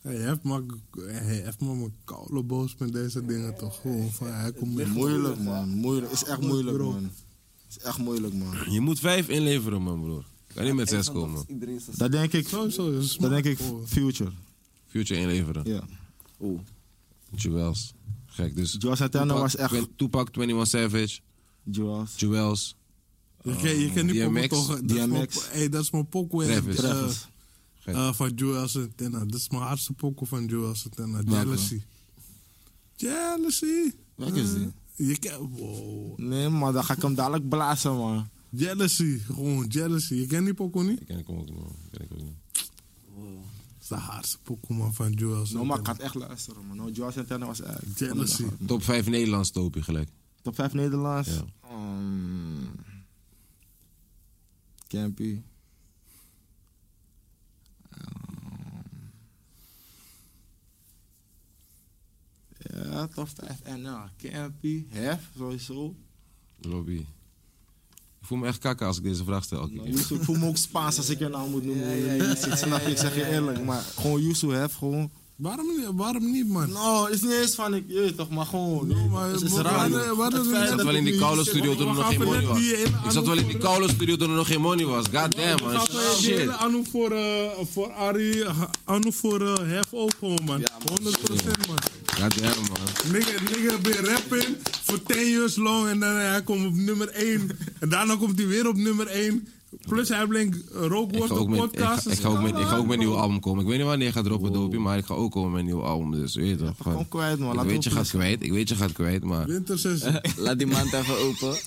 Speaker 4: Hij heeft maar, hij heeft maar mijn koude boos met deze dingen toch gewoon. Van, hij komt met
Speaker 5: Moeilijk man, moeilijk. Is echt moeilijk man. Is echt moeilijk man.
Speaker 3: Je moet vijf inleveren, man, broer. Kan niet met zes komen.
Speaker 5: Dat denk ik.
Speaker 4: Sowieso, dat is
Speaker 5: Dat denk ik
Speaker 4: smaak,
Speaker 5: Future.
Speaker 3: Future inleveren.
Speaker 5: Ja.
Speaker 3: Jewels. Gek, dus...
Speaker 5: Joel Santana
Speaker 3: Tupac,
Speaker 5: was echt.
Speaker 3: Twen- Tupac, 21 Savage,
Speaker 5: Joel's.
Speaker 3: Jewels.
Speaker 4: hoor. Je ken- Je kent
Speaker 5: Oh,
Speaker 4: die pokoe
Speaker 3: DMX,
Speaker 4: toch? Dat is mijn-
Speaker 5: DMX.
Speaker 4: Hey, dat is mijn pokoe. en,
Speaker 3: Travis.
Speaker 4: eh,
Speaker 5: Travis.
Speaker 3: Gek.
Speaker 4: eh, van Joel Santana. Dat is mijn hardste pokoe van Joel Santana. Jealousy. Jealousy. Eh,
Speaker 5: Wat is die?
Speaker 4: Je kent... Wow.
Speaker 5: Nee, maar dan ga ik hem dadelijk blazen, man.
Speaker 4: Jealousy. Gewoon jealousy. Je kent die pokoe niet?
Speaker 3: Ik ken ik ook niet, man. Ik ken ik ook niet.
Speaker 4: Dat is de hardste pokoe man, van Joel
Speaker 5: No,
Speaker 4: Santana.
Speaker 5: Nou, maar ik ga het echt luisteren, man. No, Joel Santana was echt.
Speaker 4: Jealousy.
Speaker 3: Top 5 Nederlands top je gelijk.
Speaker 5: Top 5 Nederlands.
Speaker 3: Ja.
Speaker 5: Ehm, Campy. Ehm, Ja, top 5 NL. Campy, Hef, sowieso.
Speaker 3: Lobby. Ik voel me echt kakken als ik deze vraag stel. elke keer.
Speaker 5: Yusu, Nou, ik voel me ook Spaans als ik je naam moet noemen. Ik snap je, ik zeg je eerlijk. Maar gewoon Yusu hef, gewoon.
Speaker 4: Waarom, niet- waarom niet, man?
Speaker 5: Nou, is niet eens van ik, je weet toch, maar gewoon.
Speaker 4: No,
Speaker 5: nee,
Speaker 4: maar
Speaker 3: Dus
Speaker 5: het is
Speaker 4: we
Speaker 5: raar.
Speaker 4: hadden-
Speaker 5: joh.
Speaker 4: we hadden het
Speaker 5: Het feit
Speaker 4: net
Speaker 3: Ik
Speaker 5: dat
Speaker 3: zat wel in
Speaker 5: ik
Speaker 3: die
Speaker 5: nu
Speaker 3: koude
Speaker 5: zit-
Speaker 3: studio toen er nog geen money was.
Speaker 4: die hele
Speaker 3: Ik zat wel in die koude studio toen er nog geen money was. God damn, man.
Speaker 4: Shit. Die hele
Speaker 3: Shit.
Speaker 4: Anu voor, eh voor Arie, ha- Anu voor eh, Hef ook gewoon, man. 100% man.
Speaker 3: God damn, man.
Speaker 4: Nigga, nigga ben rapping voor 10 years long en dan eh, hij komt op nummer 1. en daarna komt hij weer op nummer 1. Plus hij eh, blinkt
Speaker 3: Ik
Speaker 4: rookworst
Speaker 3: ga, ook
Speaker 4: op
Speaker 3: met, ik,
Speaker 4: podcast.
Speaker 3: ga, ik, ga ook met, ik ga ook met een nieuw album komen. Ik weet niet wanneer je gaat droppen, dopie, maar ik ga ook komen met een nieuw album. Dus weet je toch? gewoon-
Speaker 5: Kom kwijt, man.
Speaker 3: Ik
Speaker 5: Laat
Speaker 3: weet je
Speaker 5: het
Speaker 3: gaat kwijt, ik weet je gaat kwijt, maar...
Speaker 4: Wintersessie.
Speaker 14: Laat die maand even open.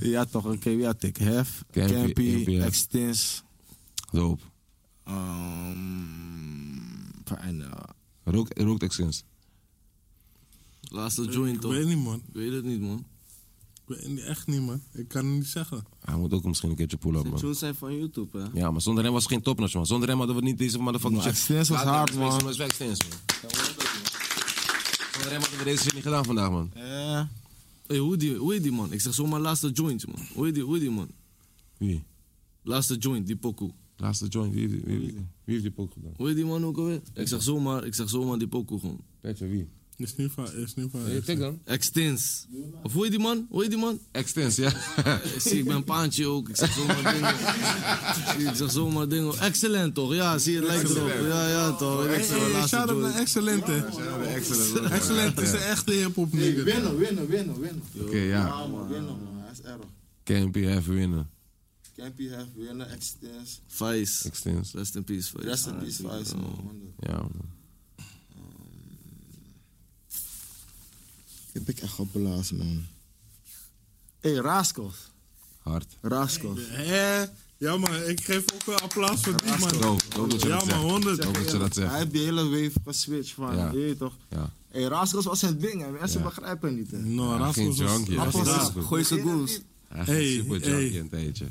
Speaker 5: Ja, toch, oké, wie had ik? Hef,
Speaker 3: Campy, Campy,
Speaker 5: Campy,
Speaker 3: ja.
Speaker 5: Extins.
Speaker 3: Doop.
Speaker 5: ehm, fijn, eh,
Speaker 3: Rook, rookt Exins.
Speaker 7: Laatste joint
Speaker 4: Ik
Speaker 7: toch?
Speaker 4: weet niet, man.
Speaker 7: Ik weet het niet, man.
Speaker 4: Ik weet niet- echt niet, man. Ik kan het niet zeggen.
Speaker 3: Hij moet ook misschien een keertje pull-up,
Speaker 14: De
Speaker 3: man.
Speaker 14: tunes zijn van YouTube, hè?
Speaker 3: Ja, maar zonder hem was het geen topnotch, man. Zonder hem hadden we niet deze motherfucking
Speaker 5: Maar
Speaker 3: shit.
Speaker 5: Extins was
Speaker 3: Ja,
Speaker 5: hard,
Speaker 3: dat is
Speaker 5: man.
Speaker 3: wel- dat is wel Extins, man. Zonder hem hadden we deze shit niet gedaan vandaag, man.
Speaker 5: eh,
Speaker 7: Hey, hoe die, hoe heet die man? Ik zeg zomaar laatste joint, man. Hoe heet die, hoe heet die man?
Speaker 3: Wie?
Speaker 7: Laatste joint, die pokoe.
Speaker 3: Laatste joint, wie heeft die, wie heeft die, wie heeft die pook gedaan?
Speaker 7: Hoe heet die man ook alweer? Ik zeg zomaar, ik zeg zomaar die pokoe gewoon.
Speaker 3: Petje, wie?
Speaker 4: Is niet van. Is niet van.
Speaker 3: Kijk dan.
Speaker 7: Extins. Of hoe heet die man? Hoe heet die man?
Speaker 3: Extins, ja.
Speaker 7: Ik zie, ik ben een paantje ook. Ik zeg zomaar dingen. ik zeg zomaar dingen. Excellent toch? Ja, zie je, het lijkt erop. Ja, ja toch.
Speaker 4: Hey,
Speaker 7: Excellent,
Speaker 4: hey,
Speaker 7: laatste
Speaker 4: shout-out
Speaker 7: joint.
Speaker 4: naar Excellent, hè.
Speaker 3: Excellent.
Speaker 4: Excellent is de echte hip-hop nigga.
Speaker 5: Winnen, winnen, winnen, winnen.
Speaker 3: Oké, ja.
Speaker 5: Ja, man, winnen, man. Hij is erg.
Speaker 3: KMP even winnen.
Speaker 5: Campy, Hef, winnen, Extins.
Speaker 7: Vice.
Speaker 3: Extins.
Speaker 7: Rest in peace, Vice.
Speaker 5: Rest in peace, Vice, man. man.
Speaker 3: Ja, man.
Speaker 5: Ik ben echt opblazen, man. Hé, hey, Raskos.
Speaker 3: Hard.
Speaker 5: Raskos.
Speaker 4: Hé, ja man, ik geef ook een applaus voor die man.
Speaker 3: Doop. Doop dat je
Speaker 4: Ja
Speaker 3: dat
Speaker 4: man,
Speaker 3: zegt.
Speaker 4: 100.
Speaker 3: Doop dat je dat
Speaker 5: Hij
Speaker 3: zegt.
Speaker 5: heeft die hele wave geswitcht van,
Speaker 3: Ja.
Speaker 5: je weet toch.
Speaker 3: Ja.
Speaker 5: Hé, Raskos was zijn ding, hè. Mensen
Speaker 3: Ja.
Speaker 5: begrijpen het niet, hè.
Speaker 4: No,
Speaker 3: Hij ging
Speaker 4: Raskos was-
Speaker 3: junkie. Hij
Speaker 4: Raskos
Speaker 3: ging
Speaker 4: was-
Speaker 3: super-
Speaker 14: Gooi ze goals.
Speaker 3: hij ging
Speaker 4: Hey,
Speaker 3: super
Speaker 4: hey.
Speaker 3: junkie een tijdje.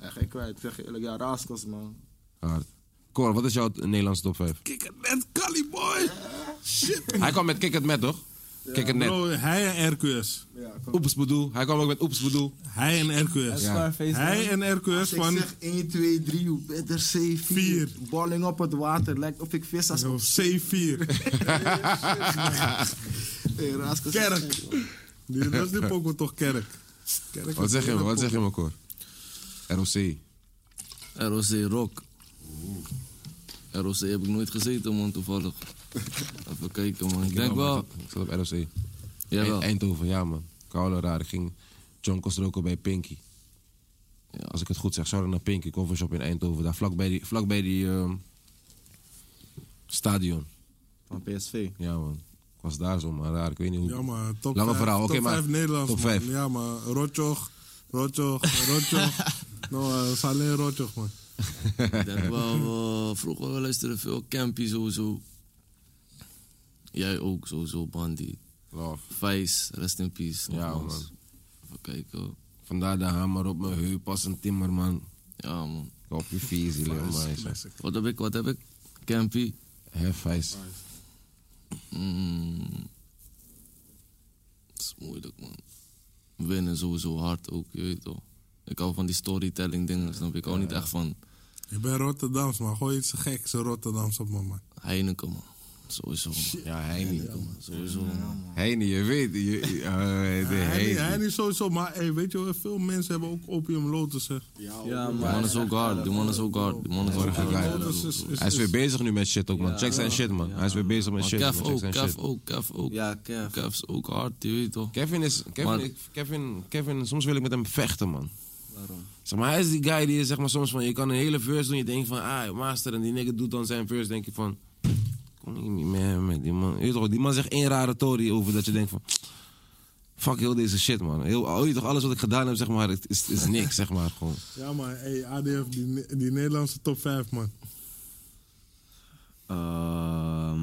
Speaker 5: Ja, geen kwijt, zeg je eerlijk. Ja, Raskos, man.
Speaker 3: Hard. Cor, wat is jouw Nederlandse top 5?
Speaker 4: Kick it net, Cali boy.
Speaker 3: Hij kwam met Kick het Met, toch? Kick het Met.
Speaker 4: Bro, hij en RQS.
Speaker 3: Oeps bedoel. Hij kwam ook met Oeps bedoel.
Speaker 4: Hij en RQS.
Speaker 14: Scarface,
Speaker 4: Hij en RQS
Speaker 5: Ik
Speaker 4: van
Speaker 5: zeg 1, 2, 3, hoe beter C4.
Speaker 4: Vier.
Speaker 5: Balling op het water, lijkt of ik vis als een
Speaker 4: C4.
Speaker 5: Raskos.
Speaker 4: Kerk. Die- Dat is die pokoe toch, Kerk. Kerk
Speaker 3: Wat
Speaker 4: is
Speaker 3: zeg je
Speaker 4: een
Speaker 3: me? Wat zeg
Speaker 4: pokoe.
Speaker 3: je me, Cor? ROC.
Speaker 9: Ah,
Speaker 7: ROC Rock. ROC heb ik nooit gezeten, man, toevallig. Even kijken, man. Ik denk wel.
Speaker 3: Ik zat op ROC.
Speaker 7: Jawel.
Speaker 3: Eindhoven, ja man. koude raar. Ik ging jonkels roken bij Pinky. Ja, als ik het goed zeg, zou dan naar Pinky, coffeeshop in Eindhoven. Daar vlakbij die, vlakbij die ehm, stadion.
Speaker 7: Van PSV.
Speaker 3: Ja man, ik was daar zo maar raar. Ik weet niet hoe...
Speaker 4: Ja, maar top
Speaker 3: Lange
Speaker 4: vijf-
Speaker 3: verhaal, oké
Speaker 4: top
Speaker 3: maar...
Speaker 4: vijf Nederlands,
Speaker 3: Top
Speaker 4: man.
Speaker 3: 5.
Speaker 4: Ja, maar Rotjoch, Rotjoch, Rotjoch. nou, uh, alleen Rotjoch, man.
Speaker 9: Ik denk wel, eh, vroeger we luisteren veel Campy sowieso. Jij ook sowieso, Bandy.
Speaker 3: Love.
Speaker 9: Vice, rest in peace.
Speaker 3: Ja,
Speaker 9: nogmaals.
Speaker 3: man.
Speaker 9: Even kijken.
Speaker 3: Vandaar de hamer op mijn heup als een timmerman.
Speaker 9: Ja, man.
Speaker 3: Ik Op je vies, jongen.
Speaker 9: Wat heb ik, wat heb ik? Campy.
Speaker 3: Hefijs.
Speaker 9: Mm. Het is moeilijk, man. Winnen sowieso hard ook, je weet toch. Ik hou van die storytelling dingen, snap je? Ik hou niet echt van
Speaker 4: Ik ben Rotterdams, man. Gooi iets geks Rotterdams op me, man.
Speaker 9: Heineken, man. Sowieso, man.
Speaker 3: Ja, Heini.
Speaker 9: Heineken, man. Sowieso, man.
Speaker 3: Heini, je weet. Je, je- eh, de
Speaker 4: Hij niet,
Speaker 3: Heini.
Speaker 4: hij niet sowieso, maar hey, weet je wel, veel mensen hebben ook opium lotus, hè.
Speaker 7: Ja,
Speaker 9: Die man is ook hard, die man is ook hard. Die man is ook
Speaker 3: Vorige
Speaker 9: hard.
Speaker 3: guy. Hij is weer bezig nu met shit ook, man. Check zijn shit, man. Hij is weer bezig met
Speaker 9: Maar
Speaker 3: shit. man.
Speaker 9: Kev
Speaker 3: Check
Speaker 9: ook,
Speaker 3: zijn
Speaker 9: Kev
Speaker 3: shit.
Speaker 9: ook, Kev ook.
Speaker 7: Ja, Kev.
Speaker 9: Kev is ook hard, je weet toch.
Speaker 3: Kevin is. Kevin,
Speaker 9: Maar-
Speaker 3: ik- Kevin, Kevin, soms wil ik met hem vechten, man. Zeg maar, hij is die guy die je, zeg maar, soms van. Je kan een hele verse doen. Je denkt van, ah, master. En die nigga doet dan zijn verse. Denk je van. Kom hier niet meer met die man. Je weet toch, die man zegt één rare tory over dat je denkt van. Fuck heel deze shit, man. Heel, oh, je weet toch, alles wat ik gedaan heb, zeg maar, het is, is niks, zeg maar. Gewoon.
Speaker 4: Ja, maar hey, ADF, die, Ne- die Nederlandse top 5, man.
Speaker 7: Ehm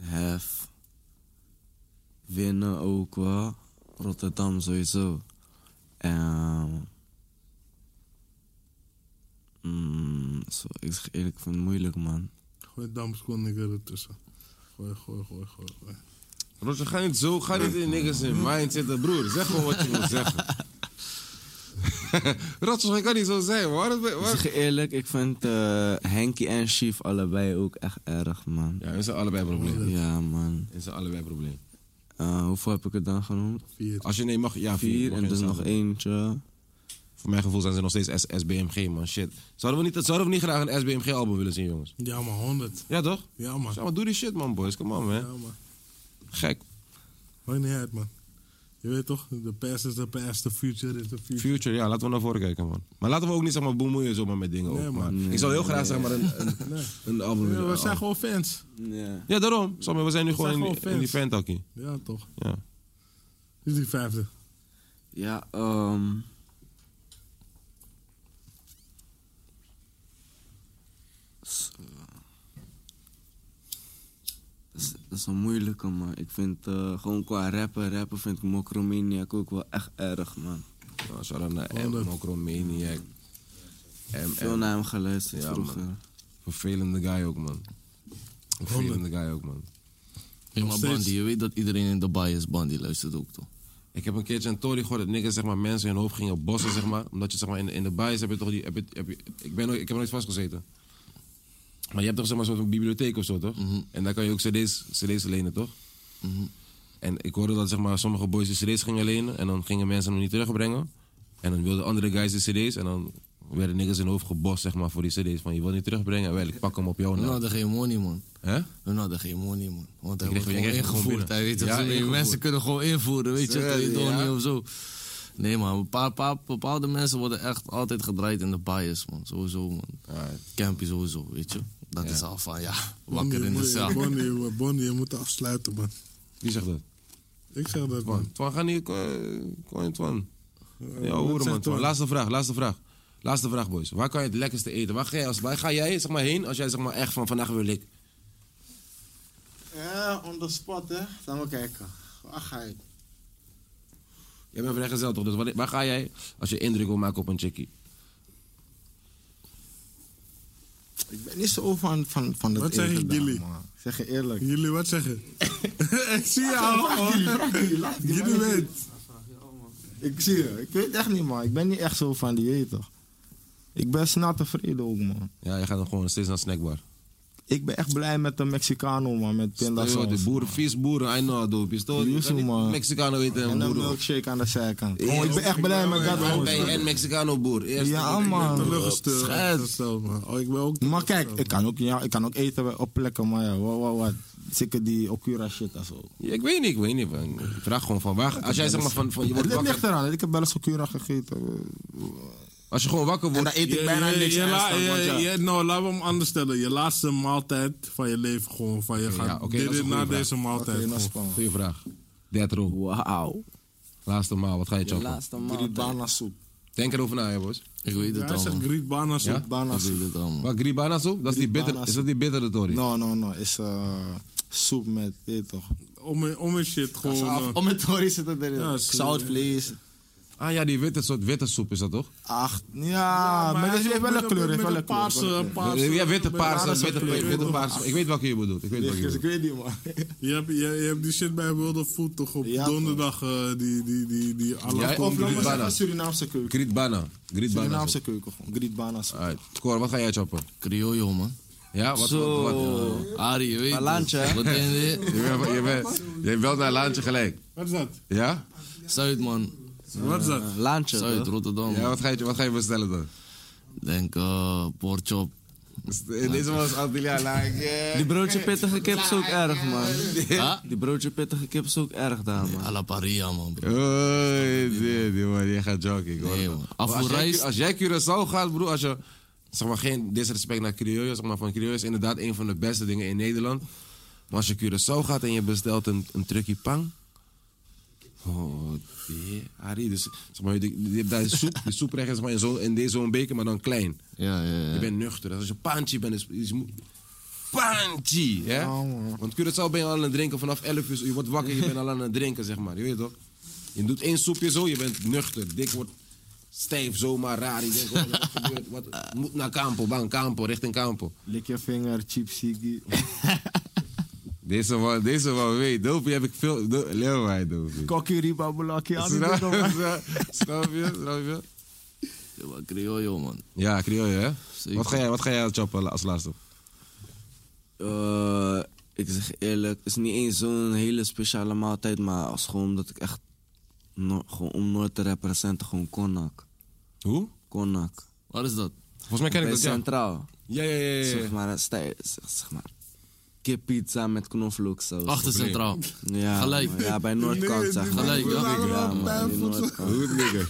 Speaker 7: hef. Winnen ook wel. Rotterdam sowieso. Ehm, En. Mm, zo, ik zeg eerlijk, ik vind het moeilijk, man.
Speaker 4: Gooi Damskoniger ertussen. Gooi, gooi, gooi, gooi, gooi.
Speaker 3: Roger, ga niet zo, ga niet in niggas in mind zitten, broer. Zeg gewoon wat je wil zeggen. Roger, ik kan niet zo zijn, man.
Speaker 7: Ik zeg je eerlijk, ik vind eh Henky en Chief allebei ook echt erg, man.
Speaker 3: Ja, is zijn allebei probleem.
Speaker 7: Ja, man.
Speaker 3: Is zijn allebei probleem.
Speaker 7: Eh, hoeveel heb ik het dan genoemd?
Speaker 4: Vier.
Speaker 3: Als je nee mag, ja, vier.
Speaker 7: Vier,
Speaker 3: Mag
Speaker 7: en
Speaker 3: je
Speaker 7: dus
Speaker 3: zelf
Speaker 7: nog
Speaker 3: doen.
Speaker 7: eentje.
Speaker 3: Voor mijn gevoel zijn ze nog steeds S- SBMG, man. Shit. Zouden we niet, zouden we niet graag een SBMG-album willen zien, jongens?
Speaker 4: Ja, maar 100.
Speaker 3: Ja, toch?
Speaker 4: Ja, man.
Speaker 3: Zeg maar, doe die shit, man, boys. Come on, man.
Speaker 4: Ja, man.
Speaker 3: Gek.
Speaker 4: Maakt niet uit, man. Je weet toch, the past is the past, the future is the future.
Speaker 3: Future, ja, laten we naar voren kijken, man. Maar laten we ook niet, zeg maar, bemoeien zomaar met dingen.
Speaker 4: Nee,
Speaker 3: ook,
Speaker 4: man.
Speaker 3: maar. Ik zou heel graag, zeg maar, een, een, een album
Speaker 4: Ja,
Speaker 3: willen.
Speaker 4: we zijn gewoon fans.
Speaker 7: Ja.
Speaker 3: Ja, daarom. Sam, we zijn nu
Speaker 4: zijn
Speaker 3: gewoon in,
Speaker 4: gewoon
Speaker 3: in die
Speaker 4: fans.
Speaker 3: fantakkie.
Speaker 4: Ja, toch.
Speaker 3: Ja.
Speaker 4: Dit is die vijfde.
Speaker 7: Ja, ehm s- Dat is, dat is een moeilijke, man. Ik vind eh, gewoon qua rappen, rappen vind ik Mokromaniac ook wel echt erg, man.
Speaker 3: Nou, shout-out naar M, Mokromaniac.
Speaker 7: Veel
Speaker 3: M, M.
Speaker 7: naar hem geluisterd
Speaker 3: Ja,
Speaker 7: vroeger.
Speaker 3: man. Vervelende guy ook, man. Vervelende guy ook, man.
Speaker 9: Ja, maar
Speaker 4: Nog steeds.
Speaker 9: Bandy, je weet dat iedereen in de baai is, Bandy luistert ook toch.
Speaker 3: Ik heb een keertje een tory gehoord dat niggas, zeg maar, mensen hun hoofd gingen bossen, zeg maar. Omdat je, zeg maar, in, in de bias heb je toch die... Heb je, heb je, ik, ben, nooit- ik heb nooit vastgezeten. Maar je hebt toch, zeg maar, een soort van bibliotheek of zo, toch? En daar kan je ook cd's, cd's lenen, toch? En ik hoorde dat, zeg maar, sommige boys die cd's gingen lenen... en dan gingen mensen hem niet terugbrengen. En dan wilden andere guys de cd's en dan werden niggas hun hoofd gebost, zeg maar, voor die cd's. Van, je wilt niet terugbrengen? Wel, ik pak hem op jou
Speaker 9: We
Speaker 7: Nou,
Speaker 3: naam.
Speaker 9: hadden geen money, man.
Speaker 3: Hè?
Speaker 9: We hadden geen money, man. Want hij
Speaker 3: Je kreeg- je
Speaker 9: wordt gewoon
Speaker 3: kreeg gewoon
Speaker 9: ingevoerd.
Speaker 3: binnen.
Speaker 9: Hij weet toch,
Speaker 3: Ja,
Speaker 9: zo, die
Speaker 3: ingevoerd.
Speaker 9: mensen kunnen gewoon invoeren, weet je.
Speaker 3: Serieus,
Speaker 9: Twee
Speaker 3: ja?
Speaker 9: niet of zo. Nee, man. een paar- paar- bepaalde mensen worden echt altijd gedraaid in de bias, man. Sowieso, man. Campy sowieso, weet je. Dat is al van, ja, wakker
Speaker 4: Bonnie,
Speaker 9: in de
Speaker 4: moet-
Speaker 9: cel.
Speaker 4: Bonnie, Bonnie, je moet afsluiten, man.
Speaker 3: Wie zegt dat?
Speaker 4: Ik zeg dat, man.
Speaker 3: Twan, Twan, ga niet. eh, Kom in, Twan.
Speaker 5: Eh,
Speaker 3: Ja,
Speaker 4: wat
Speaker 3: horen
Speaker 4: zegt
Speaker 3: man. Twan.
Speaker 4: Twan?
Speaker 3: Laatste vraag, laatste vraag. Laatste vraag, boys. Waar kan je het lekkerste eten? Waar ga jij, als, waar ga jij zeg maar, heen als jij zeg maar, echt van vandaag wil ik?
Speaker 5: Ja, on the spot, hè. Laten we kijken. Waar ga je?
Speaker 3: Jij bent vrijgezel toch? Dus waar, waar ga jij als je indruk wil maken op een chickie?
Speaker 5: Ik ben niet zo van, van, van dat
Speaker 4: Wat zeg je,
Speaker 5: eten daar,
Speaker 4: Gilly?
Speaker 5: man. Ik Zeg je eerlijk.
Speaker 4: Jullie wat zeggen? ik zie je al. Jullie weet.
Speaker 5: Ik zie je. Ik weet echt niet, man. Ik ben niet echt zo van die eten. Ik ben snel tevreden ook, man.
Speaker 3: Ja, je gaat dan gewoon steeds naar snackbar.
Speaker 5: Ik ben echt blij met de Mexicano, man. Met
Speaker 3: Stel,
Speaker 5: pindasaus.
Speaker 3: de boeren, vies boeren, I know, dope. Je stoort- Je
Speaker 5: Yuzu,
Speaker 3: kan niet
Speaker 5: man.
Speaker 3: Mexicano eten en
Speaker 5: En een
Speaker 3: boeren.
Speaker 5: milkshake aan de zijkant. Oh, ik ben echt blij met dat, man.
Speaker 3: Ben je een Mexicano boer? Eerst
Speaker 5: Ja, man.
Speaker 4: Teleurgesteld. gesteld, man. Oh, ik ben ook.
Speaker 5: Maar kijk, ik kan ook, ja, ik kan ook eten op plekken, maar ja, wat, wat, wat. zeker die Okura shit en zo.
Speaker 3: Ja, ik weet niet, ik weet niet. man. Ik vraag gewoon van waar. Als jij zeg maar van, van je wordt
Speaker 5: Het ligt
Speaker 3: wakker.
Speaker 5: eraan, ik heb wel eens Okura gegeten.
Speaker 3: Als je gewoon wakker wordt.
Speaker 5: dan eet ik
Speaker 3: je-
Speaker 5: bijna
Speaker 3: je-
Speaker 5: niks
Speaker 3: je-
Speaker 5: en
Speaker 3: la-
Speaker 4: Ja,
Speaker 3: je-
Speaker 4: ja,
Speaker 3: je-
Speaker 4: ja, nou, laten we hem anders stellen. Je laatste maaltijd van je leven gewoon. Van je gaat
Speaker 3: ja, oké,
Speaker 4: dit
Speaker 3: dat is een
Speaker 4: na
Speaker 3: goede vraag.
Speaker 4: deze maaltijd.
Speaker 5: Oké, dat is
Speaker 4: gewoon.
Speaker 5: spannend.
Speaker 3: Goeie vraag. Dead row.
Speaker 7: Wauw.
Speaker 3: Laatste maal, wat ga je
Speaker 7: Je
Speaker 3: choppen?
Speaker 7: laatste maal.
Speaker 5: Die banansoep.
Speaker 3: Denk erover na, hè, boys.
Speaker 9: Ik weet
Speaker 4: Ja,
Speaker 9: het
Speaker 4: hij
Speaker 9: al,
Speaker 4: zegt
Speaker 9: man.
Speaker 4: grietbana zo.
Speaker 3: Ja?
Speaker 9: Ik
Speaker 5: Banansoep.
Speaker 9: weet het al, man.
Speaker 3: Wat, gribana soep? Dat is die bitter,
Speaker 5: Gribana
Speaker 3: is dat die bittere tori?
Speaker 4: Nou.
Speaker 5: No, no, no. Is eh, soep met, weet je toch.
Speaker 4: Om, en- om en shit gewoon. eh,
Speaker 5: Om het tori zit het erin.
Speaker 4: Ja, is-
Speaker 5: Zoutvlees.
Speaker 3: Ah ja, die witte soort witte soep is dat toch?
Speaker 5: Acht. Ja,
Speaker 4: maar
Speaker 5: Ah, maar,
Speaker 4: hij
Speaker 5: dat
Speaker 4: is
Speaker 5: heeft
Speaker 4: ook
Speaker 5: wel
Speaker 4: met
Speaker 5: een kleur.
Speaker 4: met
Speaker 5: Heeft wel een kleur. wel
Speaker 4: paarse,
Speaker 5: een kleur.
Speaker 4: paarse.
Speaker 3: ja, witte paars,
Speaker 4: bananensoep.
Speaker 3: witte, witte,
Speaker 4: Ik weet nog.
Speaker 3: paars. Ik weet welke je bedoelt. Ik weet welke je
Speaker 5: Dus ik
Speaker 3: bedoelt.
Speaker 5: weet niet, man.
Speaker 4: Je hebt, je, je hebt die shit bij World of Food toch op
Speaker 5: Ja,
Speaker 4: donderdag eh, die, die, die, die à la
Speaker 3: Ja,
Speaker 4: Congo.
Speaker 3: of laat maar
Speaker 4: Ja,
Speaker 3: zeggen-
Speaker 5: Een Surinaamse keuken.
Speaker 3: Grietbana. Grietbana.
Speaker 5: Surinaamse keuken gewoon. Grietbana
Speaker 7: Ah.
Speaker 5: soep.
Speaker 3: Alright. Cor, wat ga jij choppen?
Speaker 9: Criollo, man.
Speaker 3: Ja, wat?
Speaker 7: Zo.
Speaker 3: wat, wat?
Speaker 9: Arie, je weet het.
Speaker 7: Palantje, hè?
Speaker 9: Wat denk je?
Speaker 3: Je bent, je bent, je belt naar Laantje gelijk.
Speaker 4: Wat is dat?
Speaker 3: Ja?
Speaker 9: Zuid, man.
Speaker 4: Wat is dat?
Speaker 7: Laantje.
Speaker 9: Zuid,
Speaker 7: toch?
Speaker 9: Rotterdam.
Speaker 3: Ja, wat ga je, wat ga je bestellen dan?
Speaker 9: Denk, eh, porchop.
Speaker 3: Deze man is Antilliaan.
Speaker 7: Die broodje pittige kip is ook erg, man.
Speaker 9: Ja?
Speaker 7: Die broodje pittige kip is ook erg daar, man.
Speaker 9: A la paria, man. bro.
Speaker 3: Oei, die, die man, jij gaat joking hoor.
Speaker 9: Nee, man.
Speaker 3: Maar als, jij,
Speaker 9: Afvoerreis-
Speaker 3: als jij Curaçao gaat, broer, als je... Zeg maar geen disrespect naar Curaçao, zeg maar van Curaçao is inderdaad een van de beste dingen in Nederland. Maar als je Curaçao gaat en je bestelt een, een trucje pang... Oh, die Arie, dus zeg maar, je, je hebt daar soep, de soep recht is maar in zo'n in deze- zo'n beker, maar dan klein.
Speaker 9: Ja, ja,
Speaker 3: Je
Speaker 9: ja.
Speaker 3: bent nuchter. Als je panchi bent, is, is mo- Panchi, hè? Want Curaçao ben je al aan het drinken vanaf 11 uur. Je wordt wakker, je bent al aan het drinken, zeg maar. Je weet toch? Je doet één soepje zo, je bent nuchter. Dik wordt stijf, zomaar raar. Je denkt, oh, wat gebeurt? Wat, moet naar Campo, bang, Campo, richting Campo.
Speaker 5: Lik je vinger, cheap siki.
Speaker 3: Deze man, deze man weet. Dopie heb ik veel... do- Leer mij, dopie.
Speaker 5: Kokkie, riba, bulaki. al die
Speaker 3: Snap
Speaker 5: dingen, man.
Speaker 3: je? Snap je? Snap je?
Speaker 9: Ja, maar Criollo, man.
Speaker 3: Ja, Creole, hè?
Speaker 9: Zeker.
Speaker 3: Wat ga jij, wat ga jij choppen als laatste?
Speaker 7: Eh, ik zeg eerlijk, het is niet eens zo'n hele speciale maaltijd, maar als gewoon omdat ik echt, no- gewoon om Noord te representen, gewoon konak.
Speaker 3: Hoe?
Speaker 7: Konak.
Speaker 9: Wat is dat?
Speaker 3: Volgens mij ken ik
Speaker 7: Bij
Speaker 3: dat, ja.
Speaker 7: Centraal.
Speaker 3: Ja, ja, ja, ja, ja.
Speaker 7: Zeg maar, stij, zeg, zeg maar, kippizza met knoflooksaus.
Speaker 9: Achter centraal.
Speaker 7: Ja,
Speaker 9: Gelijk.
Speaker 7: maar Ja, bij Noordkant zeg maar.
Speaker 9: Gelijk, ja.
Speaker 7: Ja, man, die Noordkant.
Speaker 3: Goed nigger.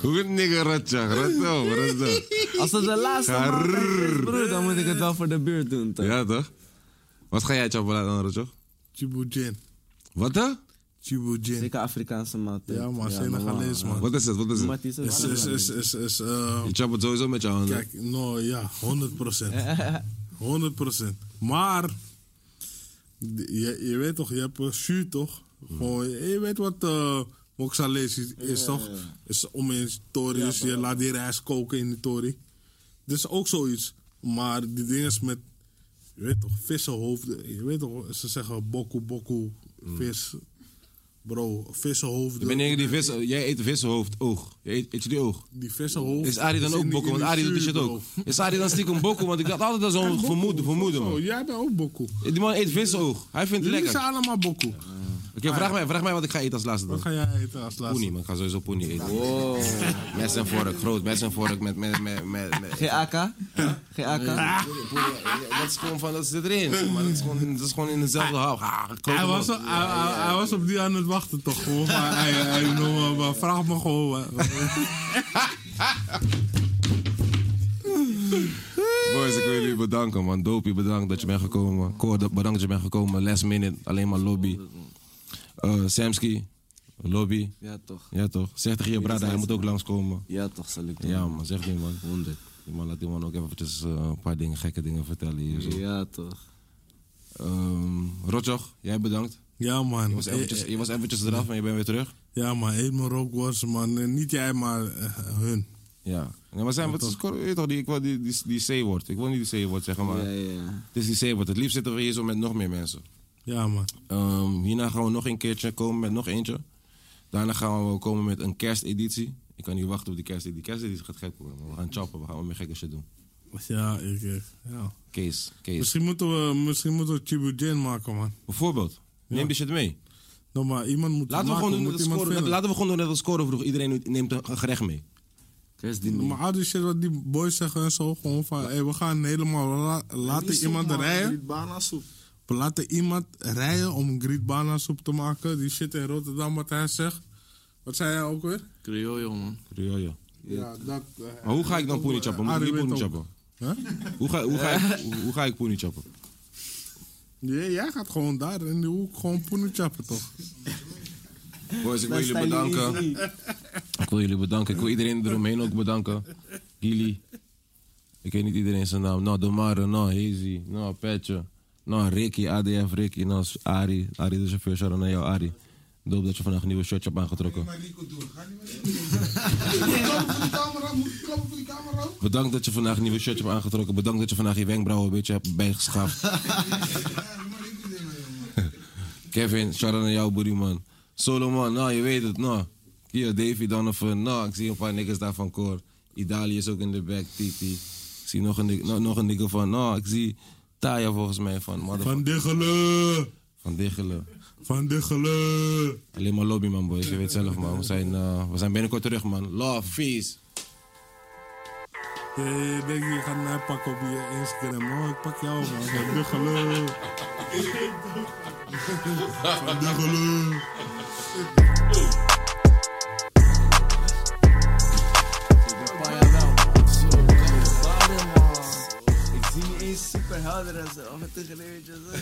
Speaker 3: Goed nigger, Ratja. Ratto, ratto.
Speaker 7: Als het de laatste maaltijd is, broer, dan moet ik het wel voor de buurt doen. toch?
Speaker 3: Ja, toch? Wat ga jij choppen dan, Ratjo?
Speaker 4: Chibujin.
Speaker 3: Wat dan?
Speaker 4: Chibujin.
Speaker 7: Zeker Afrikaanse maaltijd.
Speaker 4: Ja, man, Senegalees, man.
Speaker 3: Wat is het? Wat is
Speaker 7: Maar
Speaker 3: het?
Speaker 7: het is
Speaker 4: Is,
Speaker 7: een-
Speaker 4: is, is, is, is, eh,
Speaker 3: Je chopt het sowieso met je handen.
Speaker 4: Kijk, nou ja, 100%. 100%. Maar, je, je weet toch, je hebt een jus toch? Gewoon, je weet wat eh moksalees is, is toch? Is om in tori, is je laat die rijst koken in de tori. Dit is ook zoiets. Maar die dingen is met, je weet toch, vissenhoofden. Je weet toch, ze zeggen boku boku, vis. Bro, vissenhoofden.
Speaker 3: Mm. Ik ben tegen die vis, jij eet vissenhoofd, oog. Je eet, eet je die oog?
Speaker 4: Die vissenhoofden.
Speaker 3: Is Arie dan
Speaker 4: in
Speaker 3: ook
Speaker 4: die-
Speaker 3: bokkel?
Speaker 4: in
Speaker 3: Want
Speaker 4: die
Speaker 3: Arie doet die
Speaker 4: jus,
Speaker 3: shit ook.
Speaker 4: bro.
Speaker 3: Is Arie dan stiekem bokkel? Want ik had altijd al zo'n vermoeden, vermoeden
Speaker 4: Oh,
Speaker 3: man.
Speaker 4: jij bent ook boku.
Speaker 3: Die man eet vissenoog. Hij vindt het
Speaker 4: Jullie zijn
Speaker 3: lekker.
Speaker 4: allemaal boku.
Speaker 3: Oké, vraag mij, vraag mij wat ik ga eten als laatste dan.
Speaker 4: Wat ga jij eten als laatste?
Speaker 3: Poenie, man. Ik ga sowieso poenie eten. Mes en vork, groot. Mes en vork met... met, met, met, met
Speaker 7: Geen AK? Geen AK?
Speaker 3: Dat is gewoon van, dat zit erin. zeg Maar dat is gewoon, dat is gewoon in dezelfde hap. Ah, klote
Speaker 4: Hij was,
Speaker 3: man.
Speaker 4: op, hij, hij- hij was op die aan het wachten toch gewoon. Maar, hij, hij, no, maar vraag me gewoon. wat-
Speaker 3: Boys, ik wil jullie bedanken, man. Dopie, bedankt dat je bent gekomen. Cor, dat- bedankt dat je bent gekomen. Last minute, alleen maar lobby. Eh Samsky, lobby.
Speaker 7: Ja, toch.
Speaker 3: Ja, toch? Zeg tegen je brada, hij moet ook langskomen.
Speaker 7: Ja, toch zal ik doen.
Speaker 3: Ja, man. Zeg die man. 100. Die man laat die man ook eventjes eh, een paar dingen, gekke dingen vertellen hier. Zo.
Speaker 7: Ja, toch.
Speaker 3: Ehm, Rotjoch, jij bedankt.
Speaker 4: Ja man.
Speaker 3: Je was, eventjes,
Speaker 4: Eh,
Speaker 3: je was eventjes eraf, maar je bent weer terug.
Speaker 4: Ja man, eet mijn rookworst man. Eh, Niet jij, maar eh, hun.
Speaker 3: Ja. ja maar zijn, wat is, Cor, weet je toch, die, ik wil die, die, die C-woord. Ik wil niet die C-woord zeggen, maar...
Speaker 7: Ja, ja.
Speaker 3: Het is die C-woord. Het liefst zitten we hier zo met nog meer mensen.
Speaker 4: Ja man.
Speaker 3: Ehm, hierna gaan we nog een keertje komen met nog eentje. Daarna gaan we komen met een kersteditie. Ik kan niet wachten op die kersteditie. Die kersteditie gaat gek worden. man. We gaan chappen, we gaan wel meer gekke shit doen.
Speaker 4: Ja, ik, eh, ja.
Speaker 3: Kees, Kees.
Speaker 4: Misschien moeten we, misschien moeten we Chibujin maken man.
Speaker 3: Bijvoorbeeld, neem die shit mee.
Speaker 4: No, maar iemand moet
Speaker 3: Laten we,
Speaker 4: maken,
Speaker 3: gewoon doen net
Speaker 4: moet
Speaker 3: als
Speaker 4: iemand
Speaker 3: scoren,
Speaker 4: vinden.
Speaker 3: laten we gewoon doen net als scoren vroeg. Iedereen neemt een gerecht mee.
Speaker 7: Kerstdiner.
Speaker 4: Maar al die shit wat die boys zeggen en zo. Gewoon van, hey, we gaan helemaal la- laten iemand rijden.
Speaker 5: Grietbana soep.
Speaker 4: We laten iemand rijden om Grietbana soep te maken. Die shit in Rotterdam, wat hij zegt. Wat zei jij ook weer?
Speaker 9: Criollo, man.
Speaker 3: Ja, ja.
Speaker 4: Ja, dat... eh,
Speaker 3: Maar hoe ga ik dan poenie chappen? Moet ik niet poenie chappen? Hoe ga, hoe, ga ik, hoe- hoe ga ik poenie chappen?
Speaker 4: Nee, jij gaat gewoon daar in de hoek gewoon poenen chappen, toch?
Speaker 3: Boys, ik wil jullie bedanken. Ik wil jullie bedanken. Ik wil iedereen eromheen ook bedanken. Gili. Ik weet niet iedereen zijn naam. Nou, Domare, nou, Hazy, nou, Petje. Nou, Ricky, ADF, Ricky, nou, Ari. Ari de chauffeur, shout-out naar jou, Ari. Doop dat je vandaag een nieuwe shirtje hebt aangetrokken. Bedankt dat je vandaag een nieuwe shirtje hebt aangetrokken. Bedankt dat je vandaag je wenkbrauwen een beetje hebt bijgeschaafd. Kevin, shout-out naar jou, buddy, man. Solomon, nou, je weet het, nou. Hier, Davy Donovan, nou, ik zie een paar niggas daar van koor. Idalië is ook in de back, Titi. Ik zie nog een, nig- nog, nog een nigger van, nou, ik zie Taya volgens mij van, motherfucker,
Speaker 4: Van Diggelen!
Speaker 3: van Diggelen.
Speaker 4: Van Diggelen!
Speaker 3: Alleen maar lobby, man, boys. Je weet zelf, man. We zijn, eh, we zijn binnenkort terug, man. Love, peace.
Speaker 4: Je denkt, je gaat mij pakken op je Instagram. Oh, ik pak jou, man. Van Diggelen! Van Diggelen!
Speaker 7: Ik zie niet eens superhelder en zo. Of het tegelijkertijd.